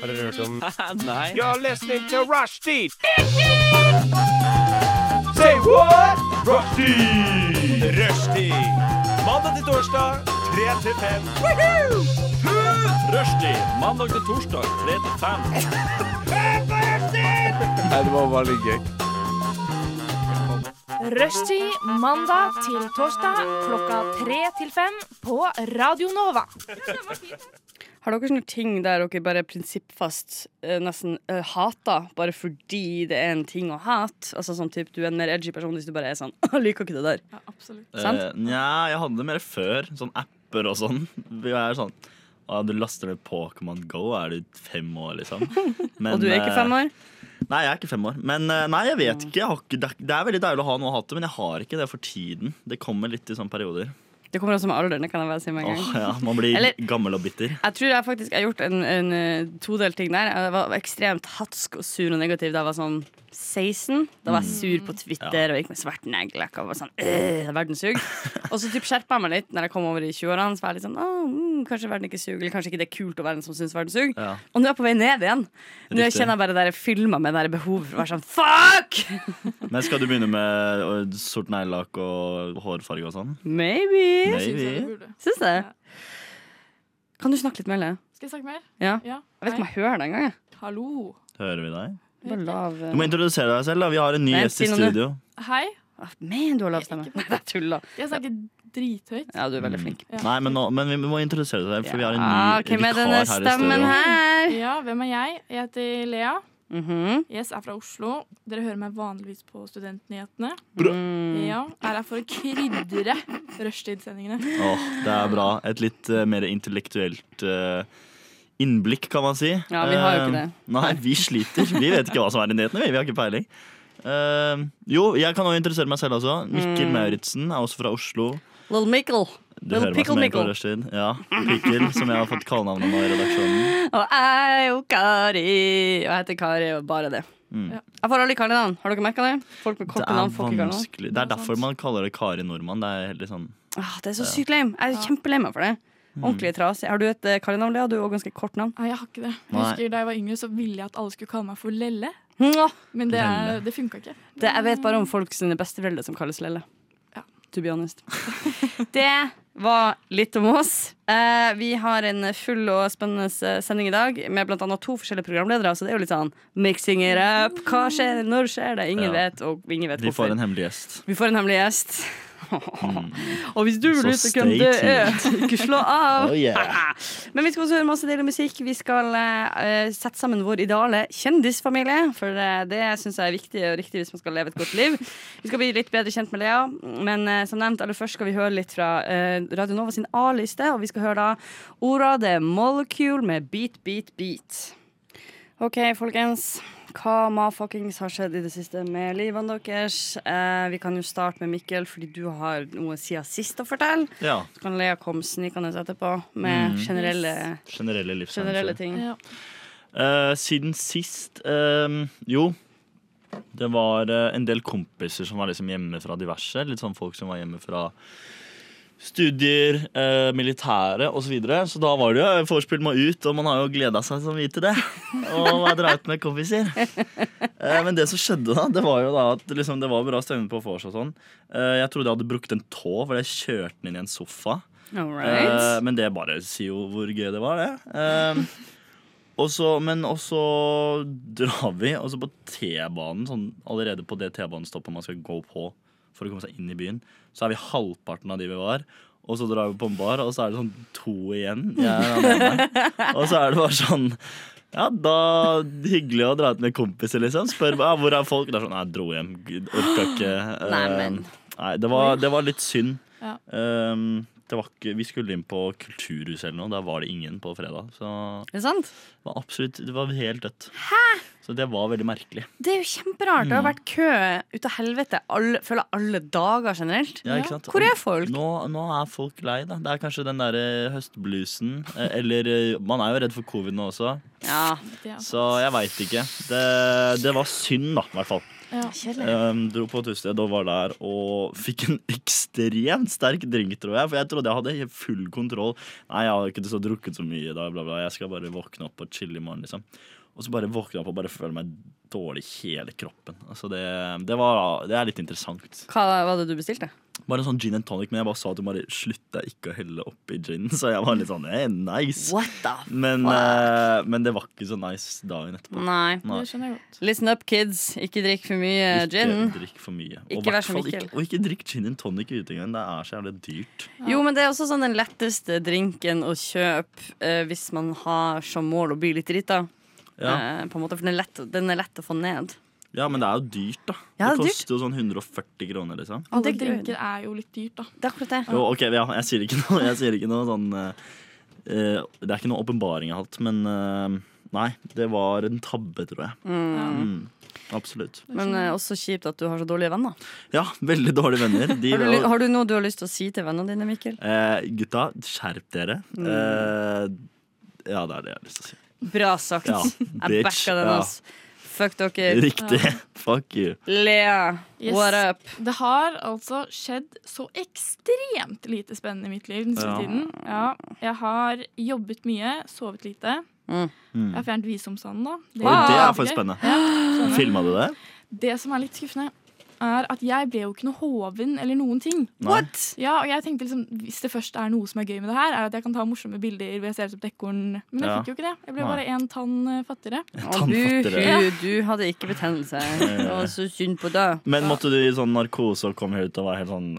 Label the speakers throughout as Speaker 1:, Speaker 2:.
Speaker 1: Har dere hørt om
Speaker 2: Nei.
Speaker 3: You're listening to Rushdie. Say what? Rushdie. Rushdie. Mandag til torsdag, 3 til 5.
Speaker 2: Rushdie mandag til torsdag 3 til 5.
Speaker 4: Rushtid mandag til torsdag klokka tre til fem på Radio Nova.
Speaker 5: Har dere sånne ting der dere bare prinsippfast eh, nesten eh, hater, bare fordi det er en ting å hate? Altså sånn typ, Du er en mer edgy person hvis du bare er sånn «Jeg liker ikke det der.
Speaker 4: Ja, absolutt.
Speaker 5: Sant?
Speaker 2: Eh, Nja, jeg hadde det mer før. Sånn apper og sånn. Vi er sånn «Å, du laster ned Pokémon Go, er du fem år, liksom? Men, eh,
Speaker 5: Og du er ikke fem år? Mm.
Speaker 2: Nei, jeg er ikke fem år. Men eh, nei, jeg vet ikke. Jeg har ikke det, er, det er veldig deilig å ha noe å hate, men jeg har ikke det for tiden. Det kommer litt i sånne perioder.
Speaker 5: Det kommer også med alderen, det kan jeg bare si med en gang.
Speaker 2: Åh, ja, Man blir
Speaker 5: Eller-
Speaker 2: gammel og bitter.
Speaker 5: Jeg tror jeg faktisk har gjort en, en eh, todelt ting der. Jeg var ekstremt hatsk og sur og negativ da jeg var sånn 16. Da var jeg sur på Twitter og gikk med svart neglelakk og var sånn «Øh, Verden suger. og så typ skjerpa jeg meg litt når jeg kom over i 20-årene. Så var jeg litt sånn «Åh, mm, Kanskje verden ikke suger, eller kanskje ikke det er kult å være den som syns verden suger.
Speaker 2: Ja.
Speaker 5: Og nå er jeg på vei ned igjen. Nå
Speaker 2: Riktig.
Speaker 5: kjenner jeg bare det der filma med det der behovet for å være sånn fuck!
Speaker 2: Men skal du begynne med øh, sort neglelakk og hårfarge og sånn?
Speaker 5: Maybe.
Speaker 4: Synes jeg
Speaker 2: Maybe.
Speaker 4: du burde.
Speaker 5: Syns jeg. Kan du snakke litt mer, Lea?
Speaker 4: Skal jeg snakke mer?
Speaker 5: Ja.
Speaker 4: Ja.
Speaker 5: Jeg vet ikke om
Speaker 4: Nei.
Speaker 5: jeg hører det engang. jeg.
Speaker 4: Hallo.
Speaker 2: Hører vi deg?
Speaker 5: Bare lav
Speaker 2: Du må introdusere deg selv. da Vi har en ny
Speaker 5: Nei,
Speaker 2: gjest
Speaker 5: si
Speaker 2: i
Speaker 5: noe nå.
Speaker 2: studio.
Speaker 4: Hei.
Speaker 5: Ah, Men du har lav stemme.
Speaker 4: Ikke
Speaker 5: Nei, det er tull, da.
Speaker 4: Jeg snakker drithøyt.
Speaker 5: Ja, du er veldig
Speaker 2: Mm.
Speaker 5: flink.
Speaker 4: Ja.
Speaker 2: Nei, men, nå, men vi må introdusere deg selv, for vi har en ny
Speaker 5: Ja, ok, med
Speaker 2: vikar
Speaker 5: denne
Speaker 2: her i
Speaker 5: stemmen
Speaker 2: studio.
Speaker 5: her.
Speaker 4: Ja, hvem er jeg? Jeg heter Lea.
Speaker 1: Mm-hmm.
Speaker 5: Mhm.
Speaker 4: Yes, er fra Oslo. Dere hører meg vanligvis på Studentnyhetene.
Speaker 5: Mm.
Speaker 4: Ja, er her for å krydre rushtidssendingene.
Speaker 2: Åh, det er bra. Et litt eh, mer intellektuelt eh, innblikk, kan man si.
Speaker 5: Ja, vi har jo ikke
Speaker 2: Eh,
Speaker 5: det.
Speaker 2: Nei, vi sliter. Vi vet ikke hva som er i nyhetene. Vi, vi har ikke peiling. Eh, jo, jeg kan også interessere meg selv også. Mikkel Mauritzen er også fra Oslo.
Speaker 5: Little Mm. Mikkel.
Speaker 2: Du
Speaker 5: Little
Speaker 2: hører meg
Speaker 5: Pickle
Speaker 2: som en på
Speaker 5: Mikkel.
Speaker 2: rushtid. Ja, Pikkel, som jeg har fått kallenavnet nå i redaksjonen.
Speaker 5: Og jeg er jo Kari. Og jeg heter Kari, og bare det.
Speaker 2: Mm.
Speaker 4: Ja.
Speaker 5: Jeg får aldri kallenavn. Har dere merka det? Folk med
Speaker 2: Det
Speaker 5: korte
Speaker 2: er
Speaker 5: navn får ikke kallenavn.
Speaker 2: vanskelig. Det er derfor man kaller det Kari Nordmann. Det er helt litt sånn
Speaker 5: Ah, det er så sykt lame. Jeg er kjempelei meg for det.
Speaker 2: Mm.
Speaker 5: Ordentlig trasig. Har du et eh, kallenavn, Lea? Du har også ganske kort navn.
Speaker 4: Nei, jeg har ikke det. Jeg
Speaker 2: Nei.
Speaker 4: husker Da jeg var yngre, så ville jeg at alle skulle kalle meg for Lelle.
Speaker 5: Mwah!
Speaker 4: Men det, er-
Speaker 2: Lelle.
Speaker 4: det funka ikke.
Speaker 5: Det, jeg vet bare om folk sine besteforeldre som kalles Lelle.
Speaker 4: Ja.
Speaker 5: To be honest. Det var litt om oss. Eh, vi har en full og spennende eh, sending i dag med bl.a. to forskjellige programledere. Så det er jo litt sånn mixing it up. Hva skjer? Når skjer det? Ingen
Speaker 2: Ja.
Speaker 5: vet, og ingen vet
Speaker 2: Vi får
Speaker 5: hvorfor.
Speaker 2: en hemmelig gjest.
Speaker 5: Vi får en hemmelig gjest. og hvis du
Speaker 2: Så
Speaker 5: lurer på hvem
Speaker 2: stay
Speaker 5: det er, ikke slå av.
Speaker 2: Oh, yeah.
Speaker 5: Men vi skal også høre masse deilig musikk. Vi skal eh, eh, sette sammen vår ideale kjendisfamilie. For eh, det syns jeg er viktig og riktig hvis man skal leve et godt liv. Vi skal bli litt bedre kjent med Lea, men eh, som nevnt, aller først skal vi høre litt fra eh, Radio Nova sin A-liste. Og vi skal høre da Orade Molecule med Beat Beat Beat. OK, folkens. Hva mafuckings har skjedd i det siste med livene deres? Eh, vi kan jo starte med Mikkel, fordi du har noe siden sist å fortelle.
Speaker 2: Ja,
Speaker 5: Så kan Lea komme snikende etterpå med
Speaker 2: Mm.
Speaker 5: generelle
Speaker 2: generelle livshendelser.
Speaker 5: generelle ting.
Speaker 4: Ja.
Speaker 2: Eh, siden sist eh, Jo, det var eh, en del kompiser som var liksom hjemme fra diverse. Litt sånn folk som var hjemme fra studier, eh, militære osv. Så, videre. så da var det jo eh, vorspiel meg ut, og man har jo gleda seg så mye til det. Og var draut med kompiser. Eh, men det som skjedde da, det var jo da at liksom, det var bra stemning på vors og sånn. Eh, jeg trodde jeg hadde brukket en tå, for jeg kjørte den inn i en sofa.
Speaker 5: All
Speaker 2: Eh,
Speaker 5: right.
Speaker 2: men det bare sier jo hvor gøy det var, det. Eh, og så- men også drar vi, og så på T-banen, sånn, allerede på det T-banestoppet man skal gå på for å komme seg inn i byen, så er vi halvparten av de vi var. Og så drar vi på en bar, og så er det sånn to igjen. Jeg er alene. og så er det bare sånn ja, da Hyggelig å dra ut med kompiser, liksom. Spør ja, hvor er folk. Det er sånn, Nei, jeg dro hjem. Gud, Orka ikke. Eh,
Speaker 5: Nei, men.
Speaker 2: nei, det, var, det var litt synd.
Speaker 4: Ja.
Speaker 2: Ehm, det var ikke, vi skulle inn på Kulturhuset eller noe. Der var det ingen på fredag. Så det
Speaker 5: Er det sant?
Speaker 2: var absolutt Det var helt dødt. Så det var veldig merkelig.
Speaker 5: Det er jo kjemperart. Det
Speaker 2: Mm.
Speaker 5: har vært kø ut av helvete alle, føler jeg, alle dager generelt.
Speaker 2: Ja, ikke sant?
Speaker 5: Hvor er folk?
Speaker 2: Nå, nå er folk lei, da. Det er kanskje den derre høstbluesen. eh, Eller eh, Man er jo redd for covid nå også,
Speaker 5: Ja.
Speaker 4: Det, er-
Speaker 2: så jeg veit ikke. Det, det var synd, da, i hvert fall. Um, dro på et utested og var der og fikk en ekstremt sterk drink, tror jeg. For jeg trodde jeg hadde helt full kontroll. Nei, jeg har ikke så drukket så mye i dag, bla, bla. Jeg skal bare våkne opp og chille i morgen, liksom. Og så bare våkne opp og bare føle meg dårlig i hele kroppen. Altså, det, det, var, det er litt interessant.
Speaker 5: Hva var det du bestilte?
Speaker 2: Bare en sånn gin and tonic, men jeg bare sa at hun bare slutta ikke å helle oppi gin. Så jeg var litt sånn eh, nice.
Speaker 5: What the
Speaker 2: Men, eh, men det var ikke så nice dagen etterpå.
Speaker 5: Nei.
Speaker 2: Nei.
Speaker 1: Det skjønner jeg godt.
Speaker 5: Listen up, kids. Ikke drikk for mye
Speaker 2: Ikke
Speaker 5: Eh, gin.
Speaker 2: drikk for mye.
Speaker 5: Ikke
Speaker 2: hvert
Speaker 5: vær som
Speaker 2: fall
Speaker 5: Mikkel.
Speaker 2: Ikke, og ikke drikk gin and tonic ute engang. Det er så jævlig dyrt.
Speaker 5: Jo, men det er også sånn den letteste drinken å kjøpe eh, hvis man har som mål å bli litt drita.
Speaker 2: Ja,
Speaker 5: Eh, på en måte, for den er, lett, den er lett å få ned.
Speaker 2: ja men det er jo dyrt, da.
Speaker 5: Ja, det er
Speaker 2: det
Speaker 5: dyrt.
Speaker 2: koster jo sånn 140 kroner, liksom.
Speaker 1: Alle
Speaker 5: Det-
Speaker 1: drinker er jo litt dyrt, da.
Speaker 5: Det er akkurat det.
Speaker 2: Jo, ok, ja, jeg sier ikke noe, jeg sier ikke noe sånn eh, eh, Det er ikke noe åpenbaring jeg har hatt, men eh, nei, det var en tabbe, tror jeg. Mm, absolutt.
Speaker 5: Men eh, også kjipt at du har så dårlige venner.
Speaker 2: Ja, veldig dårlige venner. De,
Speaker 5: Har du, ly- har du noe du har lyst til å si til vennene dine, Mikkel?
Speaker 2: Eh, gutta, skjerp dere.
Speaker 5: Mm.
Speaker 2: Eh, ja, det er det jeg har lyst til å si.
Speaker 5: Bra sagt.
Speaker 2: Ja,
Speaker 5: Jeg
Speaker 2: bitch.
Speaker 5: backa den,
Speaker 2: Ja.
Speaker 5: ass. Fuck dere.
Speaker 2: Riktig. Fuck you.
Speaker 5: Lea,
Speaker 1: Yes.
Speaker 5: what up?
Speaker 1: Det har altså skjedd så ekstremt lite spennende i mitt liv den siste
Speaker 2: Ja.
Speaker 1: tiden. Ja, jeg har jobbet mye, sovet lite.
Speaker 5: Mm.
Speaker 1: Jeg har fjernet visumsanden, da. Det,
Speaker 2: Oi, det
Speaker 1: var
Speaker 2: er faktisk
Speaker 1: gøy.
Speaker 2: spennende.
Speaker 5: sånn
Speaker 2: Filma du det?
Speaker 1: Det som er litt skuffende, er at jeg ble jo ikke noe hoven eller noen ting.
Speaker 2: Nei.
Speaker 5: What?
Speaker 1: Ja, og jeg tenkte liksom, Hvis det først er noe som er gøy med det her, er at jeg kan ta morsomme bilder hvor jeg ser ut som et ekorn. Men jeg
Speaker 2: Ja.
Speaker 1: fikk jo ikke det. Jeg ble
Speaker 2: Nei.
Speaker 1: bare én tann eh, fattigere.
Speaker 5: Å,
Speaker 2: Tannfattigere.
Speaker 5: Buhu, du hadde ikke betennelse. Det var så synd på deg.
Speaker 2: Men måtte du i sånn narkose og komme ut og være helt sånn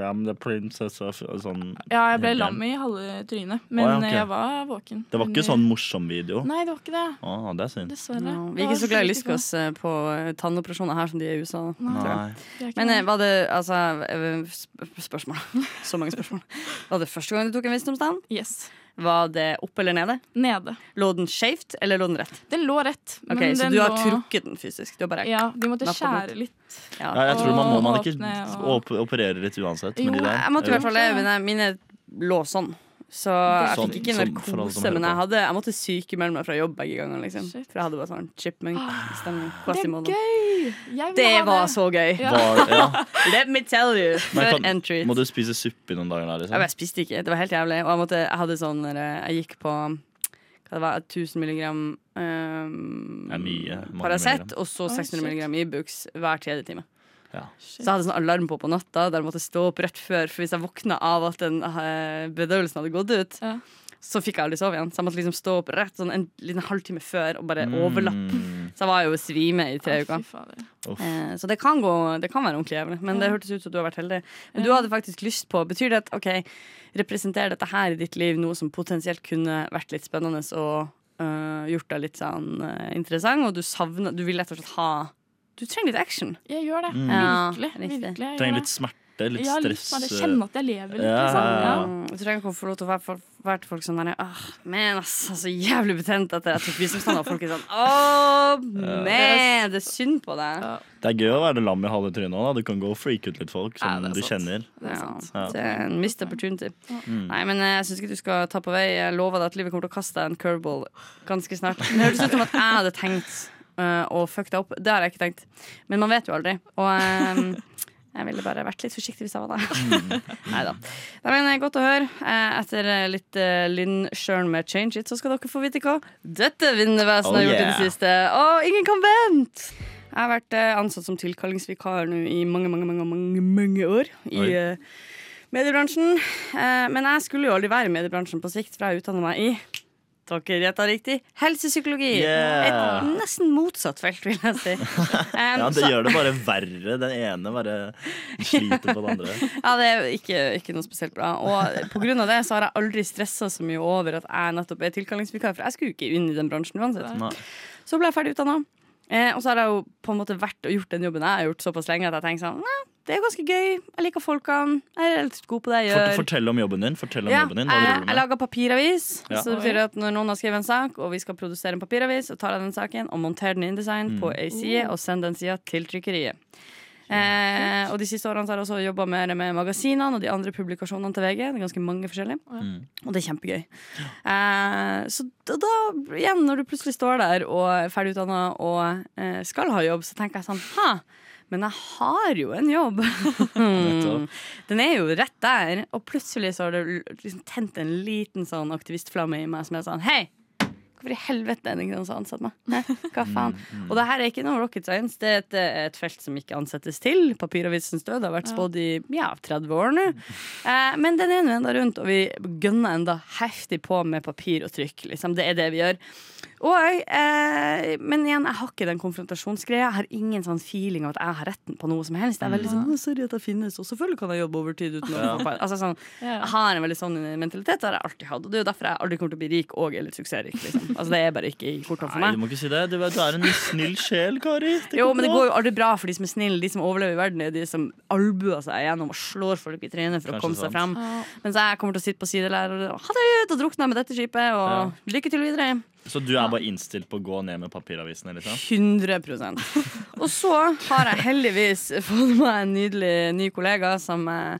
Speaker 2: "I am the princess of og sånn.
Speaker 1: Ja, jeg ble
Speaker 2: Helt
Speaker 1: lam i halve trynet, men
Speaker 2: Å, ja, ok.
Speaker 1: eh, jeg var våken.
Speaker 2: Det var ikke
Speaker 1: Men,
Speaker 2: sånn morsom video?
Speaker 1: eh, Nei, det var ikke det.
Speaker 2: Ah, det er synd.
Speaker 1: Dessverre.
Speaker 5: Ja, vi er ikke så glad i lyskas eh, på eh, tannoperasjoner her som de er i USA. da.
Speaker 1: Nei.
Speaker 2: Nei.
Speaker 5: Men eh, var det altså eh, sp- Spørsmål. Så mange spørsmål. Var det første gang du tok en visdomstann?
Speaker 1: Yes.
Speaker 5: Var det opp eller nede?
Speaker 1: Nede.
Speaker 5: Lå den skjevt, eller lå den rett?
Speaker 1: Den lå rett.
Speaker 5: Ok,
Speaker 1: men
Speaker 5: Så
Speaker 1: den
Speaker 5: du har
Speaker 1: lå-
Speaker 5: trukket den fysisk? Du har bare
Speaker 1: Ja, vi måtte
Speaker 5: Napp og
Speaker 1: skjære litt.
Speaker 5: Ja.
Speaker 2: Ja, jeg tror man må man ikke
Speaker 1: Åpne og-
Speaker 2: op operere litt uansett.
Speaker 1: Jo,
Speaker 2: Med de der.
Speaker 5: Jeg måtte i hvert fall det,
Speaker 1: Ja.
Speaker 5: men jeg- mine lå sånn. Så jeg
Speaker 1: Sånn,
Speaker 5: fikk ikke
Speaker 2: som- for alle som
Speaker 5: narkose,
Speaker 2: hører
Speaker 5: men
Speaker 2: på.
Speaker 5: jeg, hadde, jeg måtte sykemelde meg fra jobb begge ganger. Liksom.
Speaker 1: Shit. Ah,
Speaker 5: For jeg hadde bare sånn chipmunk-stemning.
Speaker 1: Det er
Speaker 5: Quasimodo.
Speaker 1: gøy! Jeg vil ha
Speaker 5: Det
Speaker 1: det.
Speaker 5: var så gøy!
Speaker 1: Ja.
Speaker 2: Var, ja.
Speaker 5: Let me tell you!
Speaker 2: Men
Speaker 5: For
Speaker 2: kan-
Speaker 5: en treat.
Speaker 2: Må du spise suppe i noen dager der,
Speaker 5: Ja,
Speaker 2: liksom?
Speaker 5: men Jeg spiste ikke, det var helt jævlig. Og jeg, måtte, jeg hadde sånn der, Jeg gikk på hva det var, 1000 milligram
Speaker 2: Det er mye,
Speaker 5: um,
Speaker 2: mange
Speaker 5: Paracet
Speaker 2: milligram.
Speaker 5: og så
Speaker 1: Oi,
Speaker 5: 600
Speaker 1: shit.
Speaker 5: milligram Ibux hver tredje time.
Speaker 2: Ja.
Speaker 5: Så jeg hadde sånn alarm på på natta der jeg måtte stå opp rett før. For hvis jeg våkna av at den eh, bedøvelsen hadde gått ut,
Speaker 1: Ja.
Speaker 5: så fikk jeg aldri sove igjen. Så jeg måtte liksom stå opp rett sånn en liten halvtime før og bare overlappe.
Speaker 2: Mm,
Speaker 5: Så jeg var jo svime i tre
Speaker 1: Å, fy
Speaker 5: uker.
Speaker 1: fader.
Speaker 2: uff.
Speaker 5: Eh, Så det kan, gå, det kan være ordentlig jævlig, men det hørtes ut som du har vært heldig. Men du
Speaker 1: Ja.
Speaker 5: hadde faktisk lyst på Betyr det at ok, representerer dette her i ditt liv noe som potensielt kunne vært litt spennende og øh, gjort deg litt sånn øh, interessant, og du savner Du vil rett og slett ha Du trenger litt action.
Speaker 1: Jeg gjør
Speaker 5: Mm.
Speaker 1: det.
Speaker 5: Ja,
Speaker 1: Virkelig.
Speaker 5: riktig.
Speaker 1: virkelig jeg gjør
Speaker 2: Trenger
Speaker 1: det.
Speaker 2: litt smerte, litt
Speaker 1: Ja, litt
Speaker 2: stress.
Speaker 1: smerte.
Speaker 2: eh,
Speaker 1: Kjenne at jeg lever litt.
Speaker 2: Ja,
Speaker 1: Liksom.
Speaker 2: ja,
Speaker 1: Ja.
Speaker 2: ja.
Speaker 5: Mm, Du trenger ikke å få lov til å være, for, være til folk sånn derre Åh, men ass, så jævlig betent at jeg tok visumstand, og folk er sånn Åh, men, det er synd på deg.
Speaker 1: Ja.
Speaker 2: Det er gøy å være lam i halve trynet òg. Du kan gå og freake ut litt folk som
Speaker 1: Ja, det er
Speaker 2: du
Speaker 1: sant.
Speaker 2: kjenner.
Speaker 1: Det er
Speaker 5: Ja,
Speaker 1: sant.
Speaker 2: Ja.
Speaker 5: Det er en missed opportunity.
Speaker 2: Mm.
Speaker 5: Nei, men eh, jeg syns ikke du skal ta på vei. Jeg lover deg at livet kommer til å kaste deg en curveball ganske snart. Men Det høres ut som at jeg hadde tenkt eh, å fucke deg opp. Det har jeg ikke tenkt. Men man vet jo aldri. Og eh, jeg ville bare vært litt forsiktig hvis jeg var deg.
Speaker 2: Mm.
Speaker 5: Nei da. Nei, men eh, godt å høre. Eh, etter eh, litt uh, Linn Sjørn med Change It, så skal dere få vite hva dette
Speaker 2: Oh,
Speaker 5: vinnervesenet har gjort i
Speaker 2: yeah.
Speaker 5: det siste. Å, ingen kan vente! Jeg har vært eh, ansatt som tilkallingsvikar nå i mange, mange, mange, mange, mange år. I
Speaker 2: Oi.
Speaker 5: eh, mediebransjen. Eh, men jeg skulle jo aldri være i mediebransjen på sikt, for jeg utdanna meg i dere gjetta riktig helsepsykologi.
Speaker 2: Yeah.
Speaker 5: Et nesten motsatt felt, vil jeg si. Um,
Speaker 2: Ja, det
Speaker 5: så-
Speaker 2: gjør det bare verre. Den ene bare sliter på den andre.
Speaker 5: ja, det er jo ikke, ikke noe spesielt bra. Og på grunn av det så har jeg aldri stressa så mye over at jeg nettopp er tilkallingsvikar, for jeg skulle jo ikke inn i den bransjen uansett.
Speaker 2: Nei.
Speaker 5: Så ble jeg ferdig utdanna. Eh, og så har jeg jo på en måte vært og gjort den jobben jeg har gjort såpass lenge at jeg tenker sånn Nei, det er ganske gøy. Jeg liker folkene. Jeg er litt god på det jeg
Speaker 2: Fort-
Speaker 5: gjør.
Speaker 2: Fortell om jobben din. Fortell om
Speaker 5: Ja,
Speaker 2: jobben din. Hva
Speaker 5: jeg,
Speaker 2: driver du
Speaker 5: jeg
Speaker 2: med?
Speaker 5: lager papiravis.
Speaker 2: Ja.
Speaker 5: Så det betyr at når noen har skrevet en sak, og vi skal produsere en
Speaker 2: Mm.
Speaker 5: papiravis, så tar jeg den saken og monterer den i InDesign på ei side og sender den sida til trykkeriet. Eh, og de siste årene så har jeg også jobba mer med magasinene og de andre publikasjonene til VG. Det er ganske mange forskjellige
Speaker 2: Mm.
Speaker 5: Og det er kjempegøy. Eh, så da, da, igjen, når du plutselig står der og er ferdig utdanna og eh, skal ha jobb, så tenker jeg sånn Ha! Men jeg har jo en jobb.
Speaker 2: Nettopp.
Speaker 5: Den er jo rett der. Og plutselig så har det l- liksom tent en liten sånn aktivistflamme i meg som er sånn Hei! Hvorfor i helvete er det ingen som har ansatt meg? Hæ? Hva faen? Og det her er ikke noe rocket science. Det er et, eh, et felt som ikke ansettes til. Papiravisens død har vært spådd i ja, 30 år nå. Eh, men den er nå enda rundt, og vi gønner enda heftig på med papir og trykk. Liksom. Det er det vi gjør. Og, eh, men igjen, jeg har ikke den konfrontasjonsgreia. Jeg har ingen sånn feeling av at jeg har retten på noe som helst. Jeg er veldig sånn, «Å, sorry at jeg finnes, og selvfølgelig kan jeg jobbe overtid uten å få penger». altså, sånn,
Speaker 1: Ja.
Speaker 5: Jeg har en veldig sånn mentalitet, det har jeg alltid hatt. Og det er jo derfor jeg aldri kommer til å bli rik og eller suksessrik. Liksom. Altså, det er bare ikke i kortene for
Speaker 2: Nei,
Speaker 5: meg.
Speaker 2: du må ikke si det. Du, vet, du er en snill sjel, Kari.
Speaker 5: Jo, men det går
Speaker 2: jo
Speaker 5: jo aldri bra for de som er snille. De som overlever i verden, er de som albuer seg gjennom og slår folk i trynet for
Speaker 2: Kanskje
Speaker 5: å komme seg
Speaker 2: sant.
Speaker 5: fram.
Speaker 1: Ja.
Speaker 5: Mens jeg kommer til å sitte på sidelærer og ha det ut og drukne med dette skipet. Og lykke til videre.
Speaker 2: Så du er bare innstilt på å gå ned med papiravisene? liksom?
Speaker 5: 100 Og så har jeg heldigvis fått meg en nydelig ny kollega som jeg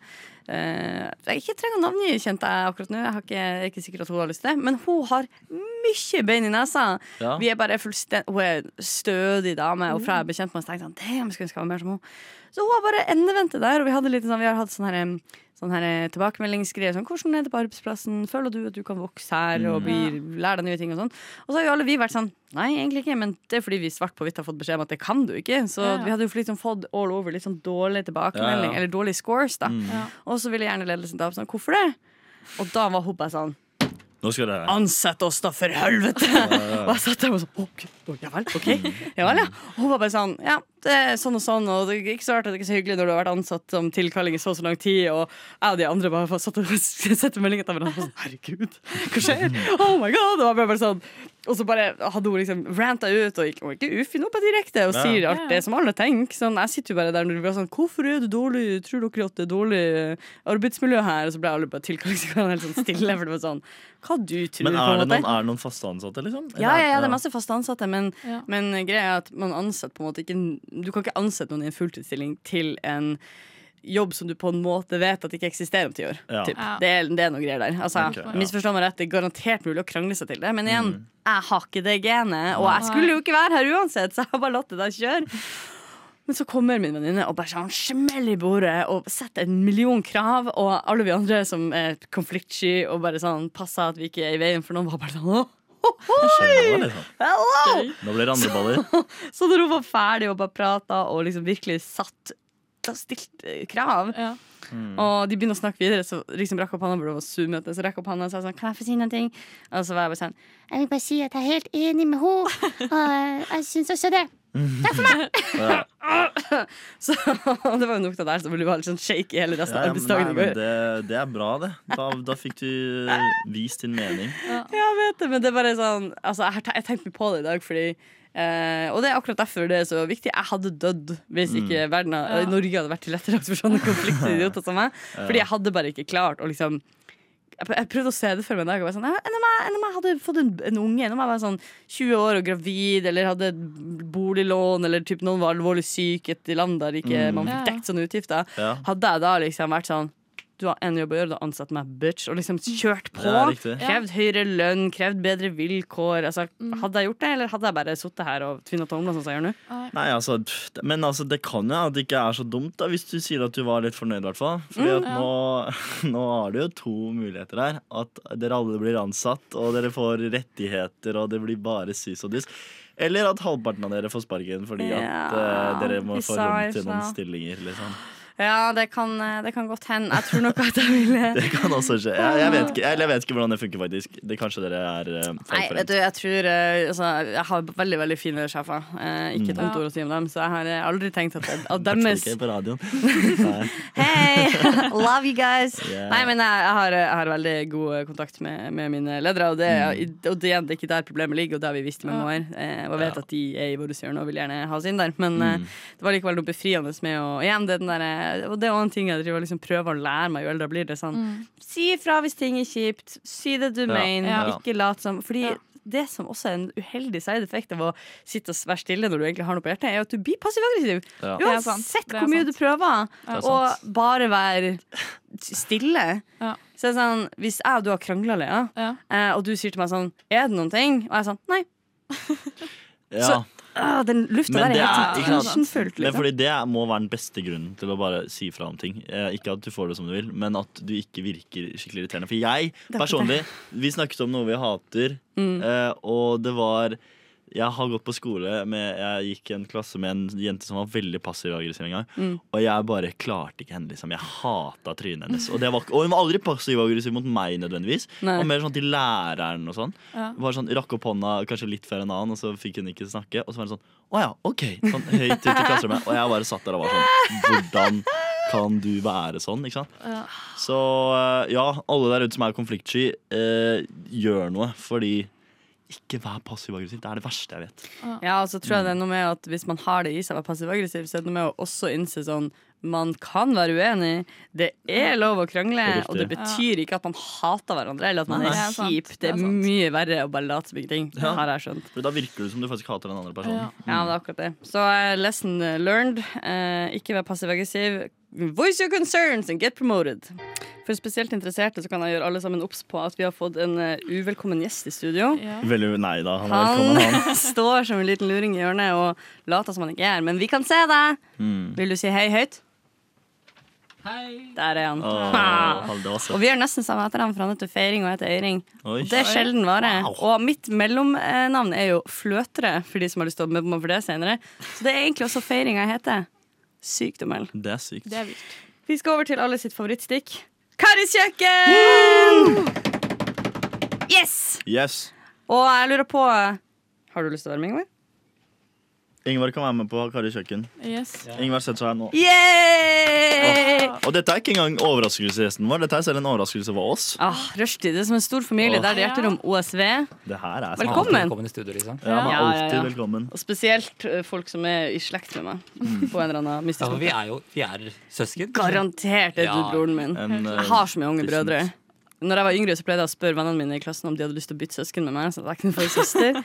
Speaker 5: eh, jeg ikke trenger å navngi, kjente jeg akkurat nå. Jeg har ikke, jeg er ikke sikker at hun har lyst til det. Men hun har mye bein i nesa.
Speaker 2: Ja.
Speaker 5: Vi er bare fullstend- Hun er en stødig dame, og fra jeg ble kjent med henne, så tenkte jeg sånn, «Damn, skulle ønske jeg var mer som hun. Så hun har bare endevendt det der, og vi, hadde litt, sånn, vi har hatt sånn her, em, sånn her eh, tilbakemeldingsgreier. Sånn, 'Hvordan er det på arbeidsplassen? Føler du at du kan vokse her
Speaker 2: Mm.
Speaker 5: og bli, lære deg nye ting?' og sånn. Og så har jo alle vi vært sånn Nei, egentlig ikke, men det er fordi vi svart på hvitt har fått beskjed om at det kan du ikke. Så
Speaker 1: Ja.
Speaker 5: vi hadde jo liksom fått all over litt sånn dårlig tilbakemelding,
Speaker 2: Ja, ja.
Speaker 5: eller dårlige scores, da.
Speaker 1: Ja.
Speaker 5: Og så ville gjerne ledelsen ta opp sånn 'Hvorfor det?' Og da var hun bare sånn
Speaker 2: Nå skal det
Speaker 5: Ansett oss, da, for helvete! Og jeg satt der og sånn ok, Ja vel, ok. Ja vel, ja. Og hun var bare sånn Ja, det er sånn og sånn, og det er ikke så rart at det ikke er så hyggelig når du har vært ansatt som tilkalling i så og så lang tid, og jeg og de andre bare satt og sendte meldinger til hverandre og sånn Herregud, hva skjer? Oh my god! Og jeg ble bare sånn og så bare hadde hun liksom ranta ut og ikke, og ikke ufin opp direkte og
Speaker 2: Ja.
Speaker 5: sier alt
Speaker 1: Ja.
Speaker 5: det som alle tenker. Sånn, jeg sitter jo bare der når du blir sånn Hvorfor er det dårlig? Tror dere at det er dårlig arbeidsmiljø her? Og så ble alle bare tilkallingskanalen helt sånn stille. For det var sånn Hva du tror,
Speaker 2: Men
Speaker 5: på
Speaker 2: er
Speaker 5: en
Speaker 2: det
Speaker 5: måte.
Speaker 2: noen, er det noen faste ansatte, liksom?
Speaker 5: Ja, ja, ja, det
Speaker 2: Eller-
Speaker 5: er masse fast ansatte, men,
Speaker 1: Ja.
Speaker 5: men greia er at man ansetter på en måte ikke Du kan ikke ansette noen i en fulltidsstilling til en jobb som du på en måte vet at ikke eksisterer om ti år.
Speaker 2: Ja.
Speaker 5: typ.
Speaker 1: Ja.
Speaker 5: Det, er, det er noe greier der. Altså,
Speaker 2: Ok, ja. Mm.
Speaker 5: Misforstå meg rett, det er garantert mulig å krangle seg til det, men igjen, jeg har ikke det genet, og jeg skulle jo ikke være her uansett, så jeg har bare latt det der kjøre. Men så kommer min venninne og bare sånn smell i bordet og setter en million krav. Og alle vi andre som er konfliktsky og bare sånn passer at vi ikke er i veien for noen, var bare sånn «Åh,
Speaker 2: Skjønner du, liksom.
Speaker 5: hello!
Speaker 2: Nå blir det andre baller.
Speaker 5: Så når hun var ferdig og bare prata og liksom virkelig satt da stilt eh, krav,
Speaker 1: Ja.
Speaker 2: Mm.
Speaker 5: og de begynner å snakke videre, så liksom rakk opp handa for det var Zoom-møte, så rakk opp handa og sa sånn Kan jeg få si noen ting? Og så var jeg bare sånn
Speaker 6: Jeg vil bare si at jeg er helt enig med henne.
Speaker 5: eh,
Speaker 6: Og jeg syns også det.
Speaker 2: Ja.
Speaker 5: Så det var jo nok av det her, så ble vi bare litt sånn shaky hele resten av
Speaker 2: Ja, ja, men nei,
Speaker 5: arbeidsdagen i
Speaker 2: men
Speaker 5: går.
Speaker 2: det, det er bra, det. Da, da fikk du vist din mening.
Speaker 5: Jeg vet det, men det er bare sånn altså, Jeg har te- jeg tenkte mye på det i dag, fordi eh, og det er akkurat derfor det er så viktig. Jeg hadde dødd hvis ikke verden, hadde-
Speaker 1: Ja.
Speaker 5: Norge hadde vært tilrettelagt for sånne konfliktidioter som meg. Fordi jeg hadde bare ikke klart å liksom jeg pr- jeg prøvde å se det for meg en dag. og bare Sånn, «Nei, enn, om jeg, enn om jeg hadde fått en, en unge? Enn om jeg var sånn 20 år og gravid, eller hadde boliglån, eller typ noen var alvorlig syk i et land der ikke man
Speaker 1: Ja.
Speaker 5: fikk dekt sånne utgifter?
Speaker 2: Ja.
Speaker 5: Hadde jeg da liksom vært sånn Du har en jobb å gjøre, du har ansatt meg, bitch, og liksom kjørt på.
Speaker 2: Mm. Ja, riktig.
Speaker 5: Krevd høyere lønn, krevd bedre vilkår. Altså, hadde jeg gjort det, eller hadde jeg bare sittet her og tvinna tomler, sånn som jeg gjør nå?
Speaker 2: Nei, altså, pff, det- men altså, det kan jo at det ikke er så dumt da, hvis du sier at du var litt fornøyd. hvertfall.
Speaker 5: Mm,
Speaker 2: Fordi at nå, nå har du jo to muligheter her. At dere alle blir ansatt, og dere får rettigheter, og det blir bare sys og dyst. Eller at halvparten av dere får sparken fordi at
Speaker 5: Ja,
Speaker 2: eh, dere må
Speaker 5: vi
Speaker 2: få
Speaker 5: sa
Speaker 2: rom til
Speaker 5: ifra.
Speaker 2: noen stillinger. liksom.
Speaker 5: Ja, det kan, eh, det kan godt hende. Jeg tror nok at jeg ville
Speaker 2: Det kan også skje. Jeg, jeg, vet ikke, eller jeg vet ikke hvordan det funker, faktisk. Det Kanskje dere er eh,
Speaker 5: Nei, vet
Speaker 2: fagforent.
Speaker 5: du, jeg tror eh, altså, Jeg har veldig veldig fine sjefer. Eh, ikke et
Speaker 1: Mm.
Speaker 5: vondt ord å si om dem, så jeg har eh, aldri tenkt at, at
Speaker 2: I hvert fall
Speaker 5: deres
Speaker 2: ikke på radioen. Nei.
Speaker 5: Hei! Love you guys!
Speaker 2: Yeah.
Speaker 5: Nei, men jeg, jeg, har, jeg har veldig god kontakt med, med mine ledere, og det, og det, det er ikke der problemet ligger, og det har vi visst i mange år. Eh, og jeg
Speaker 2: Mm. Ja.
Speaker 5: vet
Speaker 2: Mm.
Speaker 5: at de er i vårt hjørne og vil gjerne ha oss inn der, men eh, det var likevel noe befriende med å igjen, det er den der, eh, Og det er også en ting jeg driver og liksom prøver å lære meg jo
Speaker 1: Mm.
Speaker 5: eldre jeg blir. det er sånn Si ifra hvis ting er kjipt. Si det du
Speaker 2: Ja.
Speaker 5: mener.
Speaker 2: Ja.
Speaker 5: Ikke lat som. Fordi
Speaker 1: Ja.
Speaker 5: det som også er en uheldig side effect av å sitte og være stille når du egentlig har noe på hjertet, er jo at du blir passiv-aggressiv.
Speaker 2: Ja.
Speaker 1: Det er sant.
Speaker 5: Uansett
Speaker 1: Det er
Speaker 5: hvor mye
Speaker 1: sant.
Speaker 5: du prøver
Speaker 2: Det er sant.
Speaker 5: og bare være stille.
Speaker 1: Ja.
Speaker 5: Så det er sånn, Hvis jeg og du har krangla, Lea,
Speaker 1: Ja.
Speaker 5: eh, og du sier til meg sånn Er det noen ting? Og jeg er sånn Nei.
Speaker 2: Ja.
Speaker 5: Så- Ah, den lufta
Speaker 2: Men
Speaker 5: der
Speaker 2: det
Speaker 5: er
Speaker 2: er-
Speaker 5: helt
Speaker 2: ikke sant?
Speaker 5: tensionfullt.
Speaker 2: Men
Speaker 5: Liksom.
Speaker 2: fordi det er- må være den beste grunnen til å bare si fra om ting. Eh, Ikke at du får det som du vil, men at du ikke virker skikkelig irriterende. For jeg
Speaker 5: er akkurat Mm.
Speaker 2: personlig, vi snakket om noe vi hater, eh, og det var jeg har gått på skole med, Jeg gikk i en klasse med en jente som var veldig passiv og aggressiv en gang.
Speaker 1: Mm.
Speaker 2: Og jeg bare klarte ikke henne. liksom Jeg hata trynet hennes. Og, det var, ikke- og hun var aldri passiv og aggressiv mot meg nødvendigvis.
Speaker 5: Nei.
Speaker 2: Og mer sånn til læreren og sånn.
Speaker 1: Ja.
Speaker 2: Bare sånn, Rakk opp hånda kanskje litt før en annen, og så fikk hun ikke snakke. Og så var det sånn Å ja, OK. Sånn høyt ut i klasserommet. Og jeg bare satt der og var sånn Hvordan kan du være sånn? Ikke sant?
Speaker 1: Ja.
Speaker 2: Så eh, ja, alle der ute som er konfliktsky, eh, gjør noe. Fordi ikke vær passiv-aggressiv. Det er det verste jeg vet.
Speaker 5: liksom. Ja, og så tror jeg det er noe med at Hvis man har det i seg å være passiv-aggressiv, så er det noe med å også innse sånn man kan være uenig, det er lov å krangle,
Speaker 2: Det er riktig.
Speaker 5: og det betyr ikke at man hater hverandre eller at man
Speaker 2: Nei,
Speaker 5: er
Speaker 2: nei.
Speaker 1: Det er sant,
Speaker 5: kjip.
Speaker 1: det
Speaker 5: Det
Speaker 1: er
Speaker 5: er
Speaker 1: sant.
Speaker 5: mye verre å bare late som ingenting.
Speaker 2: Ja.
Speaker 5: Har jeg skjønt.
Speaker 2: For da virker det som du faktisk hater den andre personen.
Speaker 5: Ja, det er akkurat det. Så eh, lesson learned. Eh, ikke vær passiv-aggressiv. Voice your concerns and get promoted. For spesielt interesserte så kan jeg gjøre alle sammen obs på at vi har fått en eh, uvelkommen gjest i studio.
Speaker 1: Ja.
Speaker 2: Veldig nei da. Han er velkommen, han.
Speaker 5: Han står som en liten luring i hjørnet og later som han ikke er, men vi kan se deg.
Speaker 2: Hmm.
Speaker 5: Vil du si hei høyt? Hei. Der er han.
Speaker 2: Åh, han- det var
Speaker 5: Og
Speaker 2: søtt.
Speaker 5: vi har nesten samme etternavn, for han heter Feiring og jeg heter Øyring.
Speaker 2: Oi.
Speaker 5: Det er sjelden vare.
Speaker 2: Wow.
Speaker 5: Og mitt mellomnavn er jo Fløtere, for de som har lyst til å mobbe meg for det senere. Så det er egentlig også Feiring jeg heter. Sykt å melde.
Speaker 2: Det er sykt.
Speaker 1: Det er vilt.
Speaker 5: Vi skal over til alle sitt favorittstikk. Karis kjøkken! Yes!
Speaker 2: Yes.
Speaker 5: Og jeg lurer på Har du lyst til å være med, Ingvar?
Speaker 2: Ingvar kan være med på Kari kjøkken.
Speaker 1: Yes.
Speaker 2: Ingvar setter seg her nå.
Speaker 5: Yay!
Speaker 2: Og dette er ikke engang overraskelsesgjesten vår. Dette er selv en overraskelse for oss.
Speaker 5: Ah, Rushdie, det er som en stor familie
Speaker 2: Åh.
Speaker 5: der det hjerter om OSV.
Speaker 2: Det her er
Speaker 5: Velkommen.
Speaker 7: Velkommen i studio, liksom.
Speaker 2: Ja, han er
Speaker 5: Ja, ja,
Speaker 2: alltid
Speaker 5: ja.
Speaker 2: velkommen.
Speaker 5: Og spesielt eh, folk som er i slekt med meg. På en eller annen
Speaker 7: Ja,
Speaker 5: mystisk
Speaker 7: for
Speaker 5: måte.
Speaker 7: vi er jo vi er søsken.
Speaker 5: Garantert er du
Speaker 7: Ja.
Speaker 5: broren min.
Speaker 2: En, eh,
Speaker 5: Jeg har så mye unge
Speaker 2: distant.
Speaker 5: brødre. Når jeg var yngre, så pleide jeg å spørre vennene mine i klassen om de hadde lyst til å bytte søsken med meg. Så at jeg kunne få en søster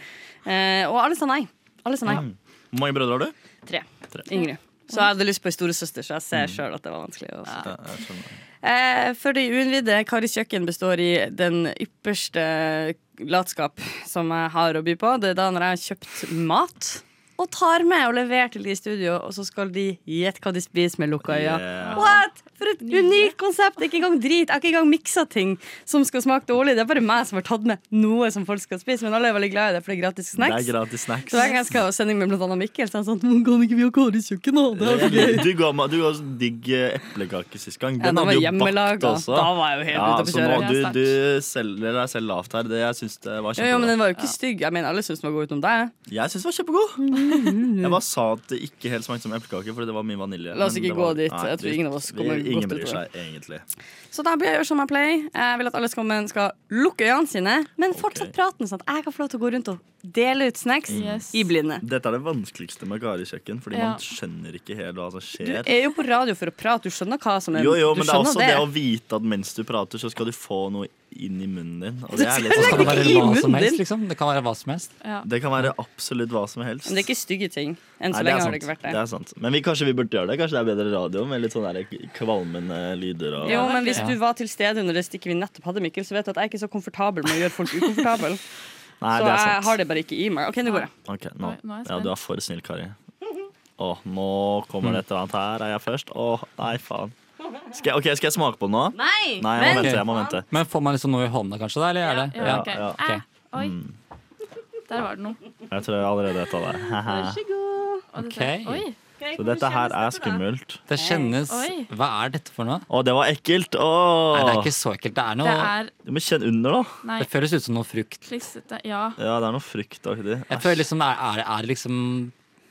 Speaker 5: eh, Og alle sa nei. Alle sa nei.
Speaker 2: Mm. Hvor mange brødre har du?
Speaker 5: Tre.
Speaker 2: Tre.
Speaker 5: Yngre. Så jeg hadde lyst på ei storesøster, så jeg ser sjøl at det var vanskelig. å
Speaker 2: Ja, jeg skjønner.
Speaker 5: Eh, for det uinnvidde, Karis kjøkken består i den ypperste latskap som jeg har å by på. Det er da når jeg har kjøpt mat og tar med og leverer til de i studio, og så skal de gjette hva de spiser med lukka øyne.
Speaker 2: Yeah.
Speaker 5: What? For et unikt konsept! Det er ikke engang drit. Jeg har ikke engang miksa ting som skal smake dårlig. Det er bare meg som har tatt med noe som folk skal spise, men alle er veldig glad i det, for det er gratis
Speaker 2: Det
Speaker 5: snacks.
Speaker 2: er gratis snacks.
Speaker 5: så hver gang jeg skal ha sending med blant annet Mikkel, så er han sånn «Nå Kan ikke vi ha Karis kjøkken, da? Det er så gøy.
Speaker 2: Du ga meg du ga oss digg eh, eplekake sist gang.
Speaker 5: Ja,
Speaker 2: Den
Speaker 5: det var
Speaker 2: hadde jo bakt
Speaker 5: hjemmelaga.
Speaker 2: også.
Speaker 5: Da var jeg jo helt
Speaker 2: Ja,
Speaker 5: ute på
Speaker 2: så nå,
Speaker 5: kjøret.
Speaker 2: du,
Speaker 1: Det er
Speaker 2: du selger deg selv lavt her. Det, jeg syns det var
Speaker 5: Jo, jo, men
Speaker 2: kjempegod.
Speaker 5: den var jo ikke stygg. Jeg mener, alle syns den var god utenom deg.
Speaker 2: Jeg syns den var kjempegod.
Speaker 5: Mm,
Speaker 2: Jeg bare sa at det ikke helt smakte som eplekake, fordi det var mye vanilje.
Speaker 5: La oss
Speaker 2: men
Speaker 5: ikke
Speaker 2: det var-
Speaker 5: gå dit.
Speaker 2: Nei,
Speaker 5: Jeg tror
Speaker 2: vi-
Speaker 5: ingen av oss
Speaker 2: vi-
Speaker 5: kommer godt
Speaker 2: Ingen
Speaker 5: ut
Speaker 2: bryr
Speaker 5: av
Speaker 2: seg egentlig.
Speaker 5: Så da blir jeg gjøre som jeg pleier. Jeg vil at alle skammen skal lukke øynene sine, men fortsett
Speaker 2: Ok.
Speaker 5: praten, sånn at jeg kan få lov til å gå rundt og dele ut snacks
Speaker 1: Yes.
Speaker 5: i blinde.
Speaker 2: Dette er det vanskeligste med Kari kjøkken, fordi
Speaker 1: Ja.
Speaker 2: man skjønner ikke helt hva som
Speaker 5: Du
Speaker 2: skjer.
Speaker 5: er jo på radio for å prate, du skjønner hva som er
Speaker 2: Jo, jo,
Speaker 5: du
Speaker 2: men det er også
Speaker 5: skjønner
Speaker 2: det. å vite at mens du prater, så skal du få noe inn i munnen din. Og det, er litt,
Speaker 7: Og så
Speaker 2: sånn-
Speaker 7: kan det
Speaker 5: legge-
Speaker 7: være
Speaker 5: i
Speaker 7: hva som
Speaker 5: munnen
Speaker 7: helst,
Speaker 5: din.
Speaker 7: liksom. Det kan være hva som helst.
Speaker 1: Ja.
Speaker 2: det kan være absolutt hva som helst.
Speaker 5: Men det er ikke stygge ting. Enn så
Speaker 2: Nei,
Speaker 5: lenge har det ikke
Speaker 2: sant.
Speaker 5: vært det.
Speaker 2: Det er sant. Men vi, kanskje vi burde gjøre det. Kanskje det er bedre radio med litt sånn der kvalmende lyder. Og...
Speaker 5: Jo, men hvis
Speaker 7: Ja.
Speaker 5: du var til stede under det stikket vi nettopp hadde, Mikkel, så vet du at jeg er ikke så komfortabel med å gjøre folk ukomfortable.
Speaker 2: Nei,
Speaker 5: Så
Speaker 2: det er
Speaker 5: jeg
Speaker 2: sant.
Speaker 5: har det bare ikke i meg. Ok, nå går jeg.
Speaker 2: Ok, nå.
Speaker 1: Nå- nå er jeg
Speaker 2: Ja,
Speaker 1: spent.
Speaker 2: du er for snill, Kari. Å, nå kommer det et eller annet her. Er jeg først? Å, nei, faen. Skal jeg, ok, skal jeg smake på den nå?
Speaker 5: Nei!
Speaker 2: Nei, jeg må
Speaker 7: vent.
Speaker 2: vente. Jeg må vente.
Speaker 7: Men får man liksom noe i hånda, kanskje? Da, eller er det?
Speaker 1: Ja, ok.
Speaker 2: ja, Mm.
Speaker 7: ok.
Speaker 1: Eh, Oi. Der var det noe.
Speaker 2: Jeg tror jeg allerede vet hva det er.
Speaker 1: Og dette-
Speaker 7: Ok.
Speaker 1: Oi.
Speaker 2: Så dette her er skummelt.
Speaker 7: Det kjennes
Speaker 1: Oi.
Speaker 7: Hva er dette for noe?
Speaker 2: Å, det var ekkelt. Å.
Speaker 7: Nei, det er ikke så ekkelt. Det er
Speaker 1: Det
Speaker 7: noe
Speaker 1: er
Speaker 2: Du må kjenne under, da.
Speaker 1: Nei,
Speaker 7: Det føles ut som noe frukt.
Speaker 1: klissete. Ja.
Speaker 2: Ja, det er noe fryktaktig.
Speaker 7: Jeg føler liksom det er, er, er det liksom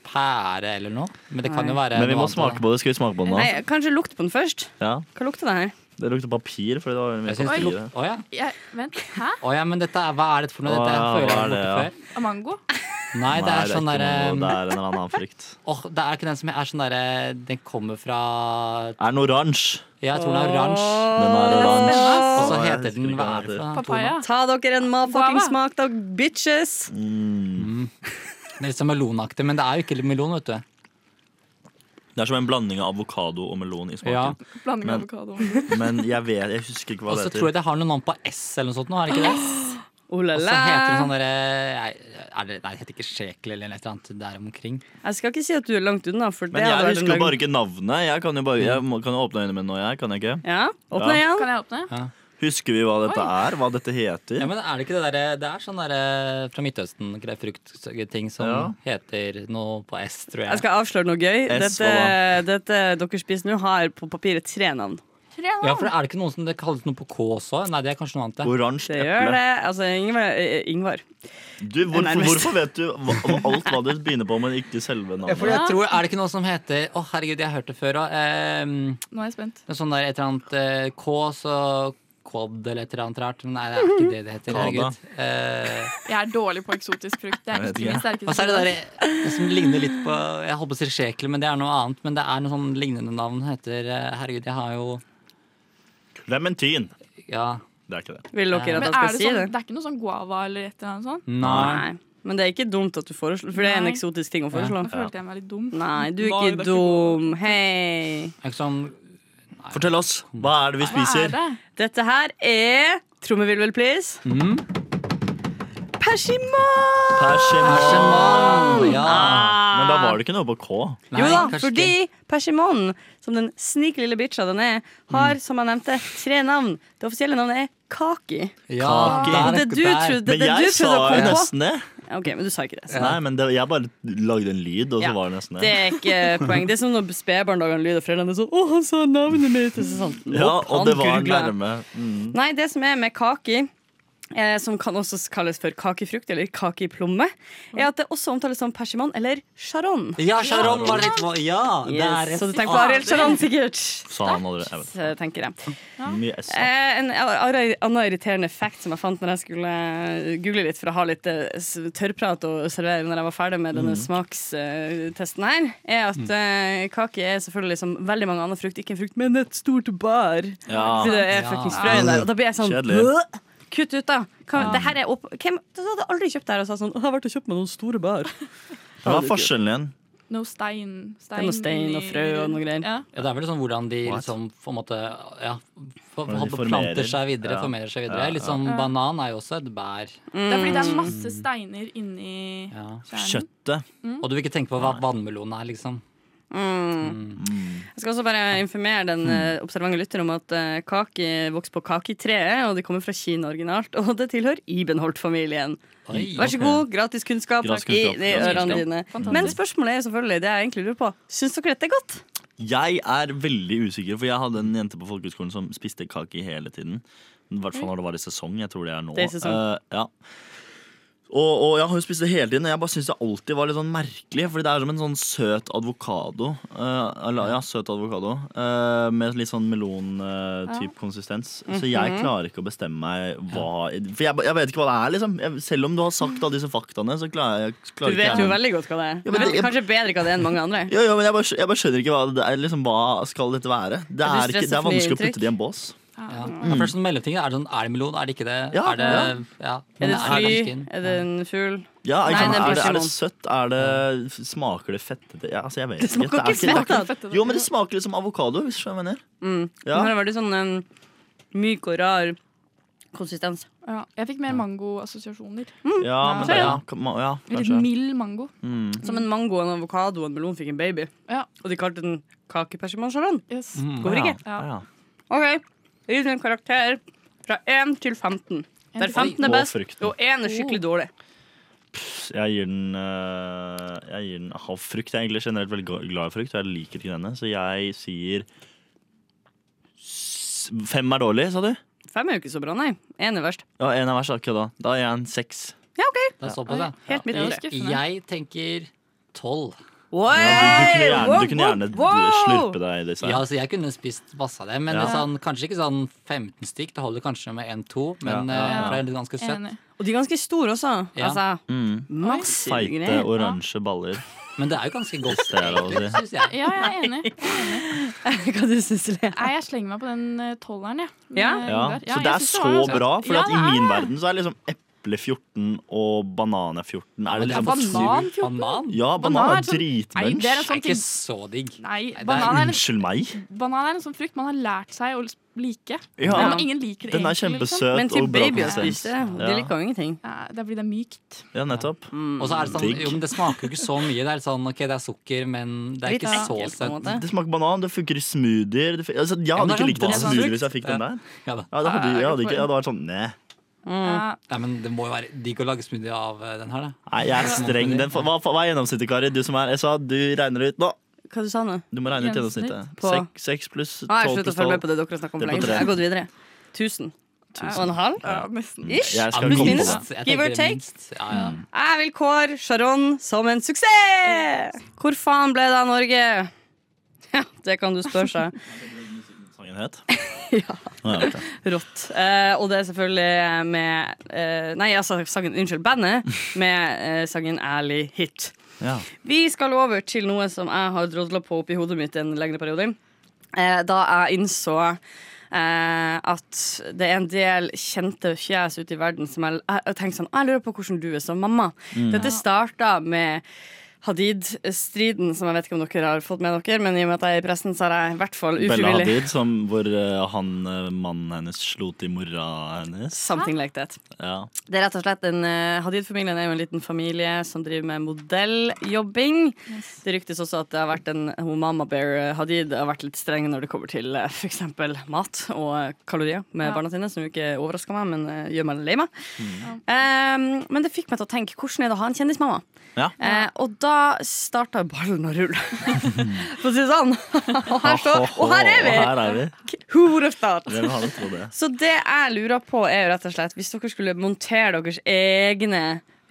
Speaker 7: pære eller noe. Men det kan jo være
Speaker 2: Men vi
Speaker 7: noe
Speaker 2: må
Speaker 7: annet
Speaker 2: smake
Speaker 7: også.
Speaker 2: på det. Skal vi smake på den nå?
Speaker 5: Nei, kanskje lukt på den først.
Speaker 2: Ja.
Speaker 5: Hva lukter det her?
Speaker 2: Det lukter papir. fordi det var veldig
Speaker 7: Jeg
Speaker 2: mye
Speaker 7: synes det
Speaker 2: papir. i
Speaker 7: lukter
Speaker 2: det.
Speaker 7: Å ja.
Speaker 1: Jeg, vent, hæ?
Speaker 7: Å ja, men dette er, hva er dette for noe?
Speaker 2: Å
Speaker 7: Dette
Speaker 2: ja,
Speaker 7: føler jeg
Speaker 2: hva
Speaker 7: har
Speaker 2: er
Speaker 7: borte
Speaker 2: det,
Speaker 7: før.
Speaker 1: Mango?
Speaker 7: Nei, det er sånn
Speaker 2: ikke noe-
Speaker 7: derre
Speaker 2: det
Speaker 7: Åh,
Speaker 2: er en eller annen frykt.
Speaker 7: det er ikke den som er sånn derre Den kommer fra
Speaker 2: Er den oransje?
Speaker 7: Ja, jeg tror den er oransje.
Speaker 2: Den er oransje.
Speaker 7: Og så
Speaker 2: Åh, jeg
Speaker 7: heter
Speaker 2: husker
Speaker 7: den
Speaker 2: ikke
Speaker 7: Hva
Speaker 2: hva
Speaker 7: er det
Speaker 2: den
Speaker 7: for noe?
Speaker 1: Papaya.
Speaker 5: Ta dere en motherfucking
Speaker 1: Guava.
Speaker 5: smak, da, bitches!
Speaker 2: Mm.
Speaker 7: Det er Litt sånn melonaktig, men det er jo ikke melon, vet du.
Speaker 2: Det er som en blanding av avokado og melon i
Speaker 7: Ja.
Speaker 2: smaken.
Speaker 1: Blanding av
Speaker 2: Men-
Speaker 1: avokado.
Speaker 2: Men jeg vet, jeg husker ikke hva
Speaker 7: Og så
Speaker 2: det
Speaker 7: tror
Speaker 2: heter.
Speaker 7: jeg det har noe navn på S eller noe sånt nå, er det ikke det?
Speaker 5: Oh la
Speaker 7: Og så
Speaker 5: la.
Speaker 7: heter det sånn derre er det- Nei, det heter ikke sjekel eller et eller annet der omkring.
Speaker 5: Jeg skal ikke si at du er langt unna, for det
Speaker 2: Men jeg
Speaker 5: hadde vært
Speaker 2: husker jo
Speaker 5: en løgn.
Speaker 2: bare ikke navnet. Jeg kan jo bare, jeg må, kan jo åpne øynene mine nå, jeg. Kan jeg ikke?
Speaker 5: Ja, åpne
Speaker 2: Ja.
Speaker 5: igjen.
Speaker 1: Kan jeg åpne?
Speaker 2: Husker vi hva dette er? Hva dette heter?
Speaker 7: Ja, men er det ikke det derre Det er sånn derre fra Midtøsten, gre- fruktting som
Speaker 2: Ja.
Speaker 7: heter noe på S, tror
Speaker 5: Jeg
Speaker 7: jeg.
Speaker 5: skal avsløre noe gøy.
Speaker 2: S,
Speaker 5: Dette, dette dere spiser nå, har på papiret tre navn.
Speaker 1: Tre
Speaker 7: Ja,
Speaker 1: navn.
Speaker 7: for er det ikke noe som det kalles noe på K også? Nei, det er kanskje noe annet. det.
Speaker 2: Oransje
Speaker 5: Det gjør
Speaker 2: eple.
Speaker 5: det. Altså, Ingvar. eh, Ingvar.
Speaker 2: Du, hvorfor,
Speaker 5: Nærmest.
Speaker 2: hvorfor vet du hva, om alt hva det begynner på, men ikke selve
Speaker 7: Ja,
Speaker 2: navnet?
Speaker 7: for jeg tror, Er det ikke noe som heter Å, herregud, jeg har hørt det før eh, òg.
Speaker 1: Nå er jeg spent.
Speaker 7: Noe sånn der et eller annet eh, K, så Quad eller et eller annet rart. Men nei, det er ikke det det heter.
Speaker 2: Kada.
Speaker 7: Herregud. Eh,
Speaker 1: Jeg er dårlig på eksotisk frukt. Det er
Speaker 2: Jeg vet
Speaker 1: ikke
Speaker 2: ikke.
Speaker 1: min sterkeste
Speaker 7: og så er det der eh, som ligner litt på Jeg holdt på å si sjekel, men det er noe annet. Men det er noe sånn lignende navn heter eh, Herregud, jeg har jo
Speaker 2: Clementin.
Speaker 7: Ja.
Speaker 2: Det er ikke det.
Speaker 5: Vil dere at
Speaker 1: Men
Speaker 5: jeg
Speaker 1: er
Speaker 5: skal
Speaker 1: det,
Speaker 5: si
Speaker 1: sånn,
Speaker 5: det?
Speaker 1: det er ikke noe sånn guava eller et eller annet sånt?
Speaker 7: Nei.
Speaker 5: Nei. Men det er ikke dumt at du foreslår, for det er en
Speaker 1: Nei.
Speaker 5: eksotisk ting å
Speaker 1: Nå
Speaker 2: Mm.
Speaker 5: foreslå.
Speaker 1: følte jeg meg litt dum.
Speaker 5: Nei, du er
Speaker 1: Nei, det er
Speaker 5: ikke
Speaker 1: ikke
Speaker 5: dum. Hei.
Speaker 7: Er ikke sånn
Speaker 2: Fortell oss. Hva er det vi
Speaker 1: Hva
Speaker 2: spiser?
Speaker 1: er det?
Speaker 5: Dette her er Trommevirvel, please.
Speaker 7: Mhm.
Speaker 5: Persiman!
Speaker 2: Persiman.
Speaker 7: Persiman, ja.
Speaker 2: Men da var det ikke noe på K.
Speaker 7: Nei,
Speaker 5: jo da,
Speaker 7: kanskje
Speaker 5: fordi
Speaker 7: ikke.
Speaker 5: persimonen, som den snike lille bitcha den er,
Speaker 7: Mm.
Speaker 5: har, som jeg nevnte, tre navn. Det offisielle navnet er Kaki.
Speaker 7: ja,
Speaker 2: Kake.
Speaker 7: der-
Speaker 5: Og det du
Speaker 7: der.
Speaker 5: trodde, det
Speaker 2: Men jeg
Speaker 5: du
Speaker 2: sa
Speaker 5: trodde å
Speaker 2: jo
Speaker 5: komme på
Speaker 2: nesten det.
Speaker 5: OK, men du sa ikke det. Så.
Speaker 2: Nei, men det, jeg bare lagde en lyd, og så
Speaker 5: Ja.
Speaker 2: var det nesten
Speaker 5: Det
Speaker 2: det.
Speaker 5: er ikke poeng. Det er som når spedbarn lager en lyd, og foreldrene er sånn 'Å, han sa navnet mitt!' Og så sånn,
Speaker 2: Ja,
Speaker 5: «Nope,
Speaker 2: og
Speaker 5: han
Speaker 2: det var
Speaker 5: googlet.»
Speaker 2: nærme. Mm.
Speaker 5: Nei, det som er med kaki eh, som kan også kalles for kakefrukt eller kakeplomme, er at det også omtales som persimann eller charon.
Speaker 7: Ja, Sharon var litt må- Ja, det er
Speaker 5: Yes, så du tenker på Ariel Charon, sikkert.
Speaker 2: Sa han allerede. Jeg vet.
Speaker 5: Så tenker jeg.
Speaker 2: ikke. Mye S.
Speaker 5: Eh, en ar- annen irriterende fact som jeg fant når jeg skulle eh, google litt for å ha litt eh, s- tørrprat og servere når jeg var ferdig med denne smakstesten her, er at eh, kake er selvfølgelig som veldig mange andre frukt, ikke en frukt, men et stort bar.
Speaker 2: Ah, Ja.
Speaker 5: Fordi det er
Speaker 7: Ja.
Speaker 5: fuckings frø inni der. Og da blir jeg sånn
Speaker 2: Kjedelig.
Speaker 5: «Åh, Kutt ut, da. Hva, det her er opp... Hvem du hadde aldri kjøpt det her og sa sånn «Åh, 'Jeg har vært og kjøpt meg noen store bær'.
Speaker 2: Hva er forskjellen igjen?
Speaker 1: Noe stein. stein
Speaker 5: Det er noe stein og
Speaker 1: inni-
Speaker 5: frø og noe greier.
Speaker 1: Ja.
Speaker 7: Ja, det er vel sånn hvordan de liksom på en måte ja, for,
Speaker 2: Hvordan de
Speaker 7: for-
Speaker 2: formerer.
Speaker 7: planter seg videre,
Speaker 2: Ja.
Speaker 7: formerer seg videre.
Speaker 2: Ja,
Speaker 7: Litt sånn banan er jo også et bær.
Speaker 1: Det er fordi det
Speaker 5: Mm.
Speaker 1: er masse steiner inni
Speaker 7: Ja.
Speaker 1: kjernen.
Speaker 2: Kjøttet.
Speaker 7: Og du vil ikke tenke på hva vannmelon er, liksom.
Speaker 2: Mm.
Speaker 5: Mm. Jeg skal også bare informere den eh, observante lytter om at eh, kake vokser på kaketreet, og de kommer fra Kina originalt, og det tilhører Ibenholt-familien.
Speaker 7: Oi,
Speaker 5: Vær så
Speaker 2: ok.
Speaker 5: god, gratis kunnskap
Speaker 2: Gratis
Speaker 5: i
Speaker 2: kunnskap,
Speaker 5: de
Speaker 2: gratis
Speaker 5: ørene
Speaker 2: kunnskap.
Speaker 5: dine.
Speaker 1: Fantastisk.
Speaker 5: Men spørsmålet er jo selvfølgelig, det jeg egentlig lurer på, syns dere dette er godt?
Speaker 2: Jeg er veldig usikker, for jeg hadde en jente på folkehøyskolen som spiste kake hele tiden. I hvert fall når det var i sesong. Jeg tror det er nå.
Speaker 5: Det er sesong.
Speaker 2: Eh, ja. Og, og jeg har jo spist det hele tiden, og jeg bare syns det alltid var litt sånn merkelig. Fordi det er som en sånn søt avokado. eh, eller, ja, søt avokado. eh, med litt sånn melon-type konsistens.
Speaker 5: Mhm.
Speaker 2: Så jeg klarer ikke å bestemme meg hva For jeg, jeg vet ikke hva det er, liksom. Jeg, selv om du har sagt alle disse faktaene, så klarer jeg klarer
Speaker 5: Du
Speaker 2: ikke jeg
Speaker 5: vet jo veldig godt hva det er.
Speaker 2: Ja,
Speaker 5: Du
Speaker 2: men
Speaker 5: vet
Speaker 2: det-
Speaker 5: kanskje bedre hva det er enn mange andre.
Speaker 2: ja, ja, men jeg bare, skj- jeg bare skjønner ikke hva det er. Liksom, hva skal dette være? Det
Speaker 5: Er
Speaker 2: er,
Speaker 5: du
Speaker 2: ikke, det
Speaker 5: stresset
Speaker 2: er
Speaker 5: for
Speaker 2: vanskelig å
Speaker 5: mye
Speaker 2: putte det i en bås.
Speaker 7: Ja. Ja, for det er sånn mellomting. Er det sånn er det melon, er det ikke det?
Speaker 2: Ja,
Speaker 7: er det, ja.
Speaker 5: Er
Speaker 7: Men
Speaker 5: det et
Speaker 7: er det
Speaker 5: fly?
Speaker 7: ikke-
Speaker 5: Er det en fugl?
Speaker 2: Ja,
Speaker 5: Nei,
Speaker 2: ikke, sant?
Speaker 5: det blir
Speaker 2: er, det, er det
Speaker 5: ikke
Speaker 2: søtt? Er det, smaker det fettete? Ja, altså, jeg vet
Speaker 5: Det smaker
Speaker 2: er
Speaker 5: ikke fett, altså. da.
Speaker 1: Fett, det der.
Speaker 2: Jo, men det smaker litt som avokado. Hvis du skjønner hva jeg mener.
Speaker 5: Den
Speaker 2: Ja.
Speaker 5: har veldig sånn um, myk og rar konsistens.
Speaker 1: ja. Jeg fikk mer mangoassosiasjoner.
Speaker 2: Ja, men det, ja, kan man- ja,
Speaker 1: Litt
Speaker 2: kanskje. Mm.
Speaker 1: mild mango.
Speaker 5: Som en mango, en avokado og en melon fikk en baby.
Speaker 1: Ja.
Speaker 5: Og de kalte den kakepersimannsjalan.
Speaker 1: Yes.
Speaker 2: Mm.
Speaker 5: Hvorfor ikke?
Speaker 2: Ja, ja.
Speaker 5: OK, gi den en karakter fra 1 til 15. Der 15
Speaker 2: Oi.
Speaker 5: er best,
Speaker 2: Og frukten.
Speaker 5: og 1 er skikkelig dårlig.
Speaker 2: Jeg gir den øh, Jeg gir den av frukt. Jeg er egentlig generelt veldig gla- glad i frukt, og jeg liker ikke denne, så jeg sier s- Fem er dårlig, sa du?
Speaker 5: 5 er jo ikke så bra, nei. 1 er verst.
Speaker 2: Ja, én er verst. Akkurat da. Da er jeg en seks.
Speaker 5: Ja, OK.
Speaker 7: Det er såpass, ja.
Speaker 5: Helt midt i det.
Speaker 1: Skuffende.
Speaker 7: Jeg tenker tolv.
Speaker 5: Oi!
Speaker 2: Du kunne gjerne, du kunne
Speaker 5: Wow,
Speaker 2: gjerne
Speaker 5: wow, wow!
Speaker 2: slurpe deg i disse.
Speaker 7: Ja, altså Jeg kunne spist masse av det, men
Speaker 2: Ja.
Speaker 7: sånn, kanskje ikke sånn 15 stykk. Det holder kanskje med 1-2, men
Speaker 2: Ja, ja,
Speaker 7: eh,
Speaker 1: ja.
Speaker 7: for det er ganske søtt.
Speaker 1: Enig.
Speaker 5: Og de er ganske store også.
Speaker 7: Ja.
Speaker 5: Altså,
Speaker 2: Mm.
Speaker 5: massive
Speaker 2: Feite,
Speaker 5: greier.
Speaker 2: oransje baller.
Speaker 7: Men det er jo ganske godt,
Speaker 2: Det altså. er lov å si.
Speaker 7: egentlig, synes jeg.
Speaker 1: Ja, jeg er enig.
Speaker 5: Hva du syns du?
Speaker 1: Nei, jeg slenger meg på den eh, tolveren, jeg.
Speaker 5: Ja?
Speaker 1: Med
Speaker 2: Ja.
Speaker 1: Ungar.
Speaker 2: Så
Speaker 1: jeg
Speaker 2: det er
Speaker 1: synes
Speaker 2: så
Speaker 1: var-
Speaker 2: bra, for
Speaker 1: Ja,
Speaker 2: at i
Speaker 1: det er
Speaker 2: min
Speaker 1: det.
Speaker 2: verden så er liksom eple 14 og banan er 14. Er det liksom
Speaker 7: Men det er
Speaker 1: banan
Speaker 7: sur Banan?
Speaker 2: Ja, banan
Speaker 1: Banan er
Speaker 2: er
Speaker 1: sånn- Nei,
Speaker 2: dritmunch.
Speaker 1: det er en
Speaker 7: Det er
Speaker 1: sånn
Speaker 7: ikke
Speaker 1: ting
Speaker 7: så digg.
Speaker 1: Nei,
Speaker 7: det er-
Speaker 1: banan er,
Speaker 2: Unnskyld meg.
Speaker 1: en, banan er en sånn frukt man har lært seg å like.
Speaker 2: Ja,
Speaker 1: Men ingen liker det
Speaker 2: Den er
Speaker 1: egentlig, liksom.
Speaker 2: kjempesøt
Speaker 5: Men til
Speaker 2: og bra
Speaker 5: babyer
Speaker 2: konsistens.
Speaker 5: spiser det. De
Speaker 2: Ja.
Speaker 5: liker jo ingenting.
Speaker 1: Ja, det er fordi det er mykt.
Speaker 2: Ja, nettopp.
Speaker 1: Mm.
Speaker 7: Og så er det sånn,
Speaker 2: Digg.
Speaker 7: jo, men det smaker jo ikke så mye. Det er litt sånn, ok, det er sukker, men det er
Speaker 5: Litt
Speaker 7: ikke så
Speaker 5: ekkelt, på en
Speaker 7: søtt.
Speaker 5: måte.
Speaker 2: Det smaker banan, det funker i smoothier. Det fun- altså, jeg
Speaker 7: men
Speaker 2: hadde
Speaker 7: det er
Speaker 2: ikke likt en
Speaker 7: sånn
Speaker 2: smoothie
Speaker 7: basfrukt.
Speaker 2: hvis jeg fikk den
Speaker 7: Ja.
Speaker 2: der.
Speaker 7: Ja, da.
Speaker 2: Ja, det hadde, jeg hadde ikke, jeg hadde vært sånn Nei,
Speaker 5: Mm.
Speaker 2: Mm.
Speaker 1: Ja,
Speaker 7: Nei, men det må jo være digg å lage smoothie av eh, den her, da.
Speaker 2: Nei, jeg er streng. Den, får- hva, hva er gjennomsnittet, Kari? Du som er SA, du regner ut nå.
Speaker 5: Hva du sa du nå?
Speaker 2: Du må regne ut
Speaker 1: Gjennomsnitt
Speaker 2: gjennomsnittet.
Speaker 5: på-
Speaker 2: Sek- Seks pluss
Speaker 5: Ah, jeg
Speaker 2: tolv
Speaker 5: sluttet å
Speaker 2: pluss
Speaker 5: følge
Speaker 2: tolv.
Speaker 5: med på det dere har snakket om
Speaker 2: Det er
Speaker 5: for
Speaker 2: på
Speaker 5: lenge siden.
Speaker 2: tre.
Speaker 5: Jeg har gått videre. 1000. Og en halv?
Speaker 1: ja, nesten.
Speaker 5: Ish.
Speaker 2: Jeg skal
Speaker 7: Ja, men
Speaker 2: komme på
Speaker 5: minus.
Speaker 2: det.
Speaker 7: minst. Jeg
Speaker 5: Give or
Speaker 7: tenker
Speaker 5: take.
Speaker 7: minst. Ja, ja.
Speaker 5: Jeg vil kåre Sharon som en suksess! Hvor faen ble det av Norge? Ja, det kan du spørre seg.
Speaker 2: Sangen het? ja. ok.
Speaker 5: Rått. Eh, og det er selvfølgelig med eh, Nei, altså sangen, unnskyld, bandet med eh, sangen Ærlig hit.
Speaker 2: ja.
Speaker 5: Vi skal over til noe som jeg har drodla på oppi hodet mitt en lengre periode. Eh, da jeg innså eh, at det er en del kjente fjes ute i verden som jeg, jeg tenkte sånn Jeg lurer på hvordan du er som mamma. Dette starta med Hadid-striden, som jeg vet ikke om dere har fått med dere, men i og med at jeg er i pressen, så har jeg i hvert fall
Speaker 2: Bella
Speaker 5: ufrivillig
Speaker 2: Hadid, som, hvor eh, han, eh, mannen hennes slo til mora hennes.
Speaker 5: Something like that.
Speaker 2: Ja.
Speaker 5: Det er rett og slett en eh, Hadid-familien er jo en liten familie som driver med modelljobbing. Det ryktes også at det har vært en hun Mama Bear eh, Hadid har vært litt streng når det kommer til eh, for eksempel mat og eh, kalorier med
Speaker 1: Ja.
Speaker 5: barna sine, som jo ikke overrasker meg, men eh, gjør meg lei meg.
Speaker 2: Mm.
Speaker 5: Eh, men det fikk meg til å tenke hvordan er det å ha en kjendismamma?
Speaker 2: Ja.
Speaker 5: Eh, og da starta ballen å rulle, for å si det sånn. og her står Og her er vi!
Speaker 2: Og her er vi.
Speaker 5: Who would have thought?
Speaker 2: Hvem hadde trodd det?
Speaker 5: Så det jeg lurer på er jo rett og slett Hvis dere skulle montere deres egne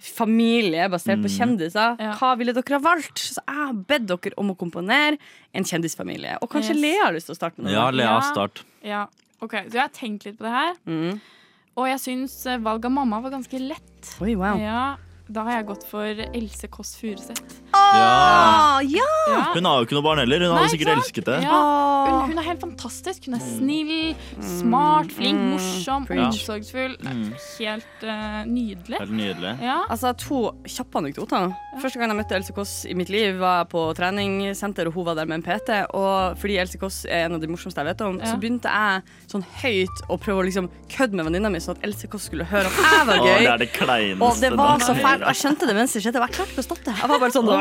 Speaker 5: familie basert på kjendiser,
Speaker 1: Ja.
Speaker 5: hva ville dere ha valgt? Så jeg har bedt dere om å komponere en kjendisfamilie. Og kanskje
Speaker 1: Yes.
Speaker 5: Lea har lyst til å starte med det?
Speaker 2: Ja, Lea,
Speaker 1: Ja.
Speaker 2: start.
Speaker 1: Ja, ok, Så jeg har tenkt litt på det her.
Speaker 5: Mm.
Speaker 1: Og jeg syns eh, valg av mamma var ganske lett.
Speaker 5: Oi, wow.
Speaker 1: Ja, Da har jeg gått for Else Kåss Furuseth.
Speaker 2: Ja.
Speaker 5: Ah, ja.
Speaker 1: Ja.
Speaker 2: Hun har jo ikke noe barn heller. Hun
Speaker 1: Nei,
Speaker 2: hadde sikkert
Speaker 1: ikke
Speaker 2: elsket det.
Speaker 1: Ja, Mm. hun, hun er helt fantastisk. Hun er snill, smart, flink, morsom, omsorgsfull. Helt eh, nydelig.
Speaker 2: Helt nydelig.
Speaker 1: Ja.
Speaker 5: Altså, To kjappe anekdoter. Første gang jeg møtte Else Kåss i mitt liv, var jeg på treningssenter, og hun var der med en PT. Og fordi Else Kåss er en av de morsomste jeg vet om,
Speaker 1: Ja.
Speaker 5: så begynte jeg sånn høyt å prøve å liksom kødde med venninna mi, sånn at Else Kåss skulle høre at jeg var
Speaker 2: Å,
Speaker 5: gøy.
Speaker 2: det er det kleineste.
Speaker 5: Og det var
Speaker 2: den
Speaker 5: så
Speaker 2: kan
Speaker 5: fælt.
Speaker 2: gjøre.
Speaker 5: Jeg skjønte det mens det skjedde. og Jeg klarte ikke å stoppe det. Jeg var bare sånn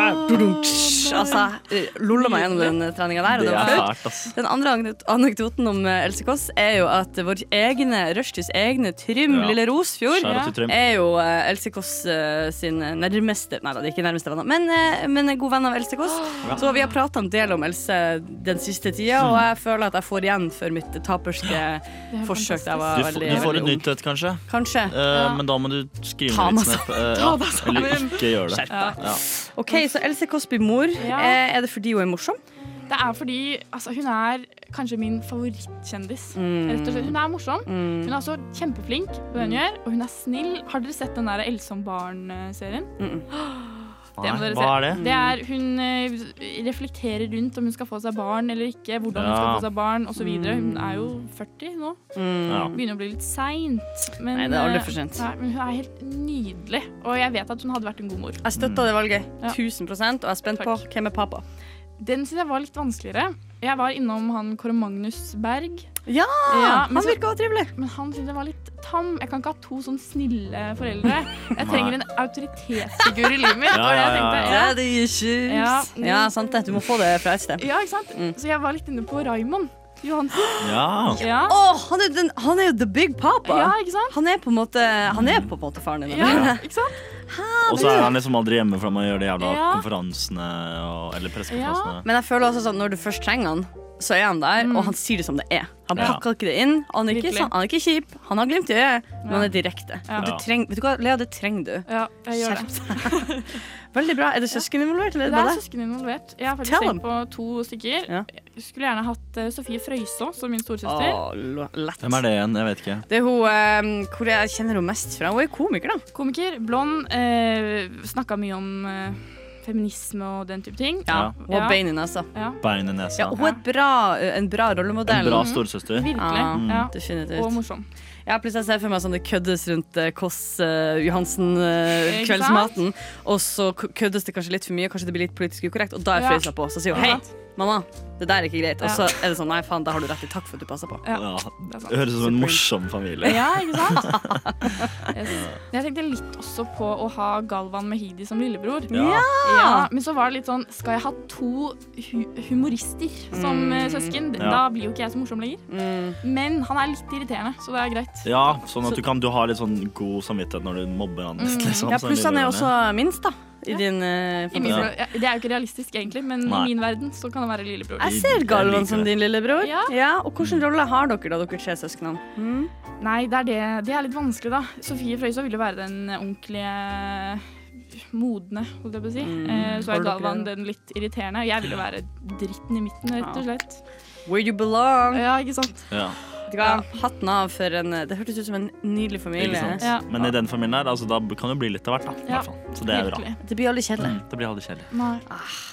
Speaker 5: Altså, jeg, eh, lolla meg gjennom den treninga der, og
Speaker 2: Det
Speaker 5: det var
Speaker 2: er
Speaker 5: flaut.
Speaker 2: fælt, ass.
Speaker 5: Den andre anek- anekdoten om eh, Else Kåss er jo at vår egne Rushtids egne Trym,
Speaker 2: Ja.
Speaker 5: lille Rosfjord,
Speaker 2: Skjæra til Trym.
Speaker 5: er jo eh, Else Kåss eh, sin nærmeste Nei da, det er ikke nærmeste venner, men, eh, men en god venn av Else Kåss. Så vi har prata en del om Else den siste tida, og jeg føler at jeg får igjen for mitt taperske
Speaker 1: Det er
Speaker 5: forsøk da
Speaker 2: Du,
Speaker 5: jeg var
Speaker 2: f-
Speaker 5: veldig,
Speaker 2: du får et
Speaker 5: veldig ung.
Speaker 2: nytt et, kanskje.
Speaker 5: Kanskje.
Speaker 2: Eh, Men da må du skrive
Speaker 5: Ta
Speaker 2: ned
Speaker 5: meg
Speaker 2: litt snap. eh,
Speaker 1: Ta
Speaker 2: ja.
Speaker 1: deg sammen.
Speaker 2: Eller ikke gjør det. Ja.
Speaker 5: Ok, Så Else Kåss blir mor.
Speaker 1: Ja.
Speaker 5: Eh, Er det fordi hun er morsom?
Speaker 1: Det er fordi altså, hun er kanskje min favorittkjendis. Rett og slett. Hun er morsom. Hun er også kjempeflink på det hun gjør, og hun er snill. Har dere sett den der Else om barn-serien? Det må
Speaker 2: Nei,
Speaker 1: dere
Speaker 2: Hva
Speaker 1: se.
Speaker 2: er det?
Speaker 1: Det er Hun eh, reflekterer rundt om hun skal få seg barn eller ikke, hvordan hun skal
Speaker 2: Ja. Mm.
Speaker 1: få seg barn osv. Hun er jo 40 nå.
Speaker 2: Ja.
Speaker 1: Begynner å bli litt seint. Men,
Speaker 5: Nei, det er aldri
Speaker 1: eh,
Speaker 5: for sent.
Speaker 1: nei, Men hun er helt nydelig, og jeg vet at hun hadde vært en god mor.
Speaker 5: Jeg støtter det valget.
Speaker 1: Ja.
Speaker 5: 1000 Og jeg er spent på
Speaker 1: Takk.
Speaker 5: hvem er pappa.
Speaker 1: Den syns jeg var litt vanskeligere. Jeg var innom han Kåre Magnus Berg.
Speaker 5: Ja,
Speaker 1: Ja, men
Speaker 5: Ah, Han
Speaker 1: så-
Speaker 5: virker også trivelig.
Speaker 1: Men han syntes jeg var litt tam. Jeg kan ikke ha to sånn snille foreldre. Jeg trenger en autoritetsfigur i livet mitt.
Speaker 2: Ja,
Speaker 1: var det
Speaker 2: ja,
Speaker 1: jeg
Speaker 2: ja,
Speaker 1: tenkte.
Speaker 5: Ja,
Speaker 1: Ja.
Speaker 5: det gir kjus. Ja.
Speaker 1: Ja.
Speaker 5: sant det. Du må få det fra et sted.
Speaker 1: ja, ikke sant?
Speaker 5: Mm.
Speaker 1: Så jeg var litt inne på Raymond Johansen.
Speaker 2: Ja.
Speaker 1: Ja.
Speaker 5: Å, han, er den, han er jo the big papa!
Speaker 1: ja, ikke sant?
Speaker 5: Han er på en måte Han er på en måte faren din.
Speaker 1: Ja, ikke sant?
Speaker 2: Og så er han liksom aldri hjemme for han må gjøre de jævla
Speaker 1: Ja.
Speaker 2: konferansene og, eller pressekonferansene.
Speaker 5: Men jeg føler også sånn når du først trenger han, så er han der, og han sier det som det er. Han
Speaker 2: Ja.
Speaker 5: pakker ikke det inn. Han er ikke,
Speaker 1: Mm. Virkelig.
Speaker 5: sånn, han er ikke kjip, han har glimt i øyet, men han er direkte.
Speaker 1: Ja.
Speaker 5: Og Du treng, vet du hva, Lea, det trenger du.
Speaker 1: Ja, jeg gjør det.
Speaker 5: Skjerp deg. Veldig bra. Er det søsken involvert? Eller er
Speaker 1: Det er
Speaker 5: det bare deg?
Speaker 1: søsken involvert. Jeg har faktisk
Speaker 5: Tell
Speaker 1: tenkt på to stykker.
Speaker 5: Ja.
Speaker 1: Jeg skulle gjerne hatt eh, Sofie Frøysaa som min storesøster.
Speaker 5: Å, lo- lett.
Speaker 2: Hvem er det igjen? Jeg vet ikke.
Speaker 5: Det er hun, eh, hvor jeg kjenner henne mest fra. Hun er komiker, da.
Speaker 1: Komiker, blond, eh, snakka mye om eh, feminisme og den type ting.
Speaker 2: Ja.
Speaker 5: Hun har bein i nesa.
Speaker 1: ja,
Speaker 2: Bein i nesa.
Speaker 5: Ja, hun er et bra, eh, en bra
Speaker 2: En
Speaker 5: rollemodell.
Speaker 2: bra storesøster.
Speaker 1: virkelig.
Speaker 5: Ja.
Speaker 1: Ja.
Speaker 5: Definitivt.
Speaker 1: Og morsom.
Speaker 5: Ja, plutselig ser jeg for meg sånn det køddes rundt eh, Kåss eh, Johansen, eh,
Speaker 1: Ikke
Speaker 5: kveldsmaten. Og så k- køddes det kanskje litt for mye, kanskje det blir litt politisk ukorrekt. Og da er
Speaker 1: Ja.
Speaker 5: Frøysa på. Så sier hun hei,
Speaker 1: Ja.
Speaker 5: mamma, det der er ikke greit. Og
Speaker 1: Ja.
Speaker 5: så er det sånn nei, faen, da har du rett i takk for at du passer på.
Speaker 1: Ja.
Speaker 2: Ja.
Speaker 1: Det er sant.
Speaker 2: Det høres ut som en morsom familie.
Speaker 1: Ja, ikke sant? Yes. Jeg tenkte litt også på å ha Galvan Mehidi som lillebror.
Speaker 2: Ja.
Speaker 1: Ja, men så var det litt sånn Skal jeg ha to hu humorister som eh, søsken?
Speaker 2: Ja.
Speaker 1: Da blir jo ikke jeg så morsom lenger.
Speaker 5: Mm.
Speaker 1: Men han er litt irriterende, så det er greit.
Speaker 2: ja, sånn at du kan du har litt sånn god samvittighet når du mobber han.
Speaker 1: Mm.
Speaker 2: Liksom,
Speaker 5: Ja,
Speaker 2: som
Speaker 5: pluss han er
Speaker 2: lillebror.
Speaker 5: også minst, da. I
Speaker 1: Ja.
Speaker 5: din eh,
Speaker 1: I min,
Speaker 5: fantasi.
Speaker 1: ja, det er jo ikke realistisk egentlig, men
Speaker 2: Nei.
Speaker 1: i min verden så kan han være lillebror.
Speaker 5: Jeg
Speaker 2: Jeg
Speaker 5: ser
Speaker 2: liker
Speaker 5: Galvan
Speaker 2: det.
Speaker 5: som din lillebror.
Speaker 1: Ja.
Speaker 5: Og hvilken rolle har dere, da, dere tre søsknene? Mm.
Speaker 1: Nei, det er, det. det er litt vanskelig, da. Sofie Frøysaa vil jo være den ordentlige modne, holdt jeg på å si.
Speaker 5: Mm.
Speaker 1: Eh, så
Speaker 5: Har
Speaker 1: er
Speaker 5: dere
Speaker 1: Galvan
Speaker 5: det?
Speaker 1: den litt irriterende. Jeg vil jo være dritten i midten, rett og slett.
Speaker 5: Where you belong.
Speaker 1: Ja, ikke sant.
Speaker 2: Ja,
Speaker 5: Vet du hva? Hatten av for en eh, Det hørtes ut som en nydelig
Speaker 2: ikke
Speaker 5: familie.
Speaker 2: sant?
Speaker 1: Ja.
Speaker 2: Men i den familien her, altså, da kan det jo bli litt av hvert. Da, i
Speaker 1: Ja.
Speaker 2: hvert fall. Så det er bra.
Speaker 1: Virkelig.
Speaker 5: Det blir aldri kjedelig.
Speaker 2: Mm, Det blir aldri kjedelig.
Speaker 1: Nei.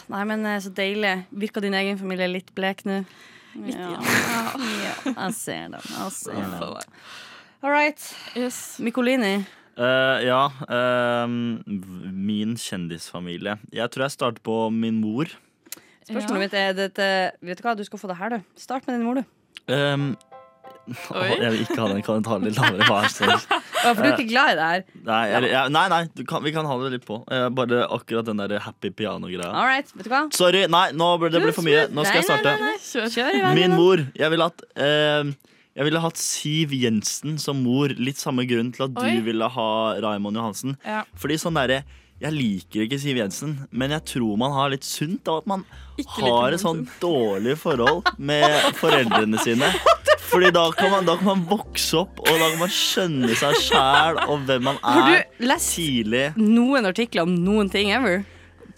Speaker 5: Nei, men eh, så deilig. Virker din egen familie litt blek nå?
Speaker 1: Litt, ja.
Speaker 5: Ja, jeg ser den. Jeg ser den.
Speaker 2: Ja.
Speaker 5: All right.
Speaker 1: Yes.
Speaker 5: Mikolini.
Speaker 2: Eh, ja eh, min kjendisfamilie. Jeg tror jeg starter på min mor.
Speaker 5: Spørsmålet mitt er dette Vet du hva, du skal få det her, du. Start med din mor, du.
Speaker 2: Ehm, å,
Speaker 1: Oi.
Speaker 2: jeg vil ikke ha den kan jeg ta den litt lavere. Hva er det?
Speaker 5: Ja, for du er ikke glad i det her.
Speaker 2: Nei, eller, ja, nei, nei du kan, vi kan ha det litt på. Eh, bare akkurat den der happy piano-greia.
Speaker 5: All right, vet du hva.
Speaker 2: Sorry, nei, nå ble, det ble for mye. Nå skal jeg
Speaker 5: Ah. Nei, nei,
Speaker 2: starte.
Speaker 5: nei, nei. Kjør i
Speaker 2: Min
Speaker 5: veien.
Speaker 2: mor. Jeg ville hatt eh, Jeg ville hatt Siv Jensen som mor. Litt samme grunn til at du
Speaker 1: Oi.
Speaker 2: ville ha Raymond Johansen.
Speaker 1: Ja.
Speaker 2: Fordi sånn derre Jeg liker ikke Siv Jensen, men jeg tror man har litt sunt av at man
Speaker 1: Ikke liker
Speaker 2: har et sånn dårlig forhold med foreldrene sine. Fordi da kan, man, da kan man vokse opp, og da kan man skjønne seg sjæl og hvem man
Speaker 5: Har
Speaker 2: er.
Speaker 5: du lest
Speaker 2: Tidlig.
Speaker 5: noen artikler om noen ting ever?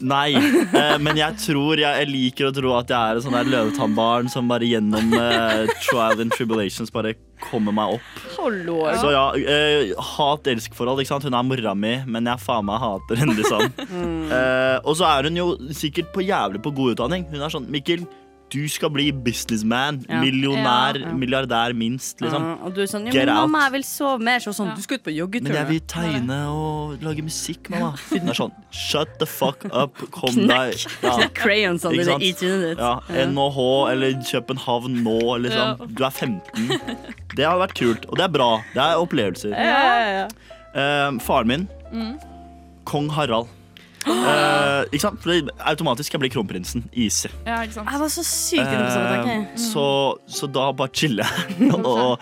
Speaker 2: Nei, eh, men jeg tror jeg, jeg liker å tro at jeg er et sånn der løvetannbarn som bare gjennom eh, trial and tribulations bare kommer meg opp.
Speaker 5: Hallo.
Speaker 2: Så ja, eh, hat-elsk-forhold. ikke sant? Hun er mora mi, men jeg faen meg hater henne, liksom.
Speaker 5: Mm.
Speaker 2: Eh, og så er hun jo sikkert på jævlig på god utdanning. Hun er sånn Mikkel, du skal bli businessman.
Speaker 5: Ja.
Speaker 2: Millionær.
Speaker 5: Ja.
Speaker 2: Milliardær, minst, liksom.
Speaker 5: Ja, og du er sånn jo,
Speaker 2: Get
Speaker 5: men Mamma,
Speaker 2: out.
Speaker 5: jeg vil sove mer. Så sånn, du skal ut på joggetur.
Speaker 2: Men jeg
Speaker 5: da.
Speaker 2: vil tegne og lage musikk, mamma. Hun er sånn Shut the fuck up. Kom deg
Speaker 5: Knekk.
Speaker 2: ja.
Speaker 5: Knekk crayonsene
Speaker 2: Ikke
Speaker 5: sånn, dine
Speaker 2: sant?
Speaker 5: i trynet ditt.
Speaker 2: Ja, NHH eller København nå, liksom. Du er 15. Det hadde vært kult, og det er bra. Det er opplevelser. Eh, faren min,
Speaker 5: Mm.
Speaker 2: kong Harald. Eh, ikke sant? For det, automatisk skal jeg bli kronprinsen. Easy.
Speaker 1: Ja, ikke sant.
Speaker 5: Jeg var så sykt inne på samme tanke.
Speaker 2: Eh, så, så da bare chiller jeg og,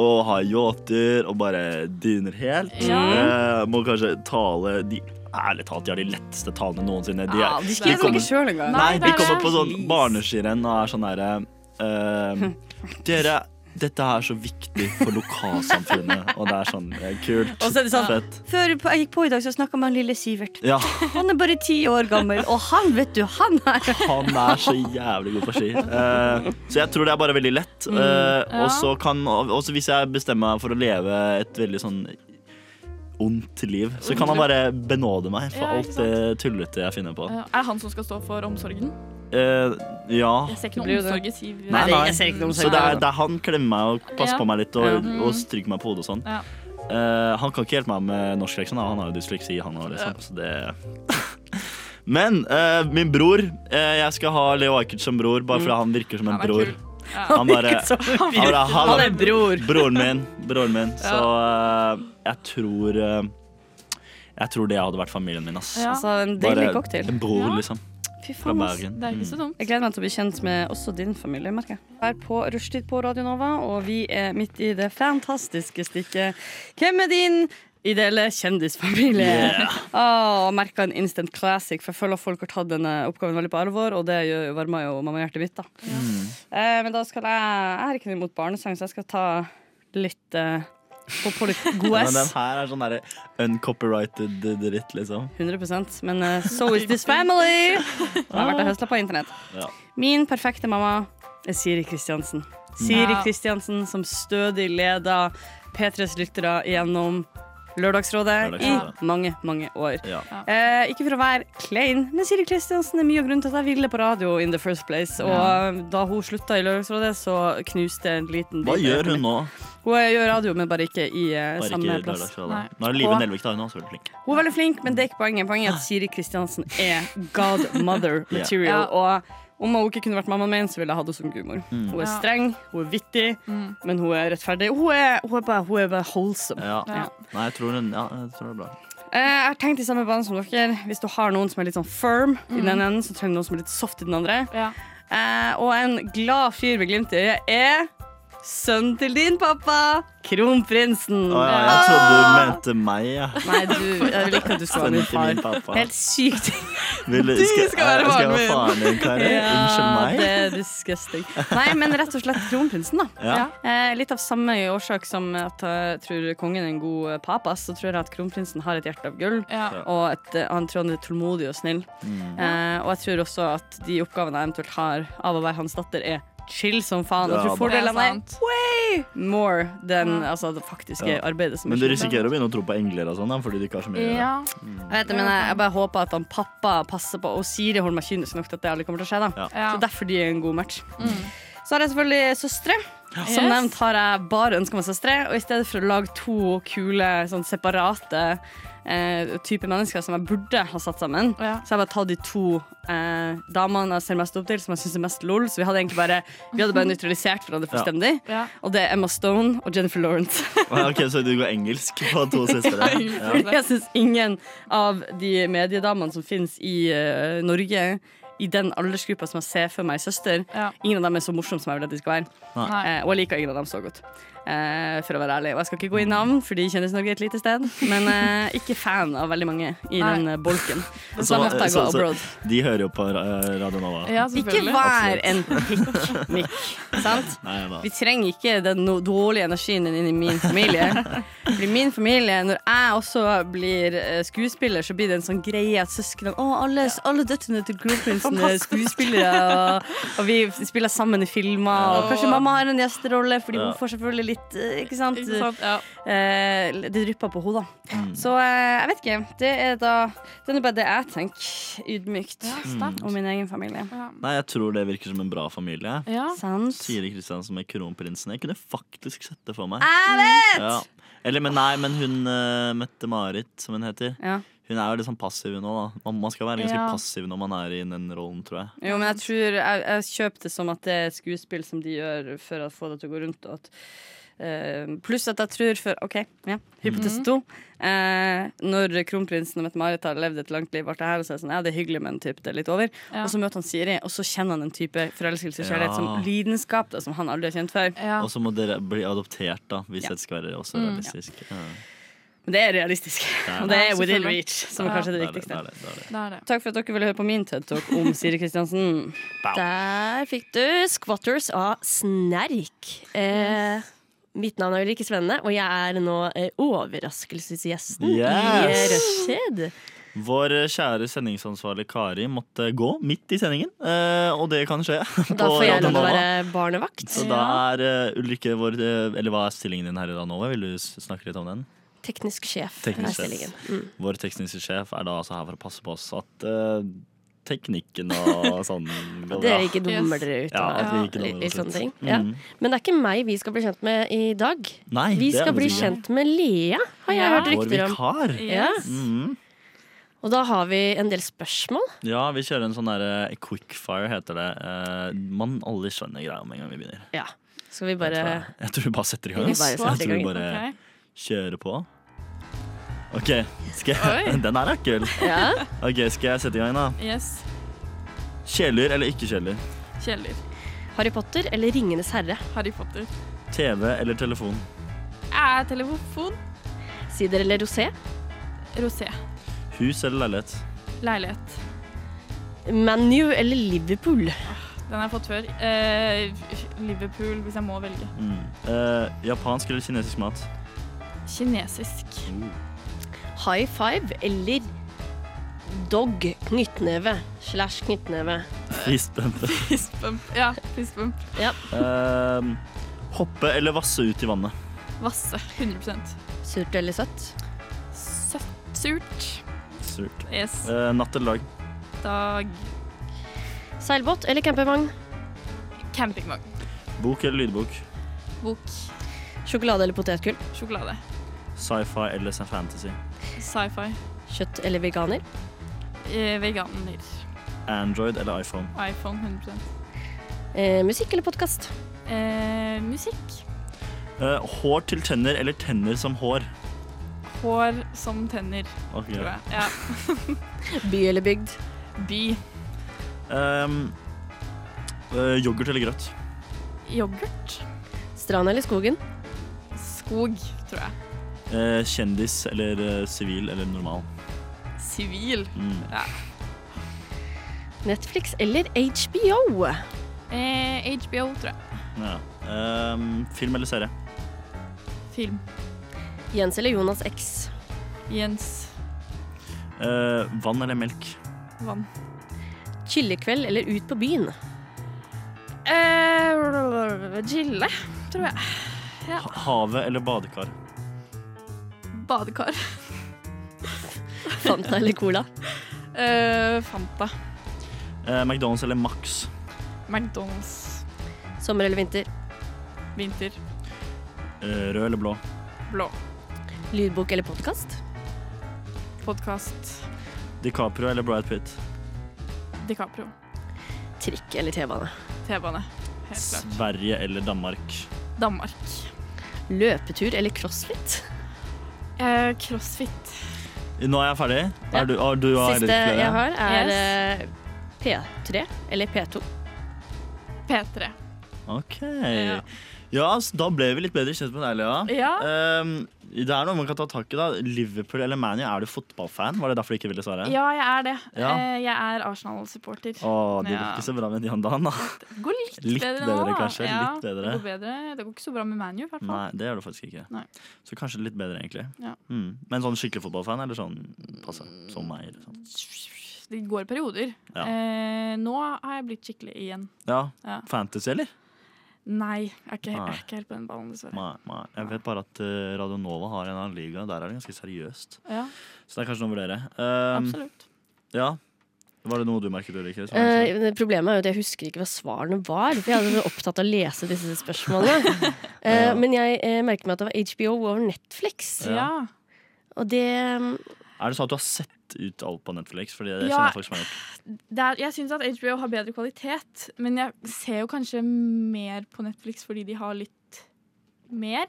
Speaker 2: og har yachter og bare dyner helt. Eh, må kanskje tale de, Ærlig talt, de har de letteste talene noensinne. De, er-
Speaker 5: Ja, Ah, de skrev
Speaker 2: kommer-
Speaker 5: ikke sjøl engang.
Speaker 2: Nei,
Speaker 1: Nei,
Speaker 2: de
Speaker 1: det er
Speaker 2: kommer
Speaker 1: det.
Speaker 2: på sånn barneskirenn og er sånn derre ehm, Dere, dette er så viktig for lokalsamfunnet. Og det er sånn eh, kult.
Speaker 5: Og så er det sånn-
Speaker 2: Fett.
Speaker 5: Før på- jeg gikk på i dag, så snakka med han lille Sivert.
Speaker 2: Ja,
Speaker 5: Han er bare ti år gammel, og han, vet du, han er
Speaker 2: han er så jævlig god på ski. Eh, så jeg tror det er bare veldig lett. Eh, og så kan Og så hvis jeg bestemmer meg for å leve et veldig sånn ondt liv, så kan han bare benåde meg for
Speaker 1: Ja, ikke
Speaker 2: alt det tullete jeg finner på.
Speaker 1: Ja, Er det han som skal stå for omsorgen?
Speaker 2: Eh, ja.
Speaker 1: Jeg ser
Speaker 5: Det blir
Speaker 1: ikke noe
Speaker 5: jo det.
Speaker 1: omsorg i Siv.
Speaker 2: Nei, nei.
Speaker 5: Jeg ser ikke noe om
Speaker 2: Så det er, det er han klemmer meg og passer
Speaker 1: Ja.
Speaker 2: på meg litt og,
Speaker 5: Ja.
Speaker 2: og stryker meg på hodet og sånn.
Speaker 1: Ja.
Speaker 2: Eh, han kan ikke hjelpe meg med norskleksjon, da. han har jo dysleksi. Han har, liksom, så det Men eh, min bror eh, Jeg skal ha Leo Ajkic som bror, bare fordi han virker som en
Speaker 1: Mm. Han er
Speaker 2: bror.
Speaker 1: kul. Ja.
Speaker 2: Han bare
Speaker 5: Ikke så
Speaker 2: han bare, han,
Speaker 5: Han er bror.
Speaker 2: Broren min. Broren min. Så eh, jeg tror eh, Jeg tror det hadde vært familien min, ass.
Speaker 1: Ja.
Speaker 5: Altså, en
Speaker 2: Bare
Speaker 5: deilig cocktail.
Speaker 2: en bror,
Speaker 1: Ja.
Speaker 2: liksom.
Speaker 5: Fy
Speaker 2: Fra
Speaker 5: faen, ass.
Speaker 2: Bergen.
Speaker 1: Det er ikke så dumt.
Speaker 5: Jeg gleder meg til å bli kjent med også din familie, merker jeg. Her på Rushtid på Radio Nova, og vi er midt i det fantastiske stykket Hvem er din Ideelle kjendisfamilie.
Speaker 2: Yeah.
Speaker 5: Åh, Merka en instant classic, for jeg føler at folk har tatt denne oppgaven veldig på alvor. Og det gjør- varmer jo mammahjertet mitt, da.
Speaker 2: Mm.
Speaker 5: Eh, men da skal jeg Jeg er ikke noe imot barnesang, så jeg skal ta litt eh, på, på litt god
Speaker 2: Men den
Speaker 5: S.
Speaker 2: her er sånn derre uncopyrighted dritt, liksom.
Speaker 5: 100 Men eh, so is this family! Den har vært og høsla på internett.
Speaker 2: Ja.
Speaker 5: Min perfekte mamma er Siri Kristiansen. Siri
Speaker 1: Ja.
Speaker 5: Kristiansen som stødig leder P3s lyttere gjennom Lørdagsrådet i
Speaker 2: Lørdagsrådet.
Speaker 5: mange, mange år.
Speaker 2: Ja.
Speaker 5: Eh, ikke for å være klein, men Siri Kristiansen er mye av grunnen til at jeg ville på radio in the first place. Og eh, da hun slutta i Lørdagsrådet, så knuste en liten
Speaker 2: Hva
Speaker 5: bit av hjertet
Speaker 2: gjør hun nå?
Speaker 5: mitt. Hun eh, gjør radio, men bare ikke i eh,
Speaker 2: Bare
Speaker 5: samme
Speaker 2: ikke
Speaker 5: plass.
Speaker 2: Lørdagsrådet.
Speaker 1: Nei.
Speaker 2: Nå er det Live
Speaker 5: Og-
Speaker 2: Nelvik, da. Hun er også veldig flink.
Speaker 5: Hun er veldig flink, men det er ikke poenget. Poenget er at Siri Kristiansen er godmother
Speaker 2: Ja.
Speaker 5: material.
Speaker 1: Ja.
Speaker 5: Og om hun ikke kunne vært mammaen min, så ville jeg hatt henne som gudmor.
Speaker 2: Mm.
Speaker 5: Hun er
Speaker 1: Ja. Mm.
Speaker 5: streng, hun er vittig, men hun er rettferdig. Hun er, hun er, bare, hun er bare wholesome.
Speaker 2: Ja.
Speaker 1: Ja.
Speaker 2: Nei, jeg tror, hun, ja, jeg tror det er bra.
Speaker 5: Eh, jeg har tenkt i samme bane som dere. Hvis du har noen som er litt sånn firm
Speaker 1: Mm.
Speaker 5: i den enden, så trenger du noen som er litt soft i den andre.
Speaker 1: Ja.
Speaker 5: Eh, og en glad fyr med glimt i øyet er sønnen til din pappa, kronprinsen.
Speaker 2: Å, ja, jeg trodde du mente meg, ja.
Speaker 5: Nei, du, jeg vil ikke at du skal være
Speaker 2: Sønnen
Speaker 5: min
Speaker 2: til min
Speaker 5: far.
Speaker 2: pappa.
Speaker 5: Helt sykt.
Speaker 2: Vil,
Speaker 5: Du skal være
Speaker 2: jeg-
Speaker 5: faren min.
Speaker 2: Skal jeg være faren din, Kari? Unnskyld meg.
Speaker 5: det er disgusting. Nei, men rett og slett kronprinsen, da.
Speaker 2: Ja.
Speaker 5: Eh, litt av samme årsak som at jeg tror kongen er en god eh, papas, så tror jeg at kronprinsen har et hjerte av gull.
Speaker 1: Ja.
Speaker 5: Og et, eh, han tror han er tålmodig og snill.
Speaker 2: Mm.
Speaker 5: Eh, og jeg tror også at de oppgavene jeg eventuelt har av å være hans datter, er chill som faen. Jeg
Speaker 2: Ja,
Speaker 5: tror fordelene er
Speaker 1: sant.
Speaker 5: more than altså, det faktiske
Speaker 2: Ja.
Speaker 5: arbeidet som
Speaker 2: Men du
Speaker 5: er slutt.
Speaker 2: risikerer å begynne å tro på engler og sånn, da, fordi du ikke har så mye å gjøre.
Speaker 1: Ja.
Speaker 5: Jeg vet det, men jeg, jeg bare håper at han pappa passer på, og Siri holder meg kynisk nok til at det aldri kommer til å skje. da
Speaker 1: Ja. Mm.
Speaker 5: Så derfor de er en god match. Så har jeg selvfølgelig søstre. Som
Speaker 1: Yes.
Speaker 5: nevnt har jeg bare ønska meg søstre. Og i stedet for å lage to kule, sånn separate eh, typer mennesker som jeg burde ha satt sammen,
Speaker 1: Ja.
Speaker 5: så har jeg bare tatt de to eh, damene jeg ser mest opp til, som jeg syns er mest lol. Så vi hadde egentlig bare Vi hadde bare nøytralisert hverandre
Speaker 2: Ja.
Speaker 5: fullstendig.
Speaker 1: Ja.
Speaker 5: Og det er Emma Stone og Jennifer Lawrence.
Speaker 2: Ah, Ok, Så du går engelsk på to søstre? Ja.
Speaker 5: Fordi jeg syns ingen av de mediedamene som finnes i eh, Norge, i den aldersgruppa som jeg ser for meg søster,
Speaker 1: Ja.
Speaker 5: ingen av dem er så morsomme som jeg vil at de skal være.
Speaker 1: Nei.
Speaker 5: Eh, og jeg liker ingen av dem så godt. Eh, for å være ærlig. Og jeg skal ikke gå i navn, fordi Kjendis-Norge er et lite sted. Men eh, ikke fan av veldig mange i
Speaker 1: Nei.
Speaker 5: den eh, bolken. Så
Speaker 2: Så,
Speaker 5: da måtte jeg gå
Speaker 2: så, så
Speaker 5: abroad.
Speaker 2: de hører jo på eh, Radio Nova.
Speaker 1: ja,
Speaker 5: Ikke
Speaker 1: selvfølgelig.
Speaker 5: vær en pikk-mikk, sant?
Speaker 2: Nei, da.
Speaker 5: Vi trenger ikke den no dårlige energien din inn i min familie. Fordi min familie, Når jeg også blir eh, skuespiller, så blir det en sånn greie at søsknene Å, alle, alle døtrene til kronprinsen er skuespillere, og, og vi spiller sammen i filmer. Og kanskje mamma har en gjesterolle, fordi
Speaker 2: Ja.
Speaker 5: hun får selvfølgelig litt eh, Ikke sant?
Speaker 1: Ikke sant? Ja.
Speaker 5: Eh, det drypper på henne, da. Så eh, jeg vet ikke. Det er da Den er bare det jeg tenker ydmykt
Speaker 8: eh,
Speaker 1: Ja, sterkt.
Speaker 5: om min egen familie.
Speaker 2: Nei, jeg tror det virker som en bra familie.
Speaker 1: Ja.
Speaker 5: Sant?
Speaker 2: Siri Kristiansen med kronprinsen. Jeg kunne faktisk sett det for meg.
Speaker 5: Jeg vet!
Speaker 2: Ja. Eller, men nei, men hun eh, Mette-Marit, som hun heter.
Speaker 5: Ja.
Speaker 2: Hun er jo litt sånn passiv nå, da. Man, man skal være ganske
Speaker 1: Ja.
Speaker 2: passiv når man er i den rollen, tror jeg.
Speaker 5: Jo, men jeg tror jeg, jeg kjøper det som at det er et skuespill som de gjør for å få det til å gå rundt. Og at, eh, pluss at jeg tror for OK, ja, hypotese to.
Speaker 1: Mhm.
Speaker 5: Eh, når kronprinsen og Mette-Marit har levd et langt liv, ble det her, og så er det sånn, ja, det er hyggelig, men typ, det er litt over.
Speaker 1: Ja.
Speaker 8: Altså,
Speaker 5: Og så møter han Siri, og så kjenner han en type forelskelse og kjærlighet
Speaker 2: Ja.
Speaker 5: som lidenskap, da, som han aldri har kjent før.
Speaker 1: Ja.
Speaker 8: altså,
Speaker 2: Og så må dere bli adoptert, da, hvis
Speaker 5: Ja.
Speaker 2: det skal være også realistisk. Ja.
Speaker 5: Men det er realistisk,
Speaker 2: er
Speaker 5: og det
Speaker 1: det.
Speaker 5: er within
Speaker 1: Selvfølgelig.
Speaker 5: reach, som er
Speaker 1: Ja.
Speaker 5: kanskje det
Speaker 2: Det er det, det
Speaker 5: viktigste.
Speaker 2: er det, det er det.
Speaker 1: Det er det.
Speaker 5: Takk for at dere ville høre på min TED Talk om Siri Kristiansen.
Speaker 8: Der fikk du Squatters av Snerk. Eh, mitt navn er vel ikke spennende, og jeg er nå eh, overraskelsesgjesten i eh,
Speaker 2: Yes!
Speaker 8: Rushtid.
Speaker 2: Vår eh, kjære sendingsansvarlig Kari måtte gå midt i sendingen, eh, og det kan skje.
Speaker 8: Da
Speaker 2: på
Speaker 8: får jeg
Speaker 2: Radio
Speaker 8: lov til å
Speaker 2: Nova.
Speaker 8: være barnevakt.
Speaker 2: Så da er eh, Ulrikke vår eh, Eller hva er stillingen din her i dag, Nova? Vil du s- snakke litt om den?
Speaker 8: Teknisk sjef
Speaker 2: Teknisk sjef.
Speaker 8: er stillingen. Mm.
Speaker 2: Vår tekniske sjef er da altså her for å passe på oss at eh, teknikken og sånn går bra.
Speaker 8: Dere ikke dummer
Speaker 1: Yes.
Speaker 8: dere ut.
Speaker 2: Ja,
Speaker 8: og
Speaker 2: at vi ikke
Speaker 8: litt-
Speaker 2: dummer
Speaker 8: litt
Speaker 2: oss ut.
Speaker 8: sånne ting. Ja.
Speaker 2: Mhm.
Speaker 8: Men det er ikke meg vi skal bli kjent med i dag.
Speaker 2: Nei,
Speaker 8: Vi
Speaker 2: det er
Speaker 8: skal bli
Speaker 2: musikk.
Speaker 8: kjent med Lea, har jeg
Speaker 1: Ja.
Speaker 8: hørt
Speaker 2: Vår
Speaker 8: rykter om.
Speaker 2: vikar.
Speaker 8: Ja. Mm.
Speaker 2: Mhm.
Speaker 8: Og da har vi en del spørsmål.
Speaker 2: Ja, vi kjører en sånn derre quickfire, heter det. Eh, man alle skjønner greia med en gang vi begynner.
Speaker 8: Ja. Skal vi
Speaker 2: Jeg tror,
Speaker 8: bare
Speaker 2: jeg, jeg tror vi bare setter i gang.
Speaker 8: Vi
Speaker 2: ass.
Speaker 8: bare
Speaker 2: Jeg
Speaker 8: setter i
Speaker 2: tror vi
Speaker 8: gang.
Speaker 2: bare
Speaker 1: Ok.
Speaker 2: kjører på. OK, skal jeg, den her er kul.
Speaker 8: Ja.
Speaker 2: Ok, Skal jeg sette i gang, da?
Speaker 1: Yes.
Speaker 2: Kjæledyr eller ikke kjæledyr?
Speaker 1: Kjæledyr.
Speaker 8: Harry Potter eller Ringenes herre?
Speaker 1: Harry Potter.
Speaker 2: TV eller telefon?
Speaker 1: Er telefon?
Speaker 8: Sider eller rosé?
Speaker 1: Rosé.
Speaker 2: Hus eller leilighet?
Speaker 1: Leilighet.
Speaker 8: ManU eller Liverpool?
Speaker 1: Den har jeg fått før. Eh, Liverpool, hvis jeg må velge.
Speaker 2: Mm. Eh, japansk eller kinesisk mat?
Speaker 1: Kinesisk.
Speaker 8: High five eller dog? Knyttneve slash knyttneve.
Speaker 2: Fistbente.
Speaker 1: Fistbump. Ja, fistbump.
Speaker 2: Eh, hoppe eller vasse ut i vannet?
Speaker 1: Vasse. 100
Speaker 8: Surt eller søtt?
Speaker 1: Søtt. Surt.
Speaker 2: Surt.
Speaker 1: Yes.
Speaker 2: Eh, natt eller dag?
Speaker 1: Dag.
Speaker 8: Seilbåt eller campingvogn?
Speaker 1: Campingvogn.
Speaker 2: Bok eller lydbok?
Speaker 1: Bok.
Speaker 8: Sjokolade eller potetgull?
Speaker 1: Sjokolade.
Speaker 2: Sci-fi eller sci- fantasy?
Speaker 1: Sci-fi.
Speaker 8: Kjøtt eller veganer?
Speaker 1: Eh, veganer.
Speaker 2: Android eller iPhone?
Speaker 1: iPhone 100
Speaker 8: Eh, musikk eller podkast?
Speaker 1: eh, Musikk.
Speaker 2: Eh, hår til tenner eller tenner som hår?
Speaker 1: Hår som tenner,
Speaker 2: Ok.
Speaker 1: tror jeg. Ja.
Speaker 8: By eller bygd?
Speaker 1: By.
Speaker 2: Ehm, eh, yoghurt eller grøt?
Speaker 1: Yoghurt.
Speaker 8: Strand eller skogen?
Speaker 1: Skog, tror jeg.
Speaker 2: Eh, kjendis eller eh, sivil eller normal?
Speaker 1: Sivil.
Speaker 2: Mm.
Speaker 8: Netflix eller HBO?
Speaker 1: Eh, HBO, tror jeg.
Speaker 2: Ja. Ehm, film eller serie?
Speaker 1: Film.
Speaker 8: Jens eller Jonas X?
Speaker 1: Jens.
Speaker 2: Eh, vann eller melk?
Speaker 1: Vann.
Speaker 8: Chillekveld eller ut på byen?
Speaker 1: Eh, Gille, tror jeg.
Speaker 2: Ha- Havet eller badekar?
Speaker 1: Badekar.
Speaker 8: Fanta eller cola?
Speaker 1: Eh, Fanta.
Speaker 2: Eh, McDonald's eller Max?
Speaker 1: McDonald's.
Speaker 8: Sommer eller vinter?
Speaker 1: Vinter.
Speaker 2: Eh, rød eller blå?
Speaker 1: Blå.
Speaker 8: Lydbok eller podkast?
Speaker 1: Podkast.
Speaker 2: DiCaprio eller Brad Pitt?
Speaker 1: DiCaprio.
Speaker 8: Trikk eller T-bane?
Speaker 1: T-bane. Helt klart.
Speaker 2: Sverige eller Danmark?
Speaker 1: Danmark.
Speaker 8: Løpetur eller crossfit?
Speaker 1: Eh, crossfit.
Speaker 2: Nå er jeg ferdig.
Speaker 8: Ja.
Speaker 2: Er du, er du har
Speaker 8: Siste
Speaker 2: flere?
Speaker 8: jeg har, er
Speaker 1: Yes.
Speaker 8: eh, P3 eller P2.
Speaker 1: P3.
Speaker 2: OK.
Speaker 1: Ja.
Speaker 2: Ja. så da ble vi litt bedre kjent med deg, Lea.
Speaker 1: Ja.
Speaker 2: Ehm, det er noe man kan ta tak i. da Liverpool eller ManU, er du fotballfan? Var det derfor du ikke ville svare?
Speaker 1: Ja, jeg er det.
Speaker 2: Ja.
Speaker 1: Eh, Jeg er Arsenal-supporter.
Speaker 2: Å, det gikk
Speaker 1: Ja.
Speaker 2: ikke så bra med de om dagen, da.
Speaker 1: Det går litt,
Speaker 2: Litt
Speaker 1: bedre, nå.
Speaker 2: bedre,
Speaker 1: da.
Speaker 2: kanskje.
Speaker 1: Ja,
Speaker 2: Litt bedre.
Speaker 1: Det går bedre. Det går ikke så bra med ManU, i hvert fall.
Speaker 2: Nei, det gjør du faktisk ikke.
Speaker 1: Nei.
Speaker 2: Så kanskje litt bedre, egentlig.
Speaker 1: Ja.
Speaker 2: Mm. Men sånn skikkelig fotballfan, eller sånn passe? Som meg, eller sånn.
Speaker 1: Det går i perioder.
Speaker 2: Ja.
Speaker 1: Eh, nå har jeg blitt skikkelig igjen.
Speaker 2: Ja.
Speaker 1: Ja.
Speaker 2: Fantasy, eller?
Speaker 1: Nei, jeg er ikke, jeg
Speaker 2: Nei.
Speaker 1: er ikke helt på den ballen, dessverre.
Speaker 2: Nei, nei. Jeg vet bare at eh, Radio Nova har en annen liga. Der er det ganske seriøst.
Speaker 1: Ja,
Speaker 2: Så det er kanskje noe å vurdere. Ehm,
Speaker 1: absolutt.
Speaker 2: ja. Var det noe du merket, Ulrikke? som jeg sa?
Speaker 8: Eh, problemet er jo at jeg husker ikke hva svarene var. For jeg hadde vært opptatt av å lese disse spørsmålene. Eh, men jeg eh, merker meg at det var HBO over Netflix.
Speaker 2: sånn? Ja.
Speaker 1: Ja.
Speaker 8: Og det mm,
Speaker 2: Er det sånn at du har sett ut alt på Netflix? Fordi det
Speaker 1: Ja.
Speaker 2: kjenner jeg folk som har gjort.
Speaker 1: Det er, jeg syns at HBO har bedre kvalitet, men jeg ser jo kanskje mer på Netflix fordi de har litt mer.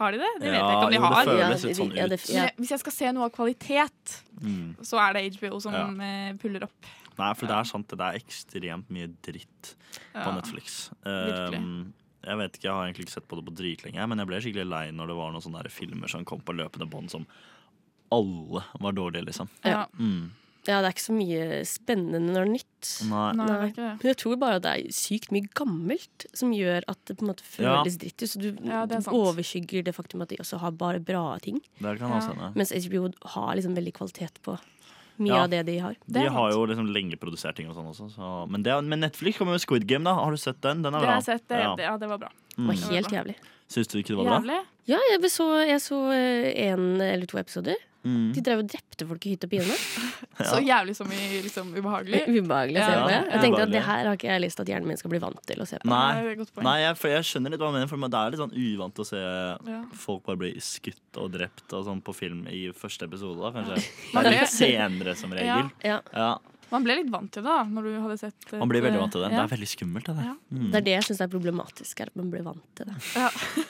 Speaker 1: Har de det? Det vet jeg ikke om de
Speaker 2: jo,
Speaker 1: har.
Speaker 2: det
Speaker 8: Ja,
Speaker 2: føles
Speaker 8: de-
Speaker 2: litt sånn ut.
Speaker 8: ja, det-
Speaker 1: Men jeg- Hvis jeg skal se noe av kvalitet,
Speaker 2: Mm.
Speaker 1: så er det HBO som
Speaker 2: Ja.
Speaker 1: eh, puller opp.
Speaker 2: Nei, for det er sant. Det er ekstremt mye dritt på
Speaker 1: Ja.
Speaker 2: Netflix. Ehm, jeg vet ikke, jeg har egentlig ikke sett på det på dritlenge, men jeg ble skikkelig lei når det var noen sånne der filmer som kom på løpende bånd som alle var dårlige, liksom.
Speaker 1: Ja.
Speaker 2: Mm.
Speaker 8: ja, det er ikke så mye spennende når det er nytt.
Speaker 2: Nei.
Speaker 1: Nei, det er
Speaker 8: Nei.
Speaker 1: ikke det.
Speaker 8: Men jeg tror bare at det er sykt mye gammelt som gjør at det på en måte
Speaker 2: Ja.
Speaker 8: føles dritt ut. Så du,
Speaker 1: Ja, det er
Speaker 8: du
Speaker 1: sant.
Speaker 8: overskygger det faktum at de også har bare bra ting.
Speaker 2: Det kan
Speaker 1: Ja.
Speaker 2: også hende.
Speaker 8: Mens HBO har liksom veldig kvalitet på mye
Speaker 2: Ja.
Speaker 8: av det de har.
Speaker 2: De
Speaker 1: er
Speaker 2: har
Speaker 1: sant.
Speaker 2: jo liksom lenge produsert ting og sånn også. Så. Men, det, men Netflix kommer med Squid Game, da. Har du sett den? Den er
Speaker 1: Det har
Speaker 2: bra.
Speaker 1: jeg sett. Det,
Speaker 2: Ja.
Speaker 1: det, ja, det var bra.
Speaker 8: Det var
Speaker 1: Mm.
Speaker 8: helt jævlig.
Speaker 2: Syns du ikke det var bra?
Speaker 1: Jævlig.
Speaker 8: Ja, jeg så, jeg så eh, en eller to episoder.
Speaker 2: Mm.
Speaker 8: De drev og drepte folk i hytt og pine.
Speaker 1: Så jævlig som i liksom, ubehagelig.
Speaker 8: Ubehagelig å se
Speaker 1: Ja,
Speaker 8: på.
Speaker 1: ja,
Speaker 8: Jeg tenkte at
Speaker 2: ubehagelig.
Speaker 8: det her har ikke jeg lyst til at hjernen min skal bli vant til å se på.
Speaker 1: Det er
Speaker 2: Nei.
Speaker 1: et godt poeng.
Speaker 2: Nei, jeg, for jeg skjønner litt hva du mener, for det er litt sånn uvant å se
Speaker 1: Ja.
Speaker 2: folk bare bli skutt og drept og sånn på film i første episode, da, kanskje.
Speaker 1: Man
Speaker 2: Det er
Speaker 1: blir-
Speaker 2: litt senere, som regel.
Speaker 8: Ja.
Speaker 2: Ja.
Speaker 1: Man ble litt vant til det da, når du hadde sett et,
Speaker 2: Man blir veldig vant til det. Det
Speaker 1: ja.
Speaker 2: er veldig skummelt. Det der.
Speaker 1: Ja.
Speaker 2: Mm.
Speaker 8: Det er det jeg syns er problematisk, er at man blir vant til det.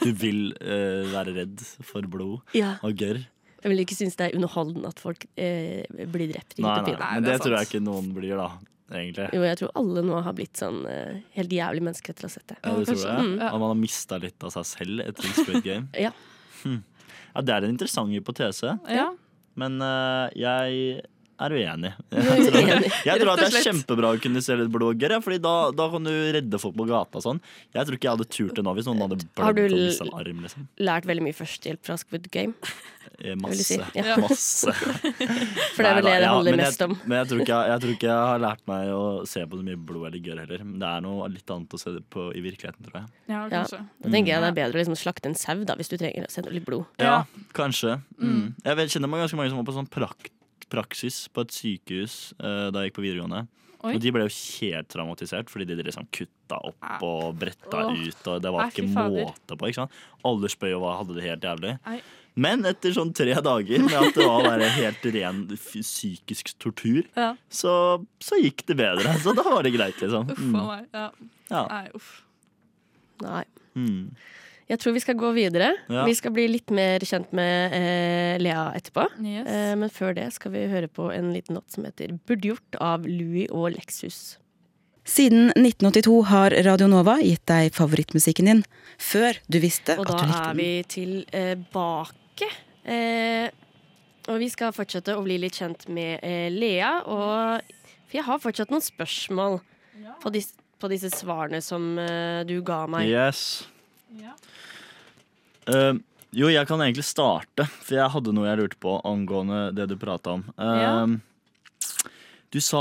Speaker 2: Du vil eh, være redd for blod
Speaker 8: Ja.
Speaker 2: og gørr.
Speaker 8: Jeg vil ikke synes det er underholdende at folk eh, blir drept i
Speaker 2: Nei,
Speaker 8: hytt og
Speaker 2: nei,
Speaker 8: pine.
Speaker 2: men
Speaker 1: det
Speaker 2: det
Speaker 1: er
Speaker 2: tror jeg
Speaker 1: sant.
Speaker 2: ikke noen blir, da. Egentlig.
Speaker 8: Jo, jeg tror alle nå har blitt sånn eh, helt jævlig mennesker etter å ha sett det.
Speaker 2: Ja, det tror
Speaker 1: kanskje.
Speaker 2: jeg.
Speaker 1: Mm.
Speaker 2: Og man har mista litt av seg selv etter Squid Game.
Speaker 8: Mm, Ja.
Speaker 2: Hm. Ja, det er en interessant hypotese,
Speaker 1: Ja.
Speaker 2: men eh, jeg er uenig.
Speaker 8: Uenig,
Speaker 2: Jeg tror at det
Speaker 8: rett og
Speaker 2: er
Speaker 8: slett.
Speaker 2: kjempebra å kunne selge blogger, ja, Fordi da, da kan du redde folk på gata og sånn. Jeg tror ikke jeg hadde turt det nå hvis noen hadde
Speaker 8: Har
Speaker 2: blødd
Speaker 8: du
Speaker 2: og mistet
Speaker 8: l-
Speaker 2: en arm. Liksom.
Speaker 8: Lært veldig mye førstehjelp fra Squid Game.
Speaker 2: Eh,
Speaker 8: vil
Speaker 2: Masse.
Speaker 8: si, ja.
Speaker 2: masse.
Speaker 8: For det er vel
Speaker 2: Nei da,
Speaker 8: det det
Speaker 2: ja,
Speaker 8: handler
Speaker 2: men
Speaker 8: mest om.
Speaker 2: Jeg, men jeg tror, ikke, jeg, jeg tror ikke jeg har lært meg å se på så mye blod eller gørr heller. Men Det er noe litt annet å se det på i virkeligheten, tror jeg.
Speaker 1: ja,
Speaker 8: Ja.
Speaker 1: kanskje.
Speaker 8: Da tenker
Speaker 2: Mm.
Speaker 8: jeg det er bedre å liksom slakte en sau da, hvis du trenger å sende litt blod.
Speaker 2: Ja, kanskje. Mm. Jeg vet, kjenner meg ganske mange som var på sånn prak praksis på et sykehus eh, da jeg gikk på videregående.
Speaker 1: Oi.
Speaker 2: Og de ble jo helt traumatisert fordi de liksom kutta opp og bretta
Speaker 1: Ah. Åh.
Speaker 2: ut. Og det
Speaker 1: Nei,
Speaker 2: var ikke
Speaker 1: fy fader.
Speaker 2: måte på. ikke sant? Alle spøy og hva- hadde det helt jævlig.
Speaker 1: Nei.
Speaker 2: Men etter sånn tre dager med at det var bare helt ren f- psykisk tortur,
Speaker 1: Ja.
Speaker 2: så, så gikk det bedre. Så da var det greit, liksom.
Speaker 1: Uff a
Speaker 2: Mm.
Speaker 1: meg. Ja.
Speaker 2: Ja.
Speaker 1: Nei, uff.
Speaker 8: Nei.
Speaker 2: Mm.
Speaker 8: Jeg tror vi skal gå videre.
Speaker 2: Ja.
Speaker 8: Vi skal bli litt mer kjent med eh, Lea etterpå.
Speaker 1: Yes.
Speaker 8: Eh, men før det skal vi høre på en liten låt som heter 'Burde gjort' av Louis og Lexus.
Speaker 9: Siden 1982 har Radio Nova gitt deg favorittmusikken din før du visste
Speaker 8: Og
Speaker 9: at du
Speaker 8: da
Speaker 9: likte
Speaker 8: er
Speaker 9: den.
Speaker 8: vi tilbake. Eh, og vi skal fortsette å bli litt kjent med eh, Lea. Og, for jeg har fortsatt noen spørsmål på, dis, på disse svarene som eh, du ga meg.
Speaker 2: Yes. Eh, jo, jeg kan egentlig starte, for jeg hadde noe jeg lurte på angående det du prata om. Eh,
Speaker 1: Ja.
Speaker 2: Du sa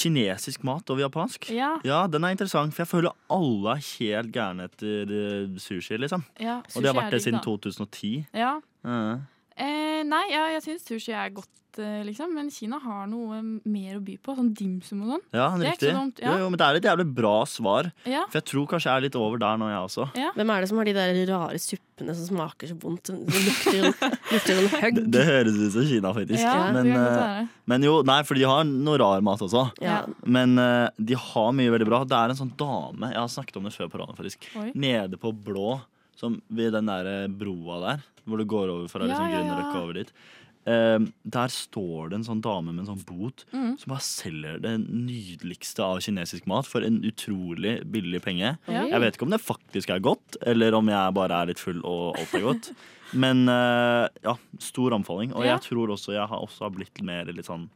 Speaker 2: kinesisk mat over japansk.
Speaker 1: Ja,
Speaker 2: Ja, den er interessant, for jeg føler alle er helt gærne etter eh, sushi, liksom.
Speaker 1: ja.
Speaker 2: Og det har
Speaker 1: sushi
Speaker 2: vært
Speaker 1: er
Speaker 2: det
Speaker 1: digg,
Speaker 2: siden
Speaker 1: da.
Speaker 2: 2010.
Speaker 1: Ja.
Speaker 2: Eh,
Speaker 1: Eh, nei, ja, jeg syns sushi er godt, eh, liksom, men Kina har noe eh, mer å by på. Sånn dimsum og sånn.
Speaker 2: Ja,
Speaker 1: Det er ikke
Speaker 2: riktig.
Speaker 1: så dumt, ja.
Speaker 2: Jo, jo, men det er et jævlig bra svar,
Speaker 1: Ja.
Speaker 2: for jeg tror kanskje jeg er litt over der nå, jeg også.
Speaker 8: Hvem er det som har de der rare suppene som smaker så vondt? Det lukter jo lukter jo en høgg.
Speaker 2: Det, det høres ut som Kina, faktisk.
Speaker 1: ja, det
Speaker 2: men,
Speaker 1: kan godt
Speaker 2: eh,
Speaker 1: være.
Speaker 2: men jo, nei, for de har noe rar mat også.
Speaker 8: Ja.
Speaker 2: Men eh, de har mye veldig bra. Det er en sånn dame Jeg har snakket om det før på radioen, faktisk.
Speaker 1: Oi.
Speaker 2: Nede på Blå, som ved den der eh, broa der, hvor det går over fra
Speaker 1: Ja,
Speaker 2: liksom,
Speaker 1: ja, ja.
Speaker 2: Grünerløkka over dit. Eh, der står det en sånn dame med en sånn bot
Speaker 1: Mm.
Speaker 2: som bare selger det nydeligste av kinesisk mat for en utrolig billig penge.
Speaker 1: Ja.
Speaker 2: Jeg vet ikke om det faktisk er godt, eller om jeg bare er litt full og alt er godt. Men eh, ja, stor anbefaling. Og
Speaker 1: Ja.
Speaker 2: jeg tror også jeg har også har blitt mer litt sånn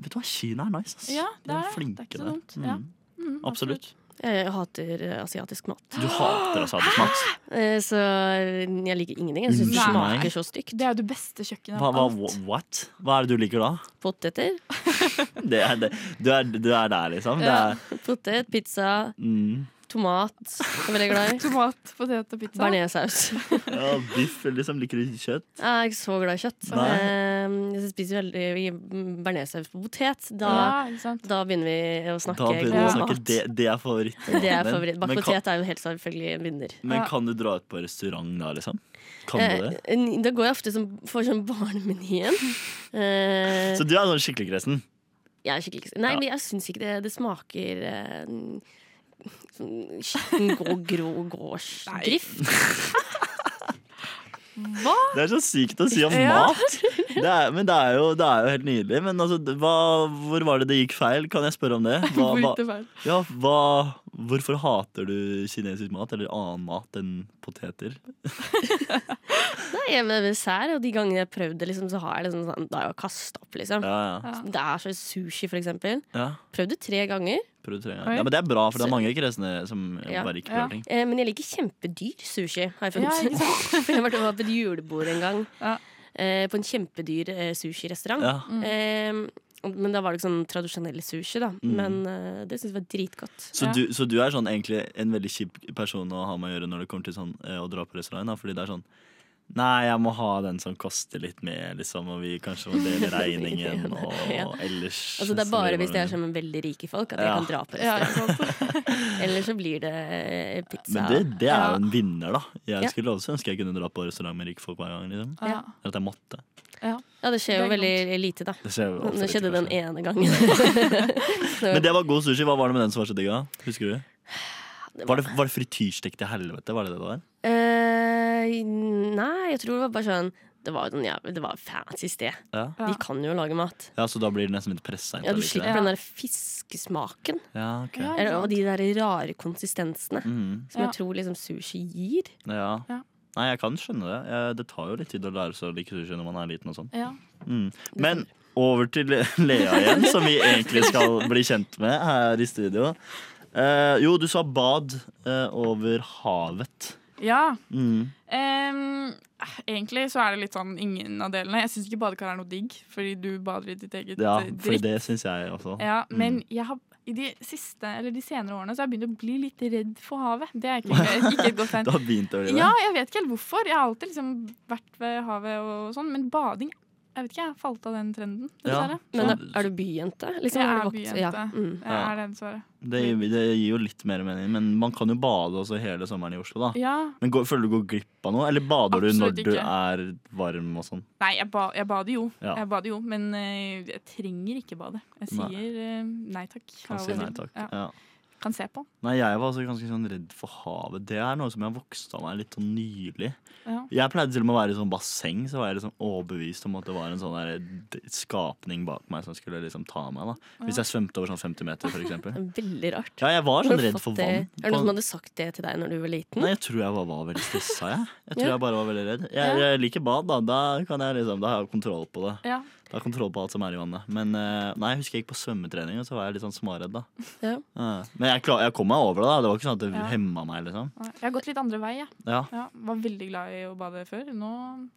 Speaker 2: Vet du hva, Kina er nice, ass.
Speaker 1: Ja,
Speaker 2: De
Speaker 1: det er det. Det er
Speaker 2: flinke
Speaker 1: ikke så
Speaker 2: der.
Speaker 1: dumt. Ja.
Speaker 2: Mm,
Speaker 1: Mm,
Speaker 2: absolutt.
Speaker 8: Jeg hater eh, asiatisk mat.
Speaker 2: Du hater asiatisk mat.
Speaker 1: Ah,
Speaker 8: Eh, Så jeg liker ingenting. Jeg syns det
Speaker 2: Mm.
Speaker 1: Nei.
Speaker 8: smaker så stygt.
Speaker 1: Det er jo det beste kjøkkenet.
Speaker 2: Hva,
Speaker 1: av
Speaker 2: hva,
Speaker 1: alt.
Speaker 2: wha- what? hva er det du liker da?
Speaker 8: Poteter,
Speaker 2: Det er, det. Du, er, du er der, liksom. Det
Speaker 1: Ja.
Speaker 2: er,
Speaker 8: potet, pizza,
Speaker 2: mm.
Speaker 8: tomat. Jeg er veldig glad i.
Speaker 1: Tomat, potet og pizza.
Speaker 8: Bearnéssaus.
Speaker 2: ja, biff liksom. Liker du kjøtt?
Speaker 8: Jeg er ikke så glad i kjøtt.
Speaker 2: Nei.
Speaker 8: Eh, Jeg spiser veldig bearnéssaus på potet. Da,
Speaker 1: Ja, ikke sant?
Speaker 8: da begynner vi å
Speaker 2: Da
Speaker 8: snakke
Speaker 2: begynner vi å
Speaker 1: glad i
Speaker 8: god
Speaker 2: snakke.
Speaker 8: mat.
Speaker 2: Det, det er favoritten.
Speaker 8: Det er
Speaker 2: din.
Speaker 8: favoritt. Bakt
Speaker 2: Men, kan,
Speaker 8: potet er jo helt selvfølgelig en vinner.
Speaker 2: men
Speaker 1: Ja.
Speaker 2: kan du dra ut på restaurant da, liksom? Kan du det?
Speaker 8: Eh, Da går jeg ofte som, for sånn barnemenyen. Eh,
Speaker 2: Så du er sånn skikkelig gressen?
Speaker 8: Jeg er skikkelig Nei,
Speaker 2: Ja.
Speaker 8: men jeg syns ikke det, det smaker eh, sånn skitten grå, grå gårdsdrift.
Speaker 1: Hva?
Speaker 2: Det er så sykt å si om
Speaker 1: Ja.
Speaker 2: mat! Det er, men det er, jo, det er jo helt nydelig. Men altså, det- hva, hvor var det det gikk feil? Kan jeg spørre om det? Hva,
Speaker 1: Hvor
Speaker 2: hva,
Speaker 1: gikk det feil?
Speaker 2: ja, hva, hvorfor hater du kinesisk mat, eller annen mat enn poteter?
Speaker 8: Nei, jeg med dessert, og de gangene jeg har prøvd det, liksom, så har jeg liksom sånn Da har jeg kasta opp, liksom.
Speaker 2: Ja, ja.
Speaker 1: Ja.
Speaker 8: Det er så sushi, for eksempel.
Speaker 2: ja.
Speaker 8: Prøvd det tre ganger.
Speaker 2: Prøv tre ganger.
Speaker 1: Oi.
Speaker 2: Ja, men det er bra, for det er mange kresne som
Speaker 8: Ja.
Speaker 2: bare ikke
Speaker 1: Ja.
Speaker 2: prøver ting.
Speaker 8: Eh, men jeg liker kjempedyr sushi, har jeg
Speaker 1: Ja,
Speaker 8: funnet
Speaker 1: ikke
Speaker 8: ut. for jeg var var på et julebord en gang
Speaker 1: Ja.
Speaker 8: eh, på en kjempedyr eh, sushirestaurant.
Speaker 2: Ja.
Speaker 8: Eh, men da var det ikke sånn tradisjonell sushi, da.
Speaker 2: Mm.
Speaker 8: Men eh, det syns jeg var dritgodt.
Speaker 2: Så,
Speaker 1: Ja.
Speaker 2: du, så du er sånn egentlig en veldig kjip person å ha med å gjøre når det kommer til sånn, eh, å dra på restaurant? Da, fordi det er sånn Nei, jeg må ha den som koster litt mer, liksom, og vi kanskje må dele regningen, og
Speaker 8: Ja.
Speaker 2: ellers
Speaker 8: Altså Det er
Speaker 2: så
Speaker 8: bare
Speaker 2: blir
Speaker 8: hvis det er
Speaker 2: mye.
Speaker 8: som veldig rike folk at jeg
Speaker 2: Ja.
Speaker 8: kan dra på
Speaker 1: Ja,
Speaker 8: restaurant.
Speaker 1: ikke sant?
Speaker 8: Eller så blir det eh, pizza.
Speaker 2: Men det, det er
Speaker 1: Ja.
Speaker 2: jo en vinner, da. Jeg
Speaker 8: Ja.
Speaker 2: skulle også ønske jeg kunne dra på restaurant med rike folk hver gang. liksom
Speaker 1: Ja.
Speaker 2: Eller at jeg måtte.
Speaker 8: ja, det skjer jo
Speaker 1: Det er
Speaker 8: veldig lite, da.
Speaker 2: Det skjer jo altfor
Speaker 8: Det
Speaker 2: lite,
Speaker 8: skjedde den
Speaker 2: kanskje.
Speaker 8: ene gangen.
Speaker 2: Men det var god sushi. Hva var det med den som var så digg? da? Husker du?
Speaker 8: Det
Speaker 2: Var det, var det frityrstek til helvete? Var det det det var?
Speaker 8: Eh, nei, jeg tror det var bare sånn Det var, jo sånn, jævlig- det var et fancy sted.
Speaker 2: Ja,
Speaker 1: Ja.
Speaker 8: De kan jo lage mat.
Speaker 2: ja Så da blir det nesten litt pressa inn?
Speaker 8: Ja, Du
Speaker 2: til å like det.
Speaker 8: slipper den der fiskesmaken
Speaker 2: Ja, ok.
Speaker 1: Ja.
Speaker 8: eller- og de der rare konsistensene.
Speaker 2: Mhm,
Speaker 8: Som
Speaker 1: Ja.
Speaker 8: jeg tror liksom sushi gir.
Speaker 2: ja.
Speaker 1: Ja.
Speaker 2: Nei, jeg kan skjønne det. Jeg, det tar jo litt tid å lære seg å like sushi når man er liten og sånn.
Speaker 1: Ja.
Speaker 2: Mm. Men over til Lea igjen, som vi egentlig skal bli kjent med her i studio. Eh, jo, du sa bad eh, over havet.
Speaker 1: ja.
Speaker 2: Mm.
Speaker 1: Ehm, egentlig så er det litt sånn ingen av delene. Jeg syns ikke badekar er noe digg, fordi du bader i ditt eget
Speaker 2: Ja,
Speaker 1: eh,
Speaker 2: for
Speaker 1: dritt.
Speaker 2: det Mm. syns jeg også.
Speaker 1: Ja, men jeg har i de, siste, eller de senere årene så har jeg begynt å bli litt redd for havet. Det er ikke, ikke et godt tegn.
Speaker 2: Du har begynt å bli det?
Speaker 1: Ja, jeg vet ikke helt hvorfor. Jeg har alltid liksom vært ved havet og sånn, men bading Jeg vet ikke, jeg har falt av den trenden,
Speaker 2: Ja.
Speaker 1: dessverre.
Speaker 8: Men er,
Speaker 2: Sånn-
Speaker 8: er du byjente? Liksom,
Speaker 1: Jeg
Speaker 8: har du
Speaker 1: er
Speaker 8: vokst-
Speaker 1: byjente.
Speaker 8: Ja. Mm.
Speaker 1: Jeg er det, dessverre.
Speaker 2: Det, det gir jo litt mer mening, men man kan jo bade også hele sommeren i Oslo, da.
Speaker 1: Ja.
Speaker 2: Men går, Føler du går glipp av noe, eller bader du når
Speaker 1: Absolutt
Speaker 2: du
Speaker 1: ikke.
Speaker 2: er varm og sånn?
Speaker 1: Nei, jeg, ba, jeg bader jo.
Speaker 2: Ja.
Speaker 1: Jeg bader jo, men eh, jeg trenger ikke bade. Jeg
Speaker 2: Nei.
Speaker 1: sier eh, nei takk.
Speaker 2: Kan
Speaker 1: av
Speaker 2: si
Speaker 1: og
Speaker 2: nei
Speaker 1: til.
Speaker 2: takk.
Speaker 1: Ja.
Speaker 2: Ja.
Speaker 1: Kan se på.
Speaker 2: Nei, jeg var altså ganske sånn redd for havet. Det er noe som jeg har vokst av meg litt sånn nylig.
Speaker 1: Ja.
Speaker 2: Jeg pleide til og med å være i sånn basseng, så var jeg liksom overbevist om at det var en sånn der d- skapning bak meg som skulle liksom ta meg. da Hvis jeg svømte over sånn 50 meter, for eksempel.
Speaker 8: Veldig rart.
Speaker 2: Ja, jeg var
Speaker 8: Har
Speaker 2: sånn
Speaker 8: du
Speaker 2: redd
Speaker 8: fått
Speaker 2: for
Speaker 8: det-
Speaker 2: vann.
Speaker 8: Er det noen
Speaker 2: På-
Speaker 8: som hadde sagt det til deg når du var liten?
Speaker 2: Nei, jeg tror jeg bare var veldig stressa, jeg. Jeg tror
Speaker 8: Ja.
Speaker 2: jeg bare var veldig redd. Jeg,
Speaker 1: Ja.
Speaker 2: jeg liker bad, da. Da, kan jeg liksom, da har jeg kontroll på det.
Speaker 1: Ja.
Speaker 2: Da har jeg kontroll på alt som er i vannet. Men eh, nei, jeg husker jeg gikk på svømmetrening, og så var jeg litt sånn småredd, da.
Speaker 8: Ja.
Speaker 2: Men jeg, klar, jeg kom meg over det, da. Det var ikke sånn at det
Speaker 1: Ja.
Speaker 2: hemma meg, liksom.
Speaker 1: Nei, Jeg har gått litt andre vei, jeg.
Speaker 2: Ja.
Speaker 1: Ja. Var veldig glad i å bade før. Nå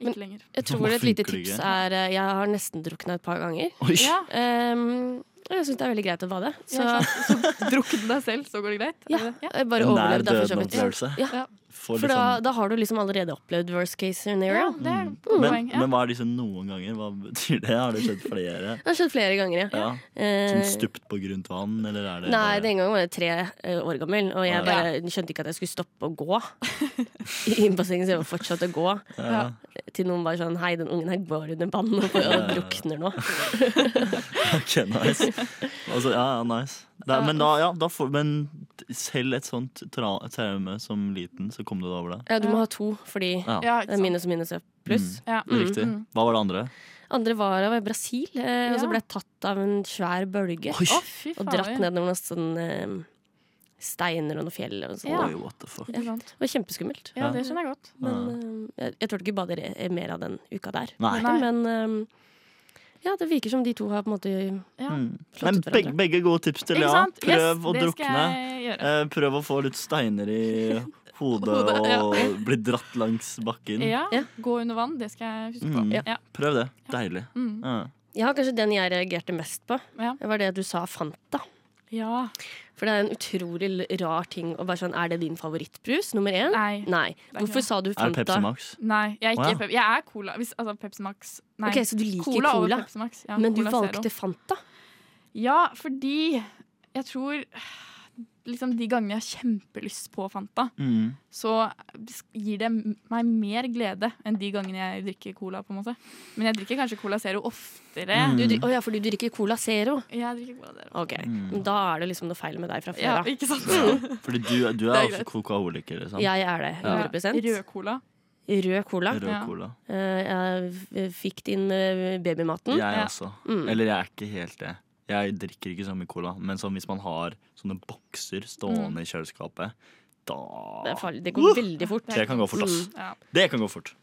Speaker 1: ikke
Speaker 8: Men-
Speaker 1: lenger.
Speaker 8: Jeg tror
Speaker 2: Hvorfor
Speaker 8: et lite
Speaker 2: funker det
Speaker 8: tips
Speaker 2: ikke?
Speaker 8: er eh, Jeg har nesten drukna et par ganger.
Speaker 2: Oi.
Speaker 1: Ja,
Speaker 8: Ehm, og jeg syns det er veldig greit å bade. Så
Speaker 1: Ja, Drukne deg selv, så går det greit.
Speaker 8: ja,
Speaker 1: Er det-
Speaker 8: jeg bare
Speaker 2: En nær
Speaker 8: overlev da, for så vidt.
Speaker 2: døden-opplevelse.
Speaker 8: Ja,
Speaker 2: Får
Speaker 8: for
Speaker 2: litt
Speaker 8: da,
Speaker 2: sånn-
Speaker 8: da har du liksom allerede opplevd worst case scenario.
Speaker 1: Ja, det er et godt
Speaker 2: Mm. men,
Speaker 1: poeng. Ja.
Speaker 2: men hva er disse noen ganger? Hva betyr det? Har det skjedd flere?
Speaker 8: Det har skjedd flere ganger, ja.
Speaker 2: Ja.
Speaker 8: Eh,
Speaker 2: Som stupt på grunt vann, eller er det bare-
Speaker 8: Nei, den gangen var jeg tre eh, år gammel, og jeg
Speaker 2: Ja.
Speaker 8: bare skjønte ikke at jeg skulle stoppe å gå. I bassenget, så jeg fortsatte å gå
Speaker 2: ja.
Speaker 8: til noen var sånn Hei, den ungen her går under vann og
Speaker 2: Ja, ja, ja.
Speaker 8: drukner nå.
Speaker 2: Ok, nice. Altså, ja, ja, nice. Da, men, da, ja, da får, men selv et sånt tra traume som liten, så kom du deg over det?
Speaker 8: Ja, du må ha to, fordi
Speaker 2: Ja,
Speaker 1: Ja,
Speaker 8: det
Speaker 1: ikke
Speaker 8: er
Speaker 1: sant.
Speaker 8: minus og minus er pluss.
Speaker 1: Ja.
Speaker 8: Mm.
Speaker 2: Riktig.
Speaker 1: mm.
Speaker 2: Hva var det andre?
Speaker 8: Andre var av Brasil, eh,
Speaker 1: Ja.
Speaker 8: og så ble jeg tatt av en svær bølge.
Speaker 2: Oi,
Speaker 1: Å, fy
Speaker 8: Og dratt
Speaker 1: fader.
Speaker 8: ned noen sånn, eh, steiner og noen fjell. Og sånn.
Speaker 1: Ja.
Speaker 2: Oi, what the fuck.
Speaker 1: Ikke sant?
Speaker 8: Det var kjempeskummelt.
Speaker 1: Ja, det skjønner jeg godt.
Speaker 8: Men eh, jeg, jeg torde ikke bade re- eh, mer av den uka der.
Speaker 2: Nei.
Speaker 1: Nei.
Speaker 8: Men eh, ja, det virker som de to har på en måte
Speaker 1: Ja.
Speaker 2: Mm.
Speaker 8: Slått
Speaker 2: Men
Speaker 8: ut hverandre.
Speaker 2: begge, begge gode tips til
Speaker 1: Ikke
Speaker 2: Lea.
Speaker 1: sant?
Speaker 2: Prøv
Speaker 1: Yes,
Speaker 2: å
Speaker 1: det
Speaker 2: drukne.
Speaker 1: skal jeg gjøre.
Speaker 2: Eh, prøv å få litt steiner i hodet
Speaker 1: Hodet, ja.
Speaker 2: og bli dratt langs bakken.
Speaker 1: Ja,
Speaker 8: Ja.
Speaker 1: Gå under vann, det skal jeg huske på.
Speaker 2: Um. Mm.
Speaker 1: Ja.
Speaker 2: Prøv det. Deilig.
Speaker 1: Mm.
Speaker 2: Ja.
Speaker 8: Jeg har kanskje den jeg reagerte mest på.
Speaker 1: Ja.
Speaker 8: Det var det du sa Fanta.
Speaker 1: ja.
Speaker 8: Hm. For det er en utrolig l- rar ting å være sånn Er det din favorittbrus? Nummer én?
Speaker 1: Nei.
Speaker 8: Nei.
Speaker 1: er
Speaker 8: Hvorfor
Speaker 1: ikke
Speaker 8: sa du
Speaker 2: Er det
Speaker 8: Fanta?
Speaker 2: Pepsi Max?
Speaker 1: Nei, jeg er, ikke
Speaker 2: Å, ja.
Speaker 1: Pep- jeg er cola. Hvis, altså Pepsi Max. Nei.
Speaker 8: Ok, Så du liker
Speaker 1: cola,
Speaker 8: cola,
Speaker 1: over Pepsi Max. Ja,
Speaker 8: men du
Speaker 1: Cola Zero.
Speaker 8: valgte Fanta?
Speaker 1: Ja, fordi jeg tror liksom de gangene jeg har kjempelyst på Fanta,
Speaker 2: Mm.
Speaker 1: så gir det meg mer glede enn de gangene jeg drikker cola. på en måte Men jeg drikker kanskje Cola Zero oftere.
Speaker 2: Mm. Mm.
Speaker 8: Du, dri- å ja, fordi du drikker Cola Zero?
Speaker 1: Jeg drikker Cola Zero.
Speaker 8: Ok, men Da er det liksom noe feil med deg fra
Speaker 1: Ja,
Speaker 8: før av.
Speaker 1: ikke sant?
Speaker 2: Fordi du, du er,
Speaker 1: Det er
Speaker 2: også
Speaker 1: greit.
Speaker 2: kokaoliker, liksom.
Speaker 8: Jeg er det. 100
Speaker 1: Rød cola.
Speaker 8: Rød cola.
Speaker 2: Rød
Speaker 1: Ja.
Speaker 2: cola.
Speaker 8: Eh, Jeg f- fikk det inn med babymaten.
Speaker 2: Jeg
Speaker 1: Ja.
Speaker 2: også.
Speaker 8: Mm.
Speaker 2: Eller jeg er ikke helt det. Jeg drikker ikke så mye cola, men sånn hvis man har sånne bokser stående i kjøleskapet, da
Speaker 8: Det, er farlig. det går veldig fort.
Speaker 2: Det kan gå fort, ass.
Speaker 1: Ja.
Speaker 2: Det kan gå fort.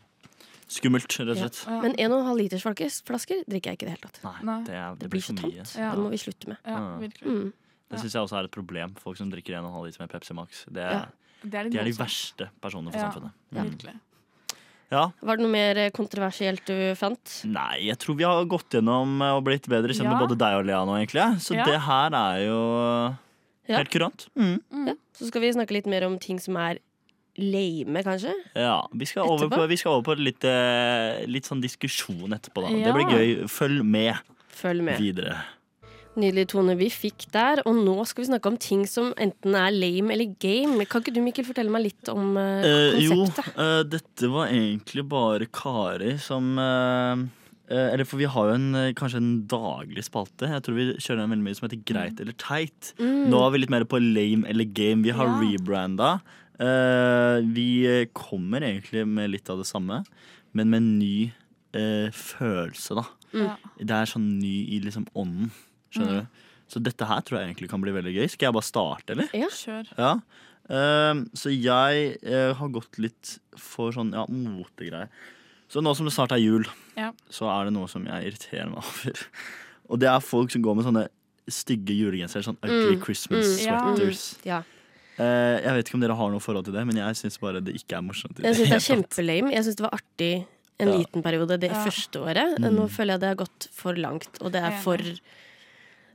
Speaker 2: Skummelt, rett og slett.
Speaker 1: Mm. Ja.
Speaker 8: Men 1,5 liters flasker, flasker drikker jeg ikke i det hele tatt.
Speaker 2: Nei,
Speaker 1: Nei.
Speaker 2: det, er, det
Speaker 8: Det
Speaker 2: blir
Speaker 8: blir
Speaker 2: for
Speaker 8: så
Speaker 2: mye.
Speaker 8: tamt.
Speaker 1: Ja.
Speaker 8: Det må vi slutte med.
Speaker 1: ja,
Speaker 2: Ja.
Speaker 1: virkelig.
Speaker 8: Mm.
Speaker 2: Det syns jeg også er et problem. Folk som drikker 1,5 liter med Pepsi Max. Det er,
Speaker 8: Ja.
Speaker 1: Det er litt
Speaker 2: De er de
Speaker 1: voldsomt.
Speaker 2: verste personene for
Speaker 1: Ja.
Speaker 2: samfunnet.
Speaker 1: Ja,
Speaker 2: Mm.
Speaker 1: virkelig.
Speaker 2: Ja.
Speaker 8: Var det noe mer eh, kontroversielt du fant?
Speaker 2: Nei, jeg tror vi har gått gjennom eh, og blitt bedre kjent med
Speaker 1: Ja.
Speaker 2: både deg og Lea nå, egentlig. Så
Speaker 1: Ja.
Speaker 2: det her er jo eh,
Speaker 8: Ja.
Speaker 2: helt kurant. Mm.
Speaker 8: Ja. Så skal vi snakke litt mer om ting som er lame, kanskje.
Speaker 2: Ja, vi skal, over på,
Speaker 8: Etterpå?
Speaker 2: vi skal over på litt, eh, litt sånn diskusjon etterpå, da. Det
Speaker 1: Ja.
Speaker 2: blir gøy. Følg med
Speaker 8: Følg med.
Speaker 2: videre.
Speaker 8: Nydelig tone vi fikk der. Og nå skal vi snakke om ting som enten er lame eller game. Kan ikke du, Mikkel, fortelle meg litt om eh,
Speaker 2: Eh, jo,
Speaker 8: konseptet?
Speaker 2: eh, dette var egentlig bare Kari som eh, eh, Eller for vi har jo en, eh, kanskje en daglig spalte. Jeg tror vi kjører en veldig mye som heter Greit eller teit. Nå er vi litt mer på lame eller game. Vi har
Speaker 1: Ja.
Speaker 2: rebranda. Eh, vi eh, kommer egentlig med litt av det samme, men med en ny eh, følelse, da.
Speaker 1: Ja.
Speaker 2: Det er sånn ny i liksom ånden. Skjønner du? Så dette her tror jeg egentlig kan bli veldig gøy. Skal jeg bare starte, eller?
Speaker 8: Ja.
Speaker 1: Kjør.
Speaker 2: Ja. Ehm, så jeg eh, har gått litt for sånn ja, motegreier. Så nå som det snart er jul,
Speaker 1: Ja.
Speaker 2: så er det noe som jeg irriterer meg over. Og det er folk som går med sånne stygge julegensere. Sånn ugly
Speaker 8: Mm,
Speaker 2: Christmas
Speaker 8: mm,
Speaker 1: ja.
Speaker 2: sweaters.
Speaker 8: Ja.
Speaker 2: Eh, jeg vet ikke om dere har noe forhold til det, men jeg syns bare det ikke er morsomt. i
Speaker 8: Jeg syns det er
Speaker 2: hele tatt.
Speaker 8: kjempelame. Jeg syns det var artig en
Speaker 2: Ja.
Speaker 8: liten periode det
Speaker 1: Ja.
Speaker 8: første året.
Speaker 2: Mm.
Speaker 8: Nå føler jeg det har gått for langt, og det er
Speaker 1: Enig.
Speaker 8: for